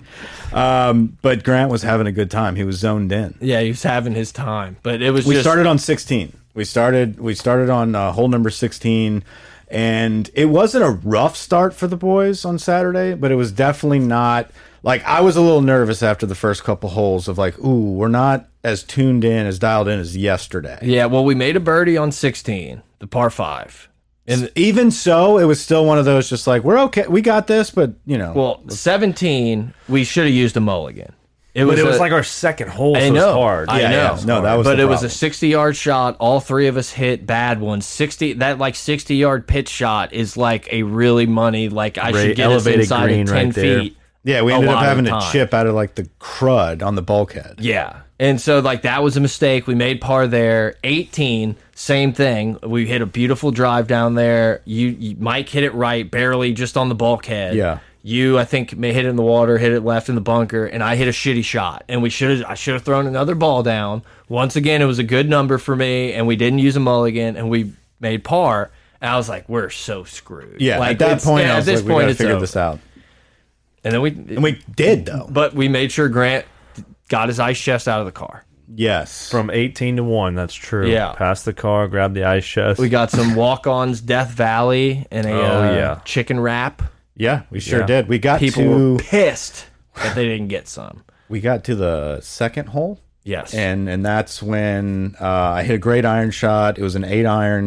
Speaker 1: Um, but Grant was having a good time. He was zoned in.
Speaker 2: Yeah, he was having his time, but it was
Speaker 1: we
Speaker 2: just
Speaker 1: started on 16 we started we started on uh, hole number 16 and it wasn't a rough start for the boys on saturday but it was definitely not like i was a little nervous after the first couple holes of like ooh we're not as tuned in as dialed in as yesterday
Speaker 2: Yeah, well, we made a birdie on 16, the par five. And
Speaker 1: even so it was still one of those just like we're okay we got this but you know
Speaker 2: well, 17, we should have used a mulligan. It
Speaker 3: But it was
Speaker 2: a-
Speaker 3: like our second hole, so
Speaker 2: I
Speaker 3: it was
Speaker 2: know,
Speaker 3: hard.
Speaker 2: I
Speaker 1: Yeah,
Speaker 2: know.
Speaker 1: yeah, no that was
Speaker 2: but
Speaker 1: the
Speaker 2: it was
Speaker 1: problem.
Speaker 2: a 60 yard shot. All three of us hit bad ones. 60 that like 60 yard pitch shot is like a really money. Like I should
Speaker 3: Great,
Speaker 2: get us
Speaker 3: elevated
Speaker 2: inside of
Speaker 3: green
Speaker 2: 10
Speaker 3: right there.
Speaker 2: feet.
Speaker 1: yeah we
Speaker 2: a
Speaker 1: ended up
Speaker 2: lot of
Speaker 1: having to
Speaker 2: time.
Speaker 1: chip out of like the crud on the bulkhead
Speaker 2: Yeah. And so like that was a mistake. We made par there. 18, same thing. We hit a beautiful drive down there. You, you Mike hit it right, barely just on the bulkhead.
Speaker 1: Yeah.
Speaker 2: You, I think, may hit it in the water, hit it left in the bunker, and I hit a shitty shot. And we should have I should have thrown another ball down. Once again, it was a good number for me, and we didn't use a mulligan and we made par. And I was like, we're so screwed.
Speaker 1: yeah
Speaker 2: Like,
Speaker 1: at that
Speaker 2: it's-
Speaker 1: point
Speaker 2: yeah,
Speaker 1: i was like we gotta figure
Speaker 2: over.
Speaker 1: this out
Speaker 2: And then we,
Speaker 1: and we did though
Speaker 2: but we made sure Grant got his ice chest out of the car.
Speaker 1: yes
Speaker 3: From 18 to 1, that's true.
Speaker 2: Yeah.
Speaker 3: Pass the car, grab the ice chest.
Speaker 2: We got some walk-ons, Death Valley, and a
Speaker 3: Oh,
Speaker 2: uh,
Speaker 3: yeah.
Speaker 2: chicken wrap.
Speaker 1: yeah we sure
Speaker 3: Yeah.
Speaker 1: did we got
Speaker 2: People
Speaker 1: to
Speaker 2: were pissed that they didn't get some.
Speaker 1: we got to the second hole
Speaker 2: Yes,
Speaker 1: and and that's when uh, i hit a great iron shot it was an eight iron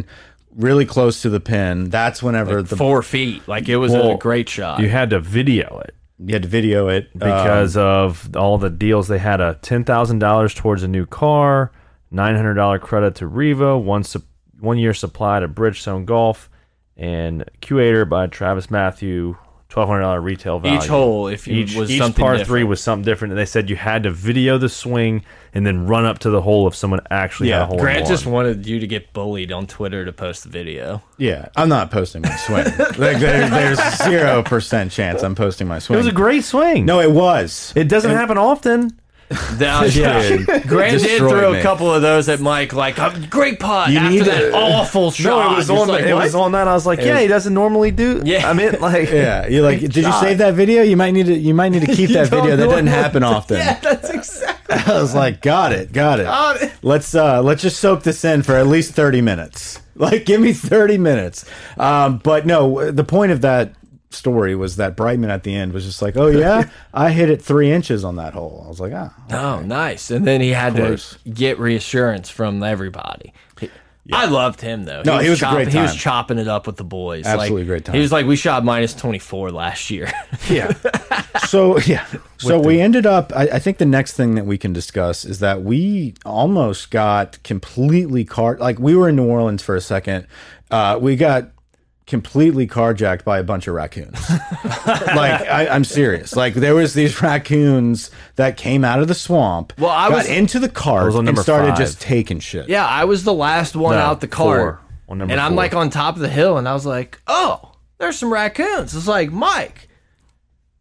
Speaker 1: really close to the pin that's whenever the
Speaker 2: four feet. Like it was a
Speaker 3: Well,
Speaker 2: great shot.
Speaker 3: you had to video it
Speaker 1: you had to video it uh,
Speaker 3: because
Speaker 2: Um,
Speaker 3: of all the deals. They had a $10,000 towards a new car, $900 credit to Revo, one, sup- one year supply to Bridgestone Golf, and Q-Ater by Travis Matthew, $1,200 retail value.
Speaker 2: each hole, if you
Speaker 3: each,
Speaker 2: was
Speaker 3: each
Speaker 2: something
Speaker 3: par
Speaker 2: different.
Speaker 3: three was something different. And they said you had to video the swing and then run up to the hole if someone actually had
Speaker 1: Yeah,
Speaker 3: a hole. in
Speaker 2: Grant
Speaker 3: one.
Speaker 2: just wanted you to get bullied on Twitter to post the video.
Speaker 1: yeah i'm not posting my swing like there, there's zero percent chance i'm posting my swing
Speaker 3: it was a great swing.
Speaker 1: no it was
Speaker 3: it doesn't happen often.
Speaker 2: That,
Speaker 1: Dude,
Speaker 2: yeah. Grant did
Speaker 1: destroyed
Speaker 2: throw a
Speaker 1: me.
Speaker 2: couple of those at Mike, like "Oh, great putt
Speaker 1: You
Speaker 2: after
Speaker 1: need
Speaker 2: that
Speaker 1: to-
Speaker 2: awful shot.
Speaker 3: No, it Ah, was
Speaker 2: It's
Speaker 3: on.
Speaker 2: like,
Speaker 3: it
Speaker 2: what?
Speaker 3: was on that. I was like, yeah, he doesn't normally do.
Speaker 2: Yeah.
Speaker 3: I meant like,
Speaker 1: yeah you're like did you save that video you might need to you might need to keep that
Speaker 2: don't
Speaker 1: video that
Speaker 2: know
Speaker 1: doesn't
Speaker 2: what-
Speaker 1: happen often
Speaker 2: Yeah, that's exactly.
Speaker 1: I was like, got it, got it.
Speaker 2: Got it.
Speaker 1: Let's uh, let's just soak this in for at least thirty minutes. Like, give me thirty minutes. Um, but no, the point of that story was that Brightman at the end was just like, oh yeah, I hit it three inches on that hole. I was like, ah,
Speaker 2: Oh, nice. And then he had to
Speaker 1: course.
Speaker 2: get reassurance from everybody. He- I loved him though.
Speaker 1: No, he was a
Speaker 2: chopping,
Speaker 1: great
Speaker 2: He was
Speaker 1: time.
Speaker 2: chopping it up with the boys.
Speaker 1: Absolutely
Speaker 2: Like,
Speaker 1: great time.
Speaker 2: He was like, we shot minus twenty four last year.
Speaker 1: yeah. So yeah, so we ended up. I, I think the next thing that we can discuss is that we almost got completely car. Like we were in New Orleans for a second. Uh, we got completely carjacked by a bunch of raccoons. like I, I'm serious. Like there was these raccoons that came out of the swamp.
Speaker 2: Well, I
Speaker 1: got
Speaker 2: was-
Speaker 1: into the cart
Speaker 3: was on
Speaker 1: and
Speaker 3: number
Speaker 1: started
Speaker 3: five.
Speaker 1: just taking shit.
Speaker 2: yeah, I was the last one
Speaker 3: No,
Speaker 2: out the car,
Speaker 3: four. On
Speaker 2: and
Speaker 3: number
Speaker 2: I'm
Speaker 3: four.
Speaker 2: like on top of the hill, and I was like, oh, there's some raccoons. It's like Mike.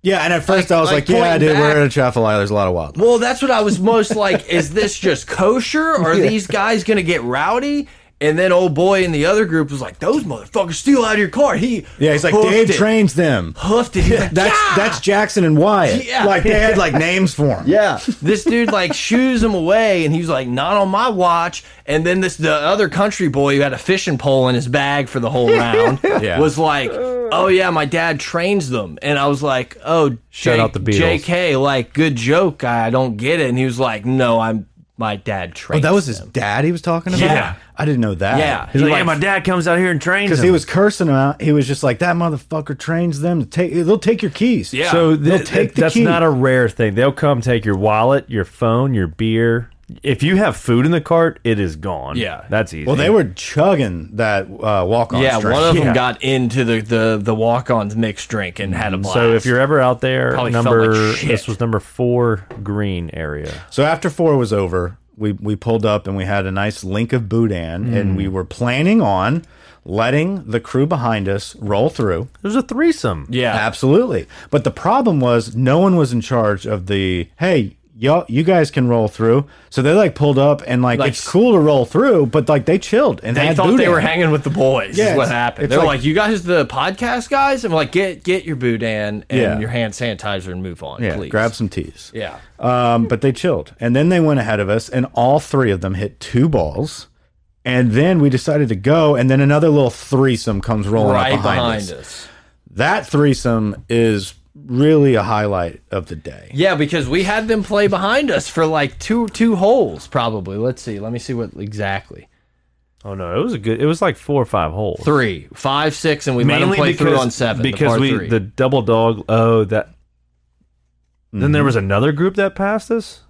Speaker 1: Yeah, and at first
Speaker 2: Like-
Speaker 1: I was
Speaker 2: like
Speaker 1: like, "Yeah,
Speaker 2: pointing
Speaker 1: dude,
Speaker 2: back.
Speaker 1: we're in a Atchafalaya. There's a lot of wildlife."
Speaker 2: Well, that's what I was most like. Is this just kosher? Are these guys gonna get rowdy? And then old boy in the other group was like, "Those motherfuckers steal out of your car." He
Speaker 1: Yeah, he's like
Speaker 2: hoofed
Speaker 1: Dave
Speaker 2: it.
Speaker 1: trains them.
Speaker 2: hoofed it. He's like,
Speaker 1: That's
Speaker 2: "Yeah!"
Speaker 1: that's Jackson and Wyatt.
Speaker 2: Yeah.
Speaker 1: Like they had like names for him.
Speaker 2: Yeah. this dude like shoos him away and he was like, not on my watch. And then this the other country boy who had a fishing pole in his bag for the whole round
Speaker 1: Yeah.
Speaker 2: was like, Oh yeah, my dad trains them. And I was like, Oh
Speaker 3: Shout
Speaker 2: J-
Speaker 3: out the Beatles.
Speaker 2: JK, like, good joke, I, I don't get it. And he was like, No, I'm my dad
Speaker 1: Oh,
Speaker 2: trains.
Speaker 1: that was his dad he was talking about?
Speaker 2: Yeah.
Speaker 1: I didn't know that.
Speaker 2: Yeah.
Speaker 3: He's like,
Speaker 2: Like-
Speaker 3: yeah, my dad comes out here and trains
Speaker 1: Because
Speaker 3: him.
Speaker 1: he was cursing him out. He was just like, that motherfucker trains them to take, they'll take your keys.
Speaker 2: Yeah.
Speaker 3: so
Speaker 1: They'll
Speaker 3: th-
Speaker 1: take the
Speaker 3: that's
Speaker 1: key.
Speaker 3: not a rare thing. They'll come take your wallet, your phone, your beer. If you have food in the cart, it is gone.
Speaker 2: Yeah.
Speaker 3: that's easy.
Speaker 1: Well, they were chugging that uh, walk on.
Speaker 2: yeah,
Speaker 1: drink.
Speaker 2: one of
Speaker 3: Yeah.
Speaker 2: them got into the the, the walk ons mixed drink and had a blast.
Speaker 3: So if you're ever out there,
Speaker 2: Probably felt
Speaker 3: number
Speaker 2: like shit.
Speaker 3: this was number four green area.
Speaker 1: So after four was over, we, we pulled up and we had a nice link of Boudin,
Speaker 2: Mm.
Speaker 1: and we were planning on letting the crew behind us roll through.
Speaker 3: There's a threesome.
Speaker 2: yeah,
Speaker 1: Absolutely. But the problem was no one was in charge of the hey, y'all you guys can roll through. So they like pulled up and like,
Speaker 2: Like-
Speaker 1: it's cool to roll through, but like they chilled and
Speaker 2: They
Speaker 1: had
Speaker 2: thought they
Speaker 1: Boudin.
Speaker 2: were hanging with the boys.
Speaker 1: Yeah,
Speaker 2: is what
Speaker 1: it's-
Speaker 2: happened.
Speaker 1: it's
Speaker 2: They were
Speaker 1: like-
Speaker 2: like, "You guys, the podcast guys," and we're like, "Get get your boudin and
Speaker 1: Yeah.
Speaker 2: your hand sanitizer and move on,
Speaker 1: yeah,
Speaker 2: please."
Speaker 1: grab some teas.
Speaker 2: yeah,
Speaker 1: Um, but they chilled. And then they went ahead of us, and all three of them hit two balls. And then we decided to go, and then another little threesome comes rolling
Speaker 2: right
Speaker 1: up behind, us.
Speaker 2: behind us.
Speaker 1: That threesome is really a highlight of the day.
Speaker 2: Yeah, because we had them play behind us for like two two holes probably. Let's see. Let me see what exactly
Speaker 3: Oh no, it was a good. It was like four or five holes.
Speaker 2: three, five, six, and we let them play through on seven the
Speaker 3: because
Speaker 2: par
Speaker 3: we
Speaker 2: three.
Speaker 3: the double dog. Oh, that. Then there was another group that passed us.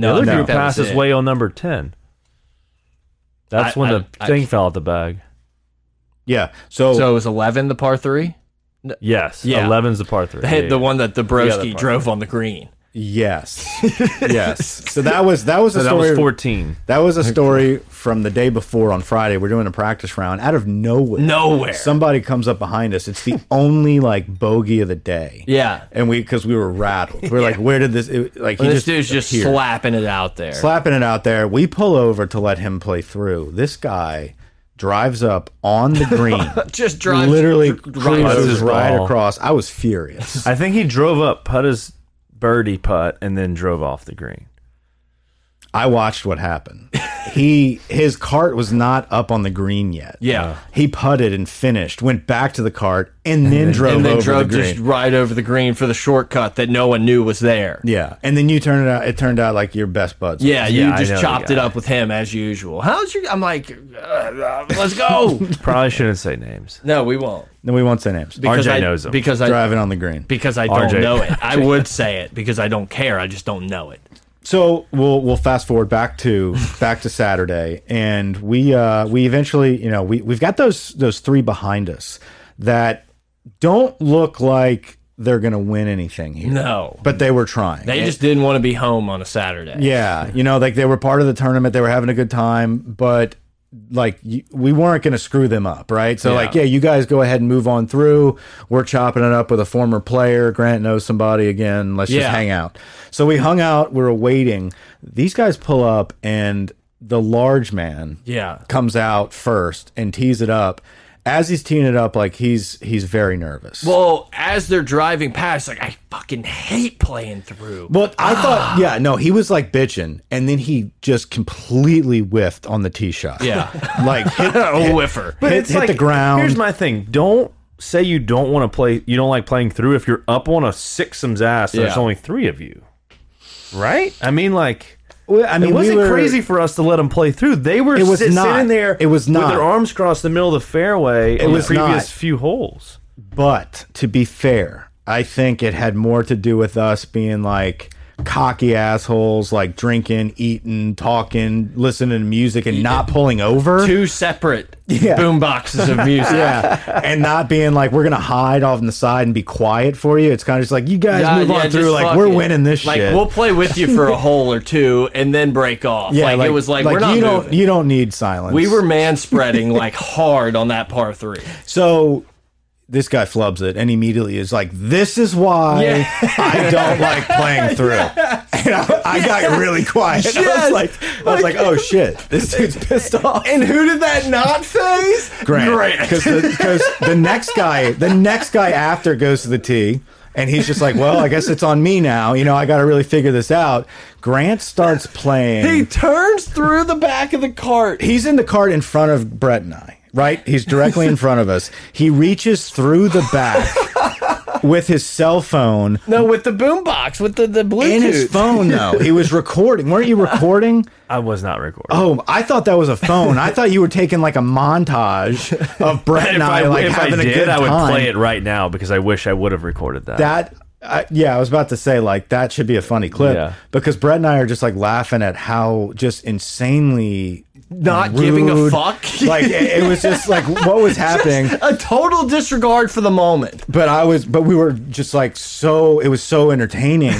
Speaker 2: Mm-hmm. no,
Speaker 3: other
Speaker 2: no,
Speaker 3: group
Speaker 2: that was
Speaker 3: passed us
Speaker 2: it.
Speaker 3: way on number ten. That's
Speaker 2: I-
Speaker 3: when
Speaker 2: I-
Speaker 3: the
Speaker 2: I-
Speaker 3: thing fell out the bag.
Speaker 1: Yeah. So,
Speaker 2: So it was eleven the par three.
Speaker 3: Yes,
Speaker 2: Yeah.
Speaker 3: eleven's the par three.
Speaker 2: They had the one that the
Speaker 3: par
Speaker 2: broski
Speaker 3: three.
Speaker 2: drove on the green.
Speaker 1: yes, yes. So that was that was a
Speaker 3: So that
Speaker 1: story.
Speaker 3: was fourteen.
Speaker 1: That was a story from the day before on Friday. We're doing a practice round. Out of nowhere,
Speaker 2: Nowhere.
Speaker 1: somebody comes up behind us. It's the only like bogey of the day.
Speaker 2: yeah.
Speaker 1: and we because we were rattled. We are like, where did this? It, like he
Speaker 2: This
Speaker 1: just
Speaker 2: dude's just
Speaker 1: appeared.
Speaker 2: slapping it out there.
Speaker 1: slapping it out there. We pull over to let him play through. This guy drives up on the green.
Speaker 2: just drives
Speaker 1: Literally
Speaker 2: dr- right
Speaker 3: That's
Speaker 1: cruises
Speaker 3: his
Speaker 1: right
Speaker 3: ball.
Speaker 1: across. I was furious.
Speaker 3: I think he drove up, put his birdie putt, and then drove off the green.
Speaker 1: I watched what happened. He his cart was not up on the green yet.
Speaker 2: Yeah.
Speaker 1: He putted and finished, went back to the cart, and then drove
Speaker 2: and then
Speaker 1: over
Speaker 2: drove
Speaker 1: the green.
Speaker 2: just right over the green for the shortcut that no one knew was there.
Speaker 1: yeah, and then you turned it out. It turned out like your best buds.
Speaker 2: Yeah, you
Speaker 3: Yeah, I know
Speaker 2: just
Speaker 3: the
Speaker 2: chopped it
Speaker 3: guy.
Speaker 2: up with him as usual. How's your? I'm like, uh, uh, let's go.
Speaker 3: Probably shouldn't say names.
Speaker 2: no, we won't.
Speaker 1: No, we won't say names.
Speaker 2: Because
Speaker 3: RJ
Speaker 2: I,
Speaker 3: knows him.
Speaker 2: Because I
Speaker 1: driving on the green.
Speaker 2: because I don't
Speaker 3: RJ.
Speaker 2: know it. I would say it because I don't care. I just don't know it.
Speaker 1: So we'll we'll fast forward back to back to Saturday, and we uh, we eventually you know we we've got those those three behind us that don't look like they're gonna win anything here,
Speaker 2: No,
Speaker 1: but they were trying.
Speaker 2: they just didn't want to be home on a Saturday.
Speaker 1: yeah, you know, like they were part of the tournament, they were having a good time, but like y- we weren't going to screw them up, right? So like, yeah, you guys go ahead and move on through. We're chopping it up with a former player. Grant knows somebody again. Let's just
Speaker 2: Yeah.
Speaker 1: hang out. So we hung out. We were waiting. These guys pull up, and the large man
Speaker 2: yeah.
Speaker 1: comes out first and tees it up. As he's teeing it up, like he's he's very nervous.
Speaker 2: Well, as they're driving past, like I fucking hate playing through.
Speaker 1: But I
Speaker 2: Ah.
Speaker 1: thought, yeah, no, he was like bitching, and then he just completely whiffed on the tee shot.
Speaker 2: Yeah.
Speaker 1: like hit,
Speaker 2: oh, whiffer.
Speaker 1: hit, hit the ground.
Speaker 3: Here's my thing: don't say you don't want to play. You don't like playing through if you're up on a sixsome's ass. and There's
Speaker 2: Yeah.
Speaker 3: only three of you, right? I mean, like.
Speaker 1: Well, I mean,
Speaker 3: it wasn't
Speaker 1: we were-
Speaker 3: crazy for us to let them play through. They were
Speaker 1: It was
Speaker 3: sit-
Speaker 1: not.
Speaker 3: sitting there
Speaker 1: It was
Speaker 3: with
Speaker 1: not.
Speaker 3: their arms crossed in the middle of the fairway it
Speaker 1: was
Speaker 3: the previous
Speaker 1: not.
Speaker 3: few holes.
Speaker 1: But to be fair, I think it had more to do with us being like cocky assholes, like drinking, eating, talking, listening to music, and not pulling over.
Speaker 2: two separate
Speaker 1: Yeah.
Speaker 2: boom boxes of music.
Speaker 1: yeah, and not being like we're gonna hide off on the side and be quiet for you. It's kind of just like you guys
Speaker 2: Yeah,
Speaker 1: move
Speaker 2: Uh, yeah,
Speaker 1: on
Speaker 2: just
Speaker 1: through. Like
Speaker 2: fuck
Speaker 1: we're
Speaker 2: it.
Speaker 1: winning this
Speaker 2: Like
Speaker 1: shit.
Speaker 2: we'll play with you for a hole or two and then break off. like, it was like, we're not
Speaker 1: you
Speaker 2: moving.
Speaker 1: don't you don't need silence.
Speaker 2: we were man spreading like hard on that par three.
Speaker 1: so this guy flubs it and immediately is like, "This is why I don't like playing through." And I, I got really quiet. And I
Speaker 2: Yes.
Speaker 1: was like, I was like, oh shit, this dude's pissed off.
Speaker 2: And who did that not face?
Speaker 1: Grant, because the, 'cause the next guy, the next guy after goes to the tee, and he's just like, well, I guess it's on me now. You know, I got to really figure this out. Grant starts playing.
Speaker 2: He turns through the back of the cart.
Speaker 1: he's in the cart in front of Brett and I, right? He's directly in front of us. He reaches through the back with his cell phone.
Speaker 2: No, with the boombox, with the, the Bluetooth.
Speaker 1: In his phone, though, he was recording. Weren't you recording?
Speaker 3: I was not recording.
Speaker 1: Oh, I thought that was a phone. I thought you were taking like a montage of Brett
Speaker 3: if
Speaker 1: and I,
Speaker 3: I,
Speaker 1: like
Speaker 3: if I
Speaker 1: having a
Speaker 3: did,
Speaker 1: good
Speaker 3: I would
Speaker 1: time.
Speaker 3: play it right now because I wish I would have recorded that.
Speaker 1: That, I yeah, I was about to say like that should be a funny clip
Speaker 3: Yeah.
Speaker 1: because Brett and I are just like laughing at how just insanely
Speaker 2: Not giving a
Speaker 1: rude-
Speaker 2: fuck.
Speaker 1: Like it, it was just like what was happening.
Speaker 2: a total disregard for the moment.
Speaker 1: but I was, but we were just like so. It was so entertaining.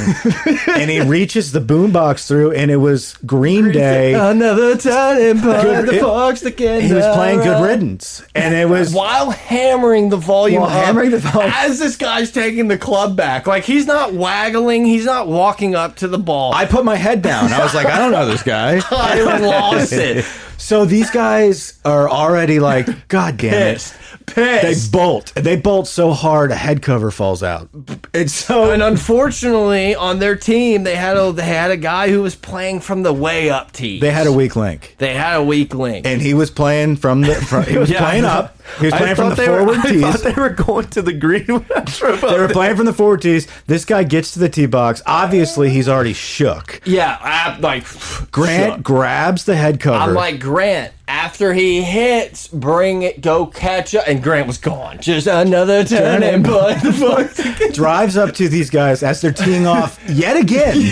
Speaker 1: and he reaches the boombox through, and it was Green Day.
Speaker 2: Uh, Another time in
Speaker 1: Good-
Speaker 2: the
Speaker 1: it-
Speaker 2: fox again.
Speaker 1: he was playing
Speaker 2: uh,
Speaker 1: Good Riddance, and it was
Speaker 2: While hammering the volume
Speaker 1: While
Speaker 2: up
Speaker 1: hammering the volume-
Speaker 2: as this guy's taking the club back. Like he's not waggling, he's not walking up to the ball.
Speaker 1: I put my head down. I was like, I don't know this guy.
Speaker 2: I lost it.
Speaker 1: So these guys are already like, God damn it.
Speaker 2: Pissed.
Speaker 1: They
Speaker 2: Pissed.
Speaker 1: bolt. They bolt so hard a head cover falls out. It's so
Speaker 2: and unfortunately, on their team, they had a they had a guy who was playing from the way up tee.
Speaker 1: they had a weak link.
Speaker 2: They had a weak link.
Speaker 1: And he was playing from the from, he was
Speaker 3: Yeah.
Speaker 1: playing up. He was playing from the forward tees.
Speaker 3: they were going to the green when I drove
Speaker 1: They were playing from the forward tees. This guy gets to the tee box. Obviously, he's already shook.
Speaker 2: yeah, I, like
Speaker 1: Grant grabs the head cover.
Speaker 2: I'm like Grant. After he hits, bring it, go catch up, and Grant was gone. Just another turn and putt. The fuck.
Speaker 1: drives up to these guys as they're teeing off yet again,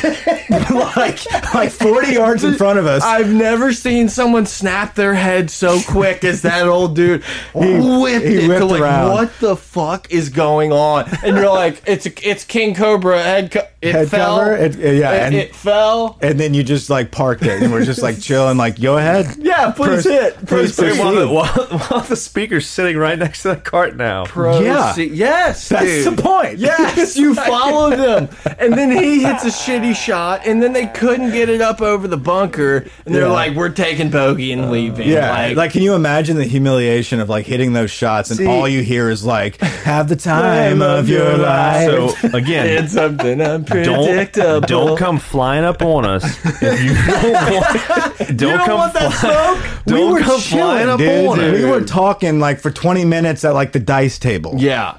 Speaker 1: like like 40 yards in front of us.
Speaker 2: I've never seen someone snap their head so quick as that old dude. He whipped
Speaker 1: he
Speaker 2: it to
Speaker 1: whipped
Speaker 2: like,
Speaker 1: around.
Speaker 2: what the fuck is going on? And you're like, it's it's King Cobra head. Co- it
Speaker 1: head
Speaker 2: fell.
Speaker 1: cover, it, yeah,
Speaker 2: it,
Speaker 1: and
Speaker 2: it fell.
Speaker 1: and then you just like parked it, and we're just like chilling, like go ahead,
Speaker 2: Yeah, please
Speaker 1: Proce-
Speaker 2: hit. Please,
Speaker 1: please
Speaker 2: proceed.
Speaker 3: while, the, while, while the speaker's sitting right next to that cart now.
Speaker 1: Yeah.
Speaker 2: Proceed. Yes,
Speaker 1: That's
Speaker 2: dude.
Speaker 1: the point.
Speaker 2: Yes, you follow them. And then he hits a shitty shot, and then they couldn't get it up over the bunker, and they're
Speaker 1: Yeah.
Speaker 2: like, we're taking bogey and leaving.
Speaker 1: Yeah,
Speaker 2: Like,
Speaker 1: like, can you imagine the humiliation of like hitting those shots, and
Speaker 3: See-
Speaker 1: all you hear is like, "Have the time of your life."
Speaker 3: So again,
Speaker 2: it's something unpredictable.
Speaker 3: don't don't come flying up on us if you don't want. Don't,
Speaker 2: You don't
Speaker 3: come
Speaker 2: want that
Speaker 3: fly-
Speaker 2: smoke?
Speaker 3: Don't come flying up
Speaker 1: dude.
Speaker 3: on us.
Speaker 1: We were talking like for 20 minutes at like the dice table.
Speaker 2: Yeah.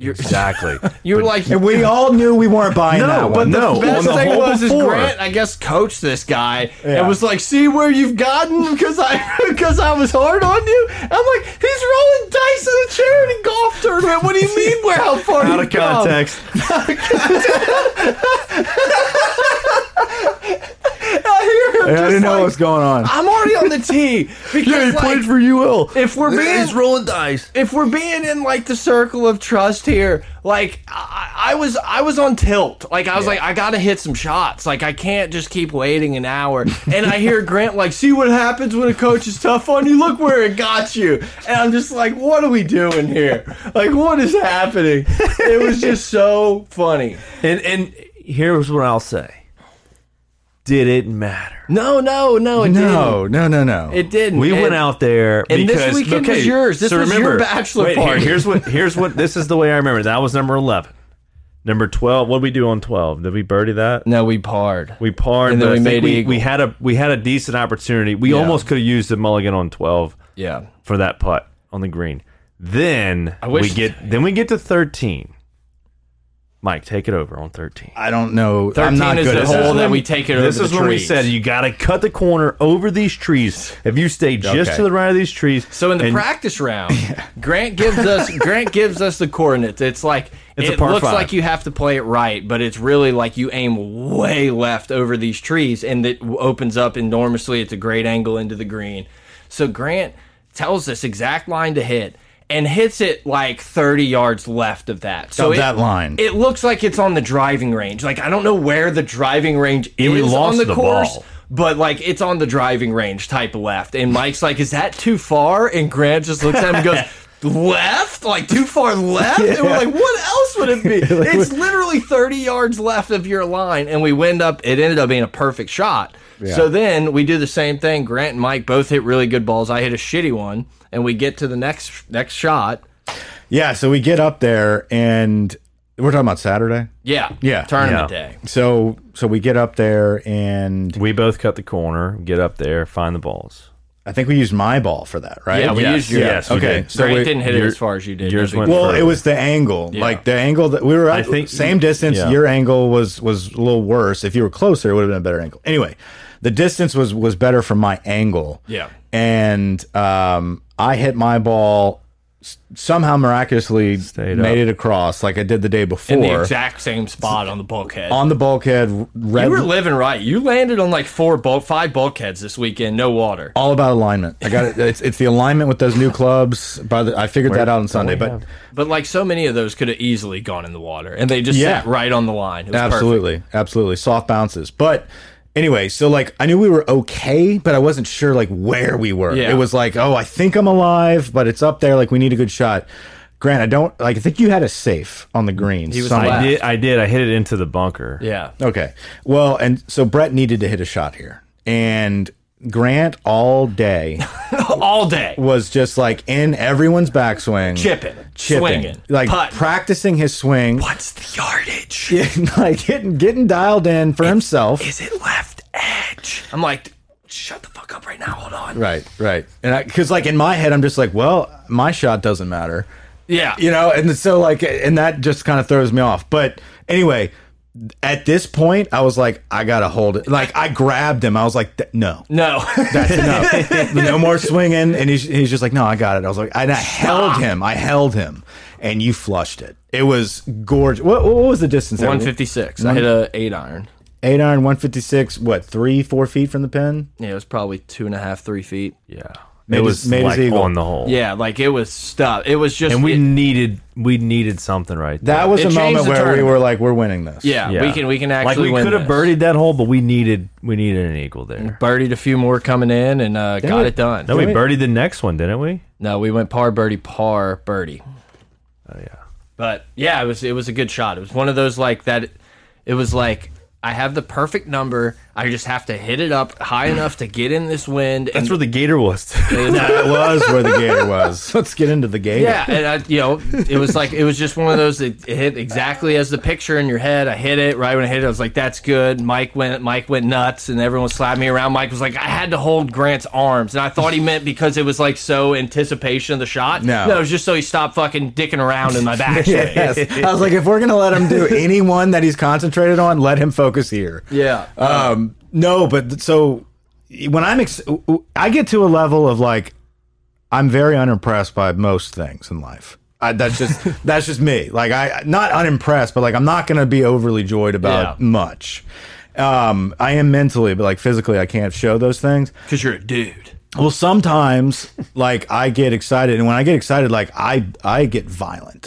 Speaker 2: You're,
Speaker 3: exactly.
Speaker 2: you're like,
Speaker 1: And we all knew we weren't buying that one.
Speaker 3: but the
Speaker 1: no,
Speaker 3: on
Speaker 2: best thing
Speaker 3: hole
Speaker 2: was
Speaker 3: before.
Speaker 2: is Grant, I guess, coached this guy
Speaker 1: Yeah.
Speaker 2: and was like, "See where you've gotten because I because I was hard on you." I'm like, "He's rolling dice in a charity golf tournament. What do you mean? Where how far
Speaker 3: out
Speaker 2: you
Speaker 3: of context.
Speaker 2: I hear him.
Speaker 1: I
Speaker 2: just
Speaker 1: didn't know
Speaker 2: like,
Speaker 1: what was going on.
Speaker 2: I'm already on the tee because like,
Speaker 3: for UL.
Speaker 2: if we're being
Speaker 3: rolling dice.
Speaker 2: if we're being in like the circle of trust here, like I, I was I was on tilt. Like I was like I gotta hit some shots. Like I can't just keep waiting an hour. And I hear Grant like, see what happens when a coach is tough on you. Look where it got you. And I'm just like, what are we doing here? Like what is happening? It was just so funny.
Speaker 3: And and here's what I'll say. Did it matter?
Speaker 2: No, no, no, it
Speaker 1: no, no, no, no.
Speaker 2: didn't. It didn't.
Speaker 3: We
Speaker 2: And-
Speaker 3: went out there
Speaker 2: and this
Speaker 3: because
Speaker 2: weekend
Speaker 3: okay,
Speaker 2: was yours. This
Speaker 3: so
Speaker 2: was your
Speaker 3: remember,
Speaker 2: bachelor
Speaker 3: wait, here-
Speaker 2: party.
Speaker 3: here's what here's what this is the way I remember. That was number eleven. Number twelve. What did we do on twelve? Did we birdie that?
Speaker 2: No, we parred.
Speaker 3: We parred,
Speaker 2: And then we
Speaker 3: but I think
Speaker 2: made
Speaker 3: we,
Speaker 2: eagle.
Speaker 3: we had a we had a decent opportunity. We almost could have used the mulligan on twelve
Speaker 2: Yeah.
Speaker 3: for that putt on the green. Then we
Speaker 2: wish-
Speaker 3: get then we get to thirteen. Mike, take it over on thirteen.
Speaker 1: I don't know.
Speaker 2: 13
Speaker 1: I'm not
Speaker 2: is
Speaker 1: good
Speaker 2: the
Speaker 1: at
Speaker 2: hole
Speaker 1: that.
Speaker 2: that we take it over.
Speaker 3: This
Speaker 2: the
Speaker 3: is when we
Speaker 2: trees.
Speaker 3: said you got to cut the corner over these trees. If you stay just
Speaker 1: Okay.
Speaker 3: to the right of these trees,
Speaker 2: So in the
Speaker 3: and-
Speaker 2: practice round, Grant gives us Grant gives us the coordinates. It's like
Speaker 3: It's a
Speaker 2: it
Speaker 3: par
Speaker 2: looks
Speaker 3: five.
Speaker 2: like you have to play it right, but it's really like you aim way left over these trees, and it w- opens up enormously. It's a great angle into the green. So Grant tells us exact line to hit and hits it like 30 yards left of that. So
Speaker 1: Of
Speaker 2: it-
Speaker 1: that line.
Speaker 2: It looks like it's on the driving range. Like I don't know where the driving range is
Speaker 3: we lost
Speaker 2: on the,
Speaker 3: the
Speaker 2: course
Speaker 3: ball.
Speaker 2: but like it's on the driving range type left. And Mike's like, is that too far? And Grant just looks at him and goes, left, like too far left. And we're like, what else would it be? it's literally 30 yards left of your line. And we wind up, it ended up being a perfect shot. So then we do the same thing. Grant and Mike both hit really good balls. I hit a shitty one, and we get to the next next shot.
Speaker 1: Yeah, so we get up there and we're talking about Saturday.
Speaker 2: Yeah.
Speaker 1: Yeah.
Speaker 2: Tournament
Speaker 3: Yeah.
Speaker 2: day.
Speaker 1: So so we get up there and
Speaker 3: We both cut the corner, get up there, find the balls.
Speaker 1: I think we used my ball for that, right?
Speaker 2: Yeah, we
Speaker 3: Yes,
Speaker 2: used your.
Speaker 3: yes,
Speaker 1: okay.
Speaker 3: did.
Speaker 1: So
Speaker 2: Grant
Speaker 1: we-
Speaker 2: didn't hit it
Speaker 3: your-
Speaker 2: as far as you did.
Speaker 3: yours
Speaker 2: That's
Speaker 3: went
Speaker 2: what-
Speaker 1: Well,
Speaker 3: further.
Speaker 1: it was the angle,
Speaker 2: Yeah.
Speaker 1: like the angle that we were at.
Speaker 3: I think-
Speaker 1: same distance.
Speaker 3: yeah.
Speaker 1: Your angle was was a little worse. If you were closer, it would have been a better angle. Anyway, the distance was was better from my angle.
Speaker 2: Yeah.
Speaker 1: and um, I hit my ball s- somehow miraculously
Speaker 3: Stayed
Speaker 1: made it across like I did the day before
Speaker 2: in the exact same spot on the bulkhead.
Speaker 1: on the bulkhead. Red,
Speaker 2: you were living right. You landed on like four, bulk, five bulkheads this weekend, no water.
Speaker 1: all about alignment. I got it. It's, it's the alignment with those new clubs. By the, I figured that out on Sunday, but
Speaker 3: have-
Speaker 2: But like so many of those could have easily gone in the water, and they just
Speaker 1: Yeah.
Speaker 2: sat right on the line. It was perfect.
Speaker 1: Absolutely, absolutely, soft bounces. But anyway, so like I knew we were okay, but I wasn't sure like where we were.
Speaker 2: Yeah.
Speaker 1: It was like, oh, I think I'm alive, but it's up there. Like we need a good shot. Grant, I don't like. I think you had a safe on the green.
Speaker 2: was
Speaker 1: somewhere.
Speaker 2: last.
Speaker 3: I did. I did. I hit it into the bunker.
Speaker 2: Yeah.
Speaker 1: Okay. Well, and so Brett needed to hit a shot here, and Grant all day
Speaker 2: All day.
Speaker 1: was just like in everyone's backswing,
Speaker 2: Chipping,
Speaker 1: chipping,
Speaker 2: swinging,
Speaker 1: like
Speaker 2: putting.
Speaker 1: practicing his swing,
Speaker 2: What's the yardage?
Speaker 1: like getting getting dialed in for himself.
Speaker 2: Is it left edge? I'm like, shut the fuck up right now. Hold on.
Speaker 1: Right, right. And because, like, in my head, I'm just like, well, my shot doesn't matter,
Speaker 2: Yeah.
Speaker 1: you know? And so, like, and that just kind of throws me off. But anyway, at this point, I was like, I got to hold it. Like, I grabbed him. I was like, "Th- no.
Speaker 2: No.
Speaker 1: That's enough. no more swinging. And he's, he's just like, no, I got it. I was like, and I held him. I held him. And you flushed it. It was gorgeous. What, what was the distance? there?
Speaker 2: 156. I hit a eight iron.
Speaker 1: Eight iron, 156, what, three, four feet from the pin?
Speaker 2: Yeah, it was probably two and a half, three feet.
Speaker 3: Yeah.
Speaker 1: Made his-
Speaker 3: it was
Speaker 1: made his
Speaker 3: like
Speaker 1: eagle.
Speaker 3: on the hole.
Speaker 2: Yeah, like it was stuff. It was just
Speaker 3: And we
Speaker 2: it-
Speaker 3: needed. We needed something right there.
Speaker 1: That was
Speaker 2: It
Speaker 1: a
Speaker 2: changed
Speaker 1: moment
Speaker 2: the
Speaker 1: where
Speaker 2: tournament.
Speaker 1: we were like, we're winning this.
Speaker 2: Yeah, we can we can actually
Speaker 3: like we
Speaker 2: win
Speaker 3: could have
Speaker 2: this. Mm-hmm.
Speaker 3: birdied that hole, but we needed we needed an eagle there.
Speaker 2: birdied a few more coming in and uh, got
Speaker 1: we-
Speaker 2: it done.
Speaker 3: Then we
Speaker 1: we-
Speaker 3: birdied the next one, didn't we?
Speaker 2: No, we went par birdie par birdie. Oh yeah. But yeah, it was it was a good shot. It was one of those like that it was like I have the perfect number. I just have to hit it up high enough to get in this wind.
Speaker 3: That's
Speaker 2: and,
Speaker 3: where the gator was.
Speaker 1: That was where the gator was. Let's get into the gator.
Speaker 2: yeah, and I, you know, it was like it was just one of those that it hit exactly as the picture in your head. I hit it right when I hit it. I was like, "That's good." Mike went, Mike went nuts, and everyone slapped me around. Mike was like, "I had to hold Grant's arms," and I thought he meant because it was like so anticipation of the shot.
Speaker 1: No.
Speaker 2: no, it was just so he stopped fucking dicking around in my back.
Speaker 1: Yes. I was like, if we're gonna let him do anyone that he's concentrated on, let him focus here.
Speaker 2: Yeah.
Speaker 1: Um, no, but th- so when I'm, ex I get to a level of like, I'm very unimpressed by most things in life. I, that's just that's just me. Like I not unimpressed, but like I'm not gonna be overly joyed about
Speaker 2: Yeah.
Speaker 1: much. Um, I am mentally, but like physically, I can't show those things.
Speaker 2: Because you're a dude.
Speaker 1: Well, sometimes like I get excited, and when I get excited, like I I get violent.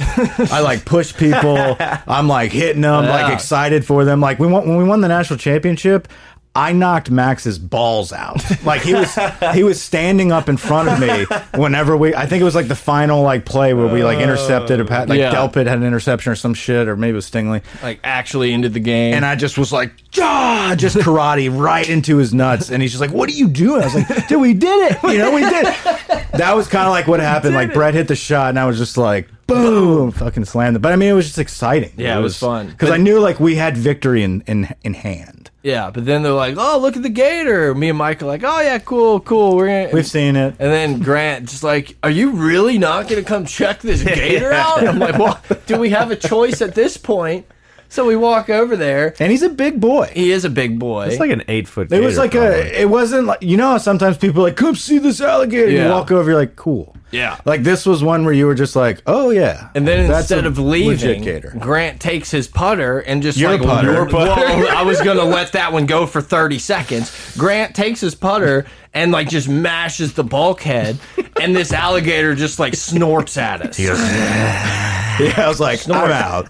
Speaker 1: I like push people. I'm like hitting them, like
Speaker 2: Yeah.
Speaker 1: excited for them. Like we won when we won the national championship. I knocked Max's balls out. Like he was he was standing up in front of me whenever we I think it was like the final like play where we like intercepted a pat like
Speaker 2: Yeah.
Speaker 1: Delpit had an interception or some shit or maybe it was Stingley
Speaker 2: Like, actually ended the game.
Speaker 1: and I just was like, "Jah!" just karate right into his nuts. And he's just like, what are you doing? I was like, dude, we did it. You know, we did. it." That was kind of like what happened. Like Brett hit the shot and I was just like, boom, fucking slammed it. But I mean, it was just exciting.
Speaker 2: Yeah, it was fun.
Speaker 1: Cause I knew like we had victory in, in, in hand.
Speaker 2: yeah, but then they're like, oh, look at the gator. Me and Mike are like, oh, yeah, cool, cool. We're going to.
Speaker 1: We've seen it.
Speaker 2: And then Grant just like, "Are you really not going to come check this gator out?" I'm like, "Well, do we have a choice at this point?" So we walk over there.
Speaker 1: And he's a big boy.
Speaker 2: He is a big boy.
Speaker 3: It's like an eight foot.
Speaker 1: It was like a, it wasn't like, you know, how sometimes people are like, come see this alligator. You
Speaker 2: Yeah.
Speaker 1: walk over, you're like, cool.
Speaker 2: Yeah.
Speaker 1: Like this was one where you were just like, oh yeah.
Speaker 2: and then
Speaker 1: That's
Speaker 2: instead
Speaker 1: a
Speaker 2: of
Speaker 1: legit
Speaker 2: leaving,
Speaker 1: gator.
Speaker 2: Grant takes his putter and just
Speaker 1: Your
Speaker 2: like
Speaker 1: putter. Your putter.
Speaker 2: Well, I was gonna let that one go for thirty seconds. Grant takes his putter and like just mashes the bulkhead, and this alligator just like snorts at us.
Speaker 1: Yeah, I was like, I'm out.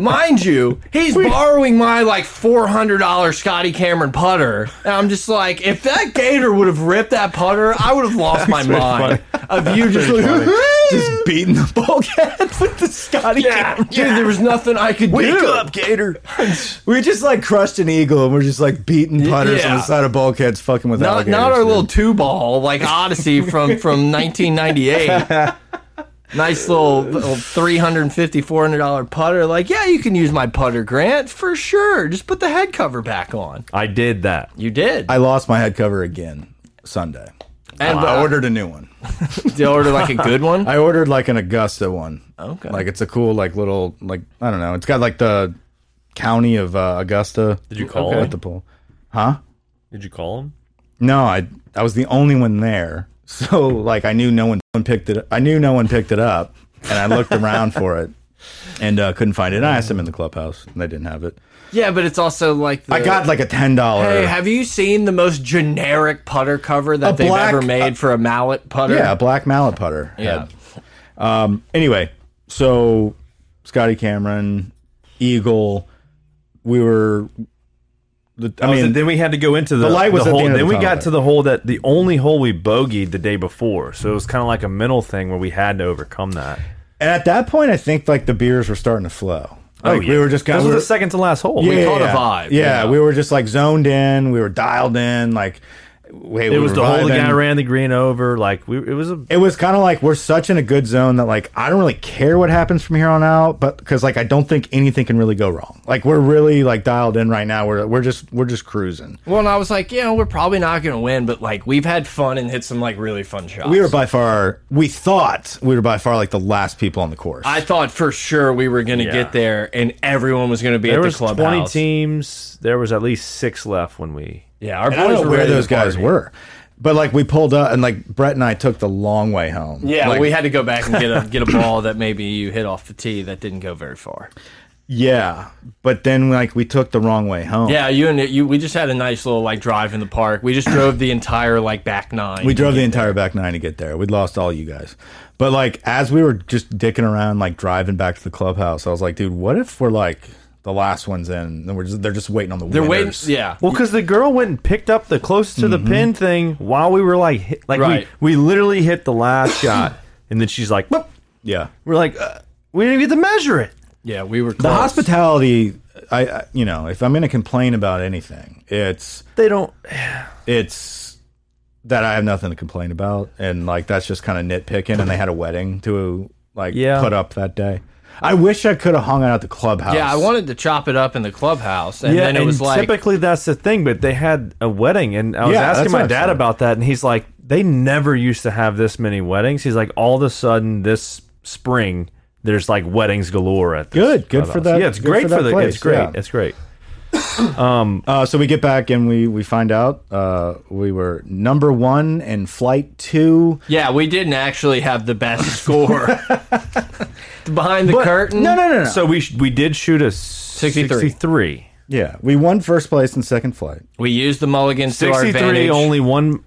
Speaker 2: Mind you, he's borrowing my like four hundred dollar Scotty Cameron putter, and I'm just like, if that Gator would have ripped that putter, I would have lost my mind of you just like,
Speaker 1: Just beating the bulkhead with the Scotty
Speaker 2: yeah, dude, there was nothing I could
Speaker 1: Wake
Speaker 2: do.
Speaker 1: up, Gator. we just like crushed an eagle and we're just like beating putters on
Speaker 2: Yeah.
Speaker 1: the side of bulkheads, fucking with
Speaker 2: Not,
Speaker 1: alligators.
Speaker 2: not our
Speaker 1: dude.
Speaker 2: little two ball like Odyssey from from 1998. Nice little, little 350 dollar putter. Like, yeah, you can use my putter, Grant, for sure. Just put the head cover back on.
Speaker 3: I did that.
Speaker 2: You did.
Speaker 1: I lost my head cover again Sunday.
Speaker 2: and
Speaker 1: I
Speaker 2: uh,
Speaker 1: ordered a new one.
Speaker 2: did you order like a good one.
Speaker 1: I ordered like an Augusta one.
Speaker 2: Oh, Okay.
Speaker 1: Like it's a cool like little like I don't know. It's got like the county of uh, Augusta
Speaker 3: Did you call
Speaker 2: Okay.
Speaker 1: at
Speaker 3: him?
Speaker 1: the pool.
Speaker 3: Did you call him?
Speaker 1: No, I I was the only one there. So like I knew no one picked it. I knew no one picked it up, and I looked around for it and uh, couldn't find it. And I asked them in the clubhouse, and they didn't have it.
Speaker 2: Yeah, but it's also like the,
Speaker 1: I got like a ten dollar.
Speaker 2: Hey, have you seen the most generic putter cover that
Speaker 1: A
Speaker 2: they've
Speaker 1: black- uh,
Speaker 2: ever made for a mallet putter?
Speaker 1: yeah, a black mallet putter.
Speaker 2: Yeah.
Speaker 1: head. Um. Anyway, so Scotty Cameron, Eagle, we were. The, I
Speaker 3: I
Speaker 1: mean,
Speaker 3: mean, then we had to go into the,
Speaker 1: the light was at the
Speaker 3: hole.
Speaker 1: end of the
Speaker 3: then we
Speaker 1: tunnel.
Speaker 3: got to the hole that the only hole we bogeyed the day before. So it was kind of like a mental thing where we had to overcome that.
Speaker 1: and at that point, I think like the beers were starting to flow. Like,
Speaker 3: Oh, yeah.
Speaker 1: we were just kind
Speaker 3: This was
Speaker 1: of
Speaker 3: the second to last hole.
Speaker 1: yeah,
Speaker 2: caught a
Speaker 1: yeah.
Speaker 2: vibe,
Speaker 1: Yeah,
Speaker 2: yeah.
Speaker 1: we were just like zoned in. We were dialed in. Like, wait,
Speaker 3: it was the hole the guy ran the green over. Like we, it was a
Speaker 1: It was kind of like we're such in a good zone that like I don't really care what happens from here on out, but because like I don't think anything can really go wrong. Like we're really like dialed in right now. We're we're just we're just cruising.
Speaker 2: Well, and I was like, yeah, we're probably not going to win, but like we've had fun and hit some like really fun shots.
Speaker 1: We were by far we thought we were by far like the last people on the course.
Speaker 2: I thought for sure we were going to
Speaker 3: Yeah.
Speaker 2: get there and everyone was going to be
Speaker 3: there
Speaker 2: at the
Speaker 3: was twenty
Speaker 2: clubhouse.
Speaker 3: teams. There was at least six left when we.
Speaker 2: Yeah, our
Speaker 1: And I
Speaker 2: boys
Speaker 1: don't
Speaker 2: were
Speaker 1: know where
Speaker 2: ready to
Speaker 1: those guys
Speaker 2: party.
Speaker 1: were, but like we pulled up and like Brett and I took the long way home.
Speaker 2: Yeah,
Speaker 1: Like,
Speaker 2: we had to go back and get a get a ball that maybe you hit off the tee that didn't go very far.
Speaker 1: yeah. But then like we took the wrong way home.
Speaker 2: Yeah, you and you we just had a nice little like drive in the park. We just drove the entire like back nine.
Speaker 1: We drove the entire back nine to get there. We'd lost all you guys. But like as we were just dicking around, like driving back to the clubhouse, I was like, dude, what if we're like the last ones in and we're just they're just waiting on the
Speaker 2: They're waiting.
Speaker 1: winners?
Speaker 2: Yeah,
Speaker 3: Well, because the girl went and picked up the closest to the
Speaker 1: Mm-hmm.
Speaker 3: pin thing while we were like, hit, like
Speaker 2: Right.
Speaker 3: we, we literally hit the last shot, and then she's like, "Whoop."
Speaker 1: Yeah.
Speaker 3: we're like, uh, we didn't even get to measure it.
Speaker 2: yeah, we were. Close.
Speaker 1: The hospitality I, I you know, if I'm gonna complain about anything, it's
Speaker 3: They don't.
Speaker 1: it's that I have nothing to complain about, and like that's just kind of nitpicking. And they had a wedding to like
Speaker 3: Yeah.
Speaker 1: put up that day. I wish I could have hung out at the clubhouse.
Speaker 2: Yeah, I wanted to chop it up in the clubhouse, and then it was like,
Speaker 3: typically that's the thing, but they had a wedding, and I was
Speaker 1: Yeah,
Speaker 3: asking
Speaker 1: that's
Speaker 3: my
Speaker 1: what I
Speaker 3: dad
Speaker 1: said.
Speaker 3: about that, and he's like, they never used to have this many weddings. He's like, all of a sudden this spring, there's like weddings galore at this
Speaker 1: Good, good for
Speaker 3: clubhouse."
Speaker 1: that-
Speaker 3: Yeah, it's
Speaker 1: good
Speaker 3: great
Speaker 1: for
Speaker 3: for,
Speaker 1: that
Speaker 3: the.
Speaker 1: place,
Speaker 3: it's great.
Speaker 1: yeah.
Speaker 3: It's great.
Speaker 1: Uh, so we get back and we we find out uh, we were number one in flight two.
Speaker 2: yeah, we didn't actually have the best score behind the curtain.
Speaker 1: No, no, no, no.
Speaker 3: So we sh we did shoot a sixty three.
Speaker 1: yeah, we won first place in second flight.
Speaker 2: we used the mulligans to our
Speaker 3: Sixty
Speaker 2: advantage.
Speaker 3: three. Only one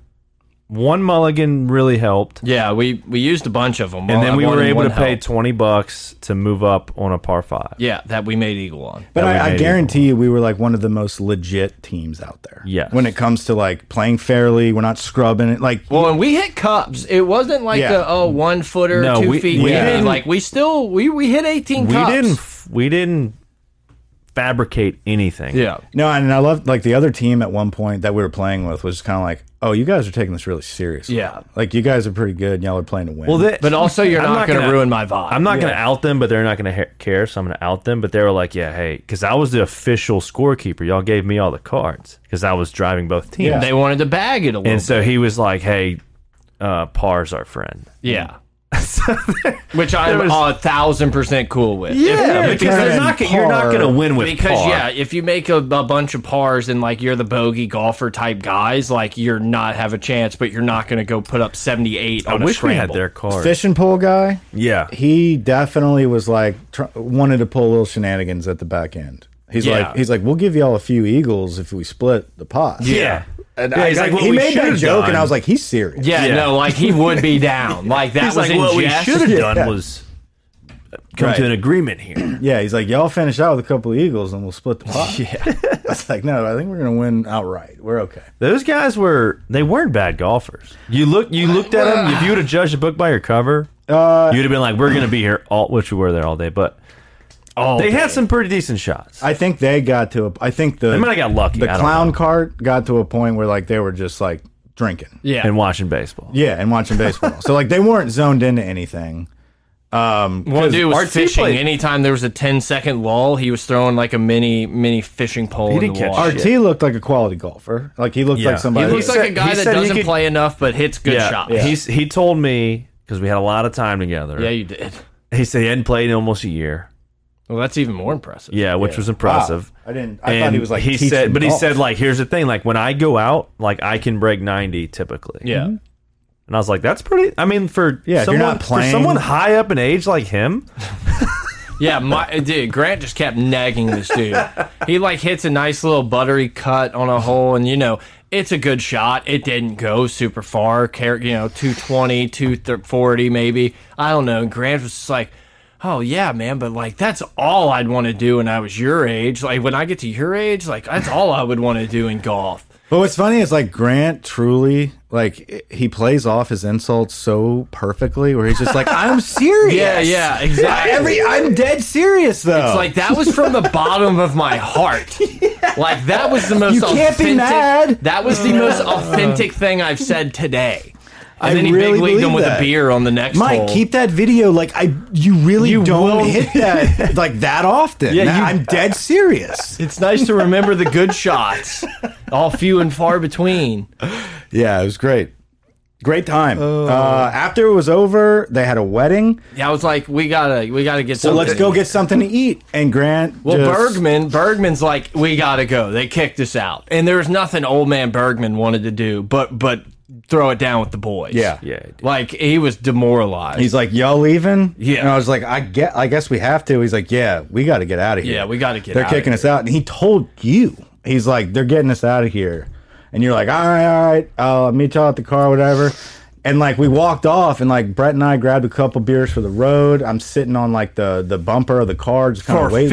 Speaker 3: one mulligan really helped,
Speaker 2: yeah, we we used a bunch of them,
Speaker 3: and then we were able to
Speaker 2: pay.
Speaker 3: pay twenty bucks to move up on a par five.
Speaker 2: yeah, that we made eagle on.
Speaker 1: But
Speaker 3: we
Speaker 1: I, I
Speaker 3: made
Speaker 1: guarantee you, we were like one of the most legit teams out there.
Speaker 3: Yes.
Speaker 1: When it comes to like playing fairly, we're not scrubbing it. Like,
Speaker 2: Well, and we hit cups. It wasn't like
Speaker 1: Yeah.
Speaker 2: a oh one footer,
Speaker 3: No,
Speaker 2: two
Speaker 3: we-
Speaker 2: feet.
Speaker 3: we
Speaker 2: in.
Speaker 1: didn't-
Speaker 2: like we still we we hit eighteen.
Speaker 3: we
Speaker 2: cups.
Speaker 3: didn't f- we didn't fabricate anything.
Speaker 2: Yeah,
Speaker 1: no, and I love like the other team at one point that we were playing with was kind of like, oh, you guys are taking this really seriously.
Speaker 2: Yeah.
Speaker 1: Like you guys are pretty good. And y'all are playing to win.
Speaker 3: Well, they,
Speaker 2: but also you're
Speaker 3: I'm
Speaker 2: not,
Speaker 3: not
Speaker 2: going to
Speaker 3: gonna-
Speaker 2: ruin my vibe.
Speaker 3: I'm not going to out them, but they're not going to care. So I'm going to out them. But they were like, yeah, hey, because I was the official scorekeeper. Y'all gave me all the cards because I was driving both teams.
Speaker 1: Yeah.
Speaker 2: They wanted to bag it a little.
Speaker 3: And so he was like, hey, uh, Par's our friend.
Speaker 2: Yeah. Which I'm
Speaker 3: was-
Speaker 2: a thousand percent cool with.
Speaker 1: Yeah,
Speaker 2: If-
Speaker 3: because
Speaker 1: because
Speaker 3: they're not, gonna- you're not
Speaker 1: Par-
Speaker 3: going to win with
Speaker 2: because
Speaker 3: Par.
Speaker 2: yeah, if you make a, a bunch of pars and like you're the bogey golfer type guys, like you're not have a chance, but you're not going to go put up 78
Speaker 3: I
Speaker 2: on a
Speaker 3: wish we had
Speaker 2: scramble.
Speaker 3: their cards.
Speaker 1: fish and pole guy.
Speaker 3: Yeah.
Speaker 1: he definitely was like tr- wanted to pull little shenanigans at the back end. He's
Speaker 2: Yeah.
Speaker 1: like, he's like, we'll give y'all a few eagles if we split the pot.
Speaker 3: Yeah.
Speaker 1: and
Speaker 3: Yeah,
Speaker 1: I,
Speaker 3: he's like, what
Speaker 1: he
Speaker 3: we
Speaker 1: made that
Speaker 3: should've
Speaker 1: joke, and
Speaker 3: done-
Speaker 1: I was like, he's serious.
Speaker 2: yeah, no, like he would be down. Like that
Speaker 3: He's
Speaker 2: was
Speaker 3: like,
Speaker 2: in
Speaker 3: what we
Speaker 2: jest.
Speaker 3: should have
Speaker 1: Yeah.
Speaker 3: done was come
Speaker 1: Right.
Speaker 3: to an agreement here.
Speaker 1: Yeah, he's like, y'all finish out with a couple of Eagles and we'll split the pot. yeah. I was like, no, I think we're going to win outright. We're okay.
Speaker 3: Those guys were they weren't bad golfers. You look you looked at them. If you would have judged the book by your cover,
Speaker 1: Uh,
Speaker 3: you'd have been like, "We're gonna be here all," which we were there all day. But
Speaker 2: Oh,
Speaker 3: they had some pretty decent shots.
Speaker 1: I think they got to a, I think the,
Speaker 3: They might have got lucky.
Speaker 1: the
Speaker 3: I don't
Speaker 1: clown
Speaker 3: know.
Speaker 1: cart got to a point where like they were just like drinking.
Speaker 2: yeah.
Speaker 3: and watching baseball.
Speaker 1: Yeah, and watching baseball. so like they weren't zoned into anything. Um,
Speaker 2: One dude was
Speaker 3: RT
Speaker 2: fishing.
Speaker 3: played-
Speaker 2: Anytime there was a 10 second lull, he was throwing like a mini mini fishing pole. in
Speaker 3: didn't
Speaker 2: the
Speaker 3: catch
Speaker 2: water.
Speaker 1: RT looked like a quality golfer. Like he looked like
Speaker 3: Yeah. He
Speaker 2: He
Speaker 1: somebody.
Speaker 2: looks
Speaker 3: He
Speaker 2: like a
Speaker 3: said-
Speaker 2: guy
Speaker 3: he
Speaker 2: that
Speaker 3: said he
Speaker 2: doesn't
Speaker 3: could-
Speaker 2: play enough but hits good shots.
Speaker 3: He's he told me because we had a lot of time together.
Speaker 2: yeah, you did.
Speaker 3: He said he hadn't played in almost a year.
Speaker 2: Well, that's even more impressive.
Speaker 3: Yeah, which was impressive.
Speaker 1: I didn't- I thought he was, like,
Speaker 3: he
Speaker 1: teaching
Speaker 3: said, but he
Speaker 1: golf.
Speaker 3: said like, here's the thing, like when I go out, like I can break ninety typically.
Speaker 2: Yeah.
Speaker 3: and I was like, that's pretty. I mean, for
Speaker 1: Yeah, if you're
Speaker 3: someone,
Speaker 1: not
Speaker 3: for
Speaker 1: playing-
Speaker 3: someone high up in age like him,
Speaker 2: Yeah, my dude, Grant just kept nagging this dude. He like hits a nice little buttery cut on a hole, and you know it's a good shot. It didn't go super far, car- you know, 220, 240 maybe. I don't know. And Grant was just like, "Oh yeah, man," but like that's all I'd want to do when I was your age. Like when I get to your age, like that's all I would want to do in golf.
Speaker 1: But what's funny is like Grant truly like he plays off his insults so perfectly, where he's just like, "I'm serious."
Speaker 2: Yeah, yeah, exactly.
Speaker 1: Every I'm dead serious though.
Speaker 2: It's like that was from the bottom of my heart. Like that was the most
Speaker 1: You can't be
Speaker 2: authentic,
Speaker 1: mad. Uh.
Speaker 2: That was the most authentic thing I've said today. And
Speaker 1: I
Speaker 2: then he
Speaker 1: really
Speaker 2: big leagued him
Speaker 1: believe
Speaker 2: with
Speaker 1: that.
Speaker 2: a beer on the next
Speaker 1: Mike,
Speaker 2: hole.
Speaker 1: keep that video. Like I, you really don't hit that like that often.
Speaker 2: Yeah,
Speaker 1: Nah,
Speaker 2: you-
Speaker 1: I'm dead serious.
Speaker 2: it's nice to remember the good shots, all few and far between.
Speaker 1: yeah, it was great. Great time. Uh, after it was over, they had a wedding.
Speaker 2: Yeah, I was like, we gotta, we gotta get.
Speaker 1: So
Speaker 2: something.
Speaker 1: let's go get something to eat. And Grant,
Speaker 2: Well,
Speaker 1: just-
Speaker 2: Bergman, Bergman's like, we gotta go. They kicked us out, and there was nothing old man Bergman wanted to do, but but throw it down with the boys.
Speaker 1: Yeah.
Speaker 3: Yeah, he did.
Speaker 2: Like he was demoralized.
Speaker 1: He's like, "Y'all leaving?"
Speaker 2: Yeah.
Speaker 1: And I was like, "I get. I guess we have to." He's like, "Yeah, we got to get out of here.
Speaker 2: Yeah, we gotta get
Speaker 1: They're
Speaker 2: outta
Speaker 1: kicking us out." And he told you, he's like, "They're getting us out of here," and you're like, "All right, all right, I'll meet y'all at the car, whatever." And like we walked off, and like Brett and I grabbed a couple beers for the road. I'm sitting on like the the bumper of the car, just kind
Speaker 2: for
Speaker 1: of waiting.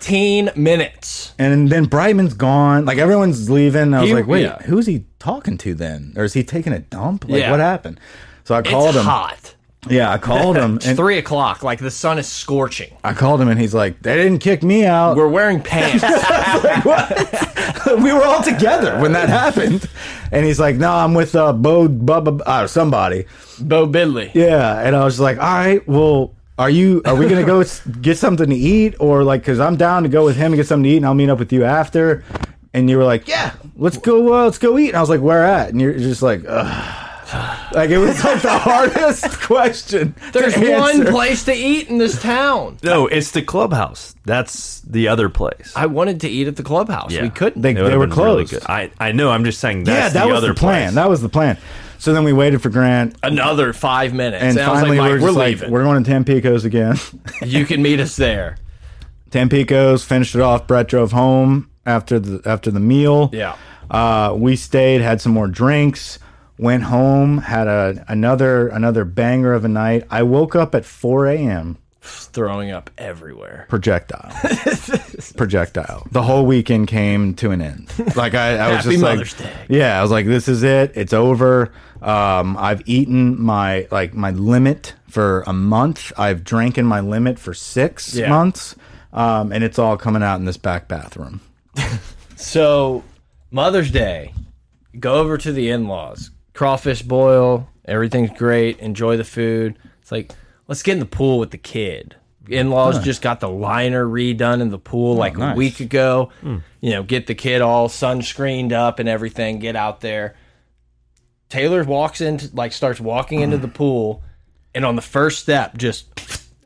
Speaker 2: 15 minutes.
Speaker 1: And then Brightman's gone. Like everyone's leaving. I was
Speaker 2: He-
Speaker 1: like, "Wait,
Speaker 2: yeah.
Speaker 1: who's he talking to then? Or is he taking a dump? Like
Speaker 2: Yeah.
Speaker 1: what happened?" So I
Speaker 2: It's
Speaker 1: called him.
Speaker 2: hot.
Speaker 1: Yeah, I called him.
Speaker 2: It's three o'clock. Like the sun is scorching.
Speaker 1: I called him and he's like, "They didn't kick me out.
Speaker 2: We're wearing pants.
Speaker 1: we were all together when that happened." And he's like, "No, I'm with uh, Bo Bubba uh, somebody."
Speaker 2: Bo Bidley.
Speaker 1: Yeah, and I was like, "All right, well, are you? Are we gonna go s- get something to eat, or like, cause I'm down to go with him and get something to eat, and I'll meet up with you after." And you were like, "Yeah, let's go. Uh, let's go eat." And I was like, "Where at?" And you're just like, Ugh. "Like it was like the hardest question." to
Speaker 2: There's one
Speaker 1: answer.
Speaker 2: place to eat in this town.
Speaker 3: no, it's the clubhouse. That's the other place.
Speaker 2: I wanted to eat at the clubhouse.
Speaker 3: Yeah.
Speaker 2: We couldn't.
Speaker 1: They,
Speaker 3: It would've
Speaker 1: they were
Speaker 3: been really
Speaker 1: closed.
Speaker 3: good. I I know. I'm just saying. That's
Speaker 1: yeah, that
Speaker 3: the
Speaker 1: was
Speaker 3: other
Speaker 1: the plan.
Speaker 3: Place.
Speaker 1: That was the plan. So then we waited for Grant.
Speaker 2: Another five minutes.
Speaker 1: And,
Speaker 2: I was
Speaker 1: finally,
Speaker 2: like,
Speaker 1: we we're,
Speaker 2: Mike, we're
Speaker 1: just like,
Speaker 2: leaving.
Speaker 1: we're going to Tampico's again.
Speaker 2: you can meet us there.
Speaker 1: Tampico's finished it off. Brett drove home after the after the meal.
Speaker 2: Yeah.
Speaker 1: uh, we stayed, had some more drinks, went home, had a another another banger of a night. I woke up at 4 a.m.
Speaker 2: Just throwing up everywhere.
Speaker 1: Projectile, projectile. The whole weekend came to an end. Like I, I was
Speaker 2: Happy
Speaker 1: just
Speaker 2: Mother's
Speaker 1: like,
Speaker 2: Day.
Speaker 1: yeah, I was like, this is it. It's over. Um, I've eaten my like my limit for a month. I've drank in my limit for six
Speaker 2: Yeah.
Speaker 1: months, um, and it's all coming out in this back bathroom.
Speaker 2: So, Mother's Day, go over to the in laws. Crawfish boil, everything's great. Enjoy the food. It's like, let's get in the pool with the kid. In laws just got the liner redone in the pool like a
Speaker 1: nice.
Speaker 2: week ago. You know, get the kid all sunscreened up and everything, get out there. Taylor walks into, like, starts walking into the pool, and on the first step, just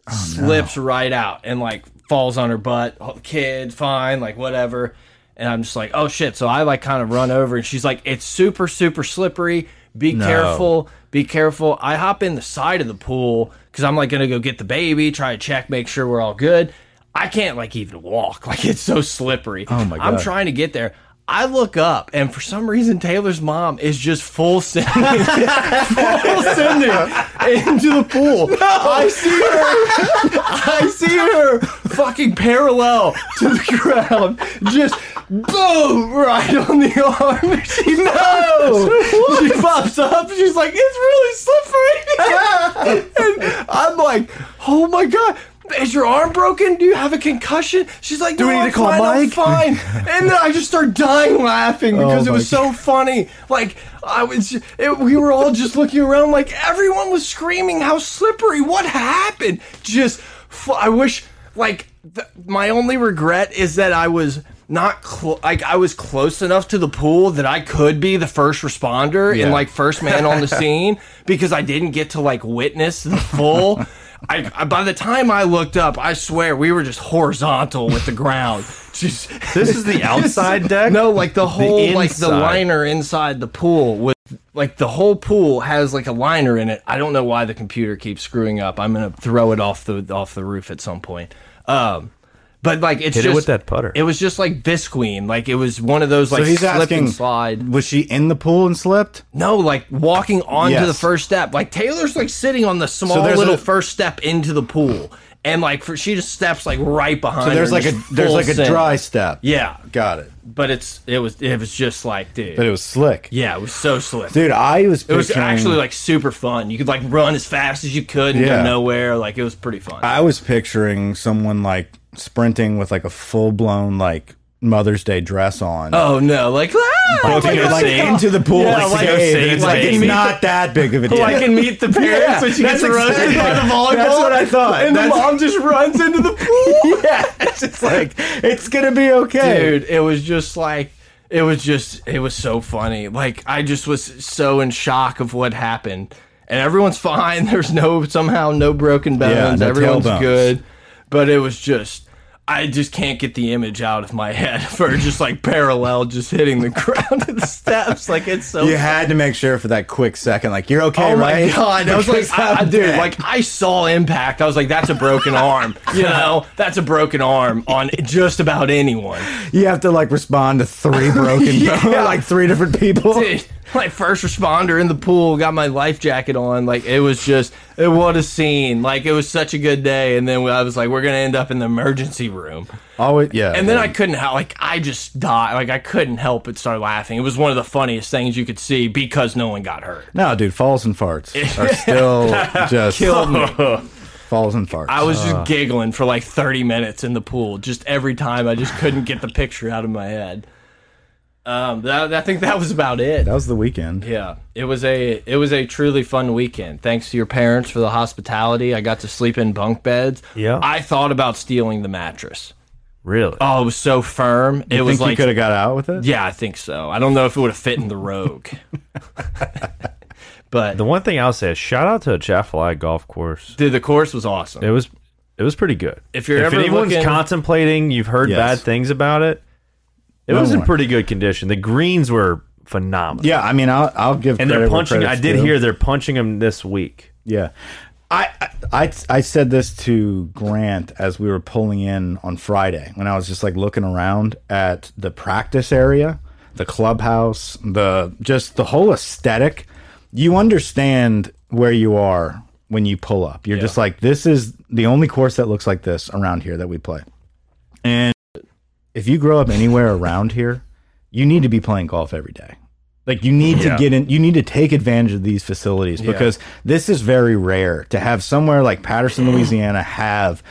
Speaker 1: Oh,
Speaker 2: slips right out and like falls on her butt. Oh, Kid, fine, like whatever. And I'm just like, oh shit. So I like kind of run over and she's like, it's super, super slippery. Be careful. Be careful. I hop in the side of the pool because I'm like going to go get the baby, try to check, make sure we're all good. I can't like even walk. Like it's so slippery. Oh
Speaker 1: my
Speaker 2: I'm
Speaker 1: God.
Speaker 2: trying to get there. I look up, and for some reason, Taylor's mom is just full sending, full sending into the pool. I see her, I see her fucking parallel to the ground, just boom, right on the arm. She no, she pops up. She's like, it's really slippery, and I'm like, oh my god. Is your arm broken? Do you have a concussion? She's like, Do
Speaker 1: we
Speaker 2: no,
Speaker 1: need
Speaker 2: I'm
Speaker 1: to call
Speaker 2: fine, I'm
Speaker 1: Mike?" Oh
Speaker 2: fine fine. And then I just started dying laughing because it
Speaker 1: my
Speaker 2: was so funny. Like I was, it, we were all just looking around. Like everyone was screaming, "How slippery! What happened?" Just, f- I wish. Like th my only regret is that I was not cl- like I was close enough to the pool that I could be the first responder and
Speaker 1: Yeah.
Speaker 2: like first man on the scene because I didn't get to like witness the full. I, I by the time I looked up, I swear we were just horizontal with the ground. Just
Speaker 3: This is the outside deck?
Speaker 2: No, like the whole like the
Speaker 3: inside.
Speaker 2: liner inside the pool with like the whole pool has like a liner in it. I don't know why the computer keeps screwing up. I'm gonna throw it off the off the roof at some point. Um, but like it's
Speaker 3: Hit it
Speaker 2: just
Speaker 3: with that putter.
Speaker 2: It was just like Bisqueen. Like it was one of those like
Speaker 1: So he's
Speaker 2: slip
Speaker 1: asking,
Speaker 2: and slide.
Speaker 1: was she in the pool and slipped?
Speaker 2: No, like walking onto
Speaker 1: Yes.
Speaker 2: the first step. Like Taylor's like sitting on the small
Speaker 1: there's
Speaker 2: little
Speaker 1: a-
Speaker 2: first step into the pool, and like for, she just steps like right behind.
Speaker 1: So there's
Speaker 2: her and
Speaker 1: like a
Speaker 2: just
Speaker 1: there's
Speaker 2: full
Speaker 1: like a
Speaker 2: send.
Speaker 1: dry step.
Speaker 2: Yeah,
Speaker 1: got it.
Speaker 2: but it's it was it was just like dude.
Speaker 1: But it was slick,
Speaker 2: yeah, it was so slick.
Speaker 1: dude. I was.
Speaker 2: it was actually like super fun. You could like run as fast as you could and go
Speaker 1: Yeah.
Speaker 2: nowhere. Like it was pretty fun.
Speaker 1: I was picturing someone like sprinting with like a full blown like Mother's Day dress on.
Speaker 2: oh no, like ah,
Speaker 1: Like,
Speaker 2: like,
Speaker 1: like,
Speaker 2: like,
Speaker 1: into the pool,
Speaker 2: Yeah,
Speaker 1: like,
Speaker 2: like
Speaker 1: to
Speaker 2: a
Speaker 1: bathe.
Speaker 2: save
Speaker 1: It's like
Speaker 2: the
Speaker 1: it's
Speaker 2: baby.
Speaker 1: not that big of a deal.
Speaker 2: I can meet the parents
Speaker 1: Yeah,
Speaker 2: when she
Speaker 1: that's
Speaker 2: gets roasted
Speaker 1: exactly-
Speaker 2: by the volleyball.
Speaker 1: that's what I thought.
Speaker 2: And the
Speaker 1: That's-
Speaker 2: mom just runs into the pool.
Speaker 1: yeah, it's just like it's gonna be okay.
Speaker 2: dude it was just like it was just it was so funny like i just was so in shock of what happened and everyone's fine there's no somehow no broken bones
Speaker 1: no
Speaker 2: everyone's
Speaker 1: tailbones.
Speaker 2: good but it was just I just can't get the image out of my head for just like parallel, just hitting the ground and the steps. Like it's so
Speaker 1: You had to make sure for that quick second, like you're okay,
Speaker 2: Oh
Speaker 1: right?
Speaker 2: my god! I was
Speaker 1: Because
Speaker 2: like, I, I,
Speaker 1: I'm
Speaker 2: dude,
Speaker 1: dead.
Speaker 2: like I saw impact. I was like, that's a broken arm. You know, that's a broken arm on just about anyone.
Speaker 1: you have to like respond to three broken,
Speaker 2: Yeah.
Speaker 1: like three different people.
Speaker 2: Dude, like first responder in the pool, got my life jacket on. Like it was just, it, what a scene! Like it was such a good day, and then I was like, we're gonna end up in the emergency room,
Speaker 1: Always, yeah.
Speaker 2: and then I couldn't help, like I just died, like I couldn't help but start laughing. It was one of the funniest things you could see because no one got hurt.
Speaker 1: no, dude, falls and farts are still just
Speaker 2: Killed me.
Speaker 1: falls and farts.
Speaker 2: I was just giggling for like thirty minutes in the pool, just every time I just couldn't get the picture out of my head. Um, that, I think that was about it.
Speaker 1: that was the weekend.
Speaker 2: Yeah, it was a it was a truly fun weekend. Thanks to your parents for the hospitality. I got to sleep in bunk beds.
Speaker 3: Yeah.
Speaker 2: I thought about stealing the mattress.
Speaker 3: Really?
Speaker 2: Oh, it was so firm. it
Speaker 1: You
Speaker 2: was
Speaker 1: think you
Speaker 2: like,
Speaker 1: could have got out with it?
Speaker 2: yeah, I think so. I don't know if it would have fit in the Rogue, but
Speaker 3: The one thing I'll say is shout out to a Chaffalai golf course.
Speaker 2: dude, the course was awesome.
Speaker 3: It was it was pretty good.
Speaker 2: If you're
Speaker 3: if
Speaker 2: ever
Speaker 3: anyone's
Speaker 2: looking-
Speaker 3: contemplating, you've heard
Speaker 1: Yes.
Speaker 3: bad things about it. It
Speaker 1: No
Speaker 3: was in
Speaker 1: one.
Speaker 3: pretty good condition. The greens were phenomenal.
Speaker 1: Yeah, I mean, I'll, I'll give.
Speaker 3: And
Speaker 1: credit
Speaker 3: they're
Speaker 1: where
Speaker 3: punching. I
Speaker 1: credit's
Speaker 3: did
Speaker 1: due.
Speaker 3: hear they're punching them this week.
Speaker 1: Yeah. I, I I- I said this to Grant as we were pulling in on Friday when I was just like looking around at the practice area, the clubhouse, the just the whole aesthetic. You understand where you are when you pull up. You're just like this is the only course that looks like this around here that we play. And if you grow up anywhere around here, you need to be playing golf every day. Like you need to get in, you need to take advantage of these facilities because this is very rare to have somewhere like Patterson, Louisiana, have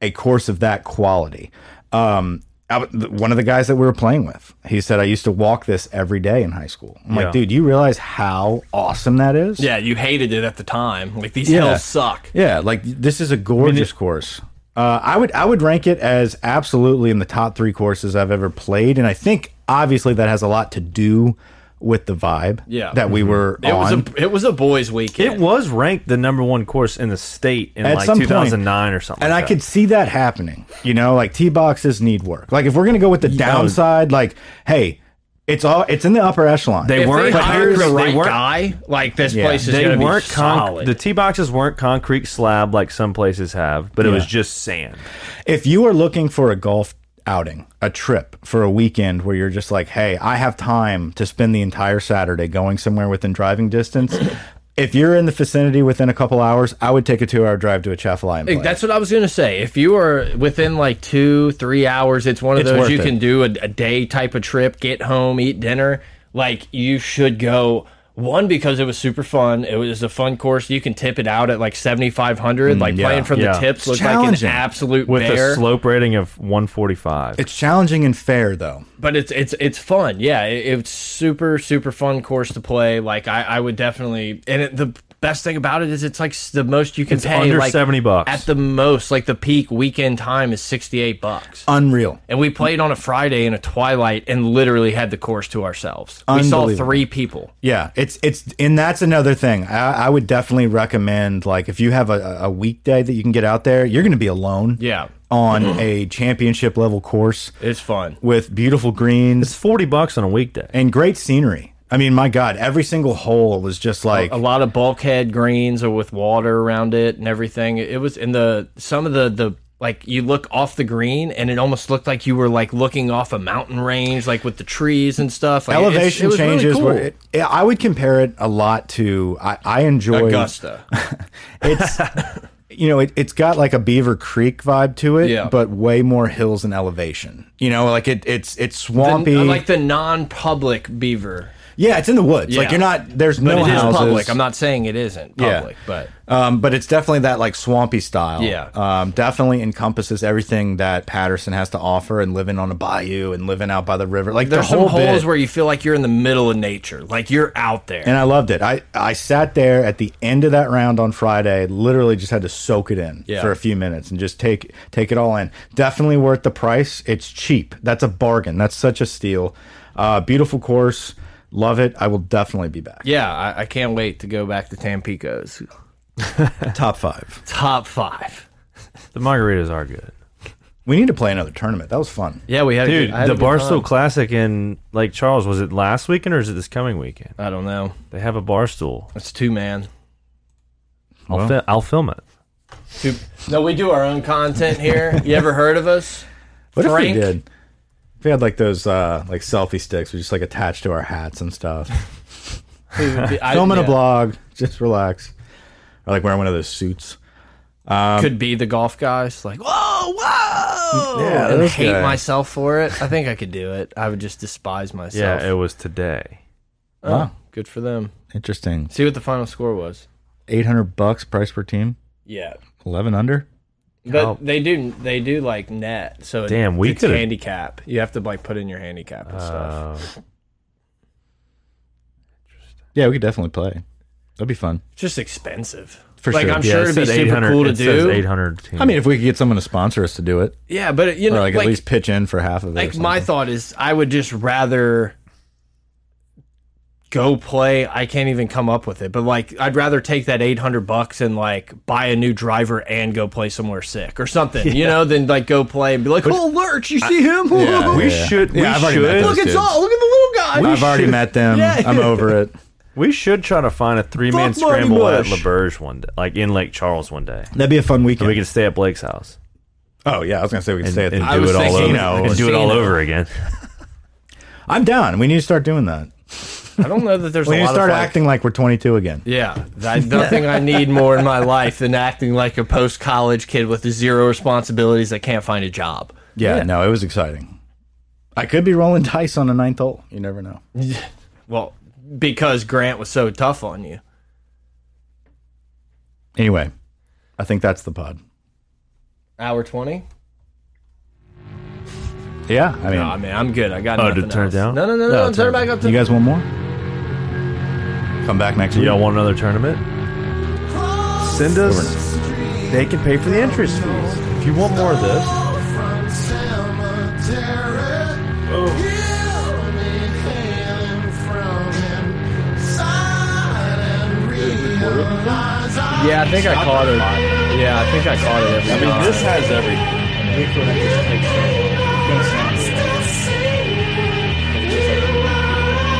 Speaker 1: a course of that quality. Um, I w- th- one of the guys that we were playing with, he said, I used to walk this every day in high school. I'm
Speaker 3: Yeah.
Speaker 1: like, dude, you realize how awesome that is?
Speaker 2: yeah, you hated it at the time. Like these
Speaker 1: Yeah.
Speaker 2: hills suck.
Speaker 1: Yeah, like this is a gorgeous course. Uh, I would I would rank it as absolutely in the top three courses I've ever played, and I think obviously that has a lot to do with the vibe
Speaker 2: Yeah.
Speaker 1: that we were
Speaker 2: It was
Speaker 1: on.
Speaker 2: a it was a boys' weekend.
Speaker 3: It was ranked the number one course in the state in
Speaker 1: At
Speaker 3: like
Speaker 1: some point.
Speaker 3: 2009 or something.
Speaker 1: and
Speaker 3: like
Speaker 1: I
Speaker 3: that.
Speaker 1: could see that happening. You know, like tee boxes need work. Like if we're gonna go with the
Speaker 2: oh.
Speaker 1: downside, like hey, it's all it's in the upper echelon.
Speaker 3: They
Speaker 2: if
Speaker 3: weren't-
Speaker 2: they
Speaker 3: but
Speaker 2: hired
Speaker 3: here's-
Speaker 2: the
Speaker 3: they
Speaker 2: right
Speaker 3: weren't-
Speaker 2: guy, like this
Speaker 1: Yeah.
Speaker 2: place is
Speaker 3: They
Speaker 2: going to be
Speaker 3: weren't
Speaker 2: solid.
Speaker 3: con- the tee boxes weren't concrete slab like some places have, but it
Speaker 1: Yeah.
Speaker 3: was just sand.
Speaker 1: if you are looking for a golf outing, a trip for a weekend where you're just like, hey, I have time to spend the entire Saturday going somewhere within driving distance. if you're in the vicinity within a couple hours, I would take a two hour drive to a Chaffalaya.
Speaker 2: Like, That's what I was gonna say. If you are within like two, three hours, it's one of
Speaker 1: It's
Speaker 2: those
Speaker 1: worth
Speaker 2: you
Speaker 1: it.
Speaker 2: can do a, a day type of trip, get home, eat dinner. Like you should go one because it was super fun. It was a fun course. You can tip it out at like seventy five hundred. like playing from
Speaker 3: Mm, yeah.
Speaker 2: the tips looks like an
Speaker 1: challenging.
Speaker 2: absolute
Speaker 3: with
Speaker 2: bear.
Speaker 3: a slope rating of 145.
Speaker 1: it's challenging and fair though.
Speaker 2: but it's it's it's fun. Yeah, it, it's super super fun course to play. Like I, I would definitely and it, the best thing about it is it's like s- the most you can
Speaker 3: It's
Speaker 2: pay
Speaker 3: under
Speaker 2: like,
Speaker 3: 70 bucks.
Speaker 2: at the most. Like the peak weekend time is sixty eight bucks.
Speaker 1: Unreal.
Speaker 2: And we played on a Friday in a twilight and literally had the course to ourselves. We saw
Speaker 1: Unbelievable.
Speaker 2: three people.
Speaker 1: Yeah, it's it's and that's another thing. I, I would definitely recommend like if you have a, a weekday that you can get out there, you're going to be alone.
Speaker 2: Yeah.
Speaker 1: on a championship level course
Speaker 2: It's fun.
Speaker 1: with beautiful
Speaker 3: It's
Speaker 1: greens
Speaker 3: 40 bucks on a weekday.
Speaker 1: and great scenery. I mean, my God, every single hole was just like
Speaker 2: A lot of bulkhead greens or with water around it and everything. It was in the some of the the like you look off the green and it almost looked like you were like looking off a mountain range, like with the trees and stuff. Like, it's-
Speaker 1: elevation
Speaker 2: it was really
Speaker 1: changes.
Speaker 2: cool.
Speaker 1: were, it, yeah, I would compare it a lot to I, I enjoy
Speaker 2: Augusta.
Speaker 1: It's you know it, it's got like a Beaver Creek vibe to it,
Speaker 2: Yeah.
Speaker 1: but way more hills and elevation. You know, like it it's it's swampy.
Speaker 2: The- uh, like the non public beaver.
Speaker 1: yeah, it's in the woods.
Speaker 2: Yeah.
Speaker 1: Like you're not there's
Speaker 2: But
Speaker 1: no
Speaker 2: it is
Speaker 1: houses.
Speaker 2: public. I'm not saying it isn't
Speaker 1: Yeah.
Speaker 2: public, but
Speaker 1: Um, but it's definitely that like swampy style.
Speaker 2: Yeah.
Speaker 1: Um, definitely encompasses everything that Patterson has to offer and living on a bayou and living out by the river. Like
Speaker 2: there's
Speaker 1: the
Speaker 2: some
Speaker 1: whole
Speaker 2: holes
Speaker 1: bit.
Speaker 2: where you feel like you're in the middle of nature. Like you're out there.
Speaker 1: and I loved it. I, I sat there at the end of that round on Friday, literally just had to soak it in
Speaker 2: Yeah.
Speaker 1: for a few minutes and just take take it all in. Definitely worth the price. It's cheap. That's a bargain. That's such a steal. Uh, beautiful course. Love it. I will definitely be back.
Speaker 2: Yeah, I, I can't wait to go back to Tampico's.
Speaker 1: Top five.
Speaker 2: Top five.
Speaker 3: The margaritas are good.
Speaker 1: We need to play another tournament. That was fun.
Speaker 2: Yeah, we had
Speaker 3: Dude,
Speaker 2: a good, I had
Speaker 3: the
Speaker 2: a good time.
Speaker 3: Barstool Classic in Lake Charles, was it last weekend or is it this coming weekend?
Speaker 2: I don't know.
Speaker 3: They have a Barstool.
Speaker 2: It's two man.
Speaker 3: I'll,
Speaker 1: Well.
Speaker 3: fi- I'll film it.
Speaker 2: Two. No, we do our own content here. You ever heard of us?
Speaker 1: What
Speaker 2: Frank?
Speaker 1: if we did? If we had like those uh, like selfie sticks, we just like attached to our hats and stuff.
Speaker 2: I,
Speaker 1: Filming
Speaker 2: yeah,
Speaker 1: a blog, just relax. Or like wearing one of those suits.
Speaker 2: could be the golf guys. Like whoa, whoa.
Speaker 1: Yeah,
Speaker 2: and
Speaker 1: those
Speaker 2: hate
Speaker 1: guys.
Speaker 2: myself for it. I think I could do it. I would just despise myself.
Speaker 3: Yeah, it was today.
Speaker 2: Oh,
Speaker 1: Wow.
Speaker 2: Good for them.
Speaker 1: Interesting.
Speaker 2: See what the final score was.
Speaker 1: Eight hundred bucks price per team.
Speaker 2: Yeah.
Speaker 1: Eleven under.
Speaker 2: But
Speaker 3: How-
Speaker 2: they do they do like net, so it-
Speaker 3: Oh. Damn, we
Speaker 2: it's
Speaker 3: could've-
Speaker 2: handicap. You have to like put in your handicap and stuff.
Speaker 3: Uh,
Speaker 1: Yeah, we could definitely play. That'd be fun.
Speaker 2: It's just expensive.
Speaker 1: For
Speaker 2: like
Speaker 1: sure.
Speaker 2: I'm
Speaker 3: yeah,
Speaker 2: sure
Speaker 3: it
Speaker 2: it'd be
Speaker 3: says
Speaker 2: super
Speaker 3: 800
Speaker 2: cool to
Speaker 3: it says
Speaker 2: do.
Speaker 3: 800 team.
Speaker 1: I mean, if we could get someone to sponsor us to do it,
Speaker 2: Yeah, but you know,
Speaker 1: or like,
Speaker 2: like,
Speaker 1: at least pitch in for half of it. or
Speaker 2: like my
Speaker 1: something.
Speaker 2: thought is, I would just rather go play. I can't even come up with it, but like I'd rather take that eight hundred bucks and like buy a new driver and go play somewhere sick or something, you know, than like go play and be like, oh, lurch, you see him?
Speaker 1: Yeah, yeah,
Speaker 3: we
Speaker 1: yeah.
Speaker 3: should- we
Speaker 1: Yeah, I've already met those
Speaker 3: should-
Speaker 2: Look, it's
Speaker 1: dudes.
Speaker 2: all. Look at the little guy.
Speaker 1: I've already met them.
Speaker 2: Yeah.
Speaker 1: I'm over it.
Speaker 3: we should try to find a three man
Speaker 2: Fuck Marty
Speaker 3: scramble at
Speaker 2: Bush.
Speaker 3: LaBerge one day, like in Lake Charles one day.
Speaker 1: That'd be a fun
Speaker 3: So
Speaker 1: weekend.
Speaker 3: we could stay at Blake's house
Speaker 1: oh yeah, I was gonna say we could
Speaker 3: and,
Speaker 1: stay at the
Speaker 3: and
Speaker 2: I
Speaker 3: do
Speaker 2: was
Speaker 3: it all
Speaker 2: thinking,
Speaker 3: over,
Speaker 2: like, a
Speaker 3: and do it all
Speaker 2: casino.
Speaker 3: over again.
Speaker 1: I'm down. We need to start doing that.
Speaker 2: I don't know that there's
Speaker 1: We
Speaker 2: a
Speaker 1: need
Speaker 2: lot
Speaker 1: to start
Speaker 2: of like,
Speaker 1: acting like we're 22 again.
Speaker 2: Yeah, I, nothing I need more in my life than acting like a post college kid with zero responsibilities that can't find a job.
Speaker 1: Yeah, no, it was exciting. I could be rolling dice on a ninth hole. You never know.
Speaker 2: Well, because Grant was so tough on you.
Speaker 1: Anyway, I think that's the pod.
Speaker 2: Hour 20?
Speaker 1: Yeah, I mean,
Speaker 2: Nah, man, I'm good. I got
Speaker 3: Oh,
Speaker 2: nothing
Speaker 3: to turn it
Speaker 2: else.
Speaker 3: down?
Speaker 2: No, no, no,
Speaker 3: No,
Speaker 2: no.
Speaker 3: turn
Speaker 2: turn
Speaker 3: it
Speaker 2: it back up to
Speaker 1: you guys want more? Come back next
Speaker 3: Do
Speaker 1: week.
Speaker 3: y'all want another tournament? Send us. They can pay for the interest fees. If you want more of this,
Speaker 2: Yeah, I think I caught it. Yeah, I think I caught it. Every I mean, this has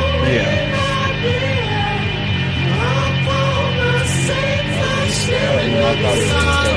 Speaker 2: everything. Yeah.
Speaker 4: Yeah.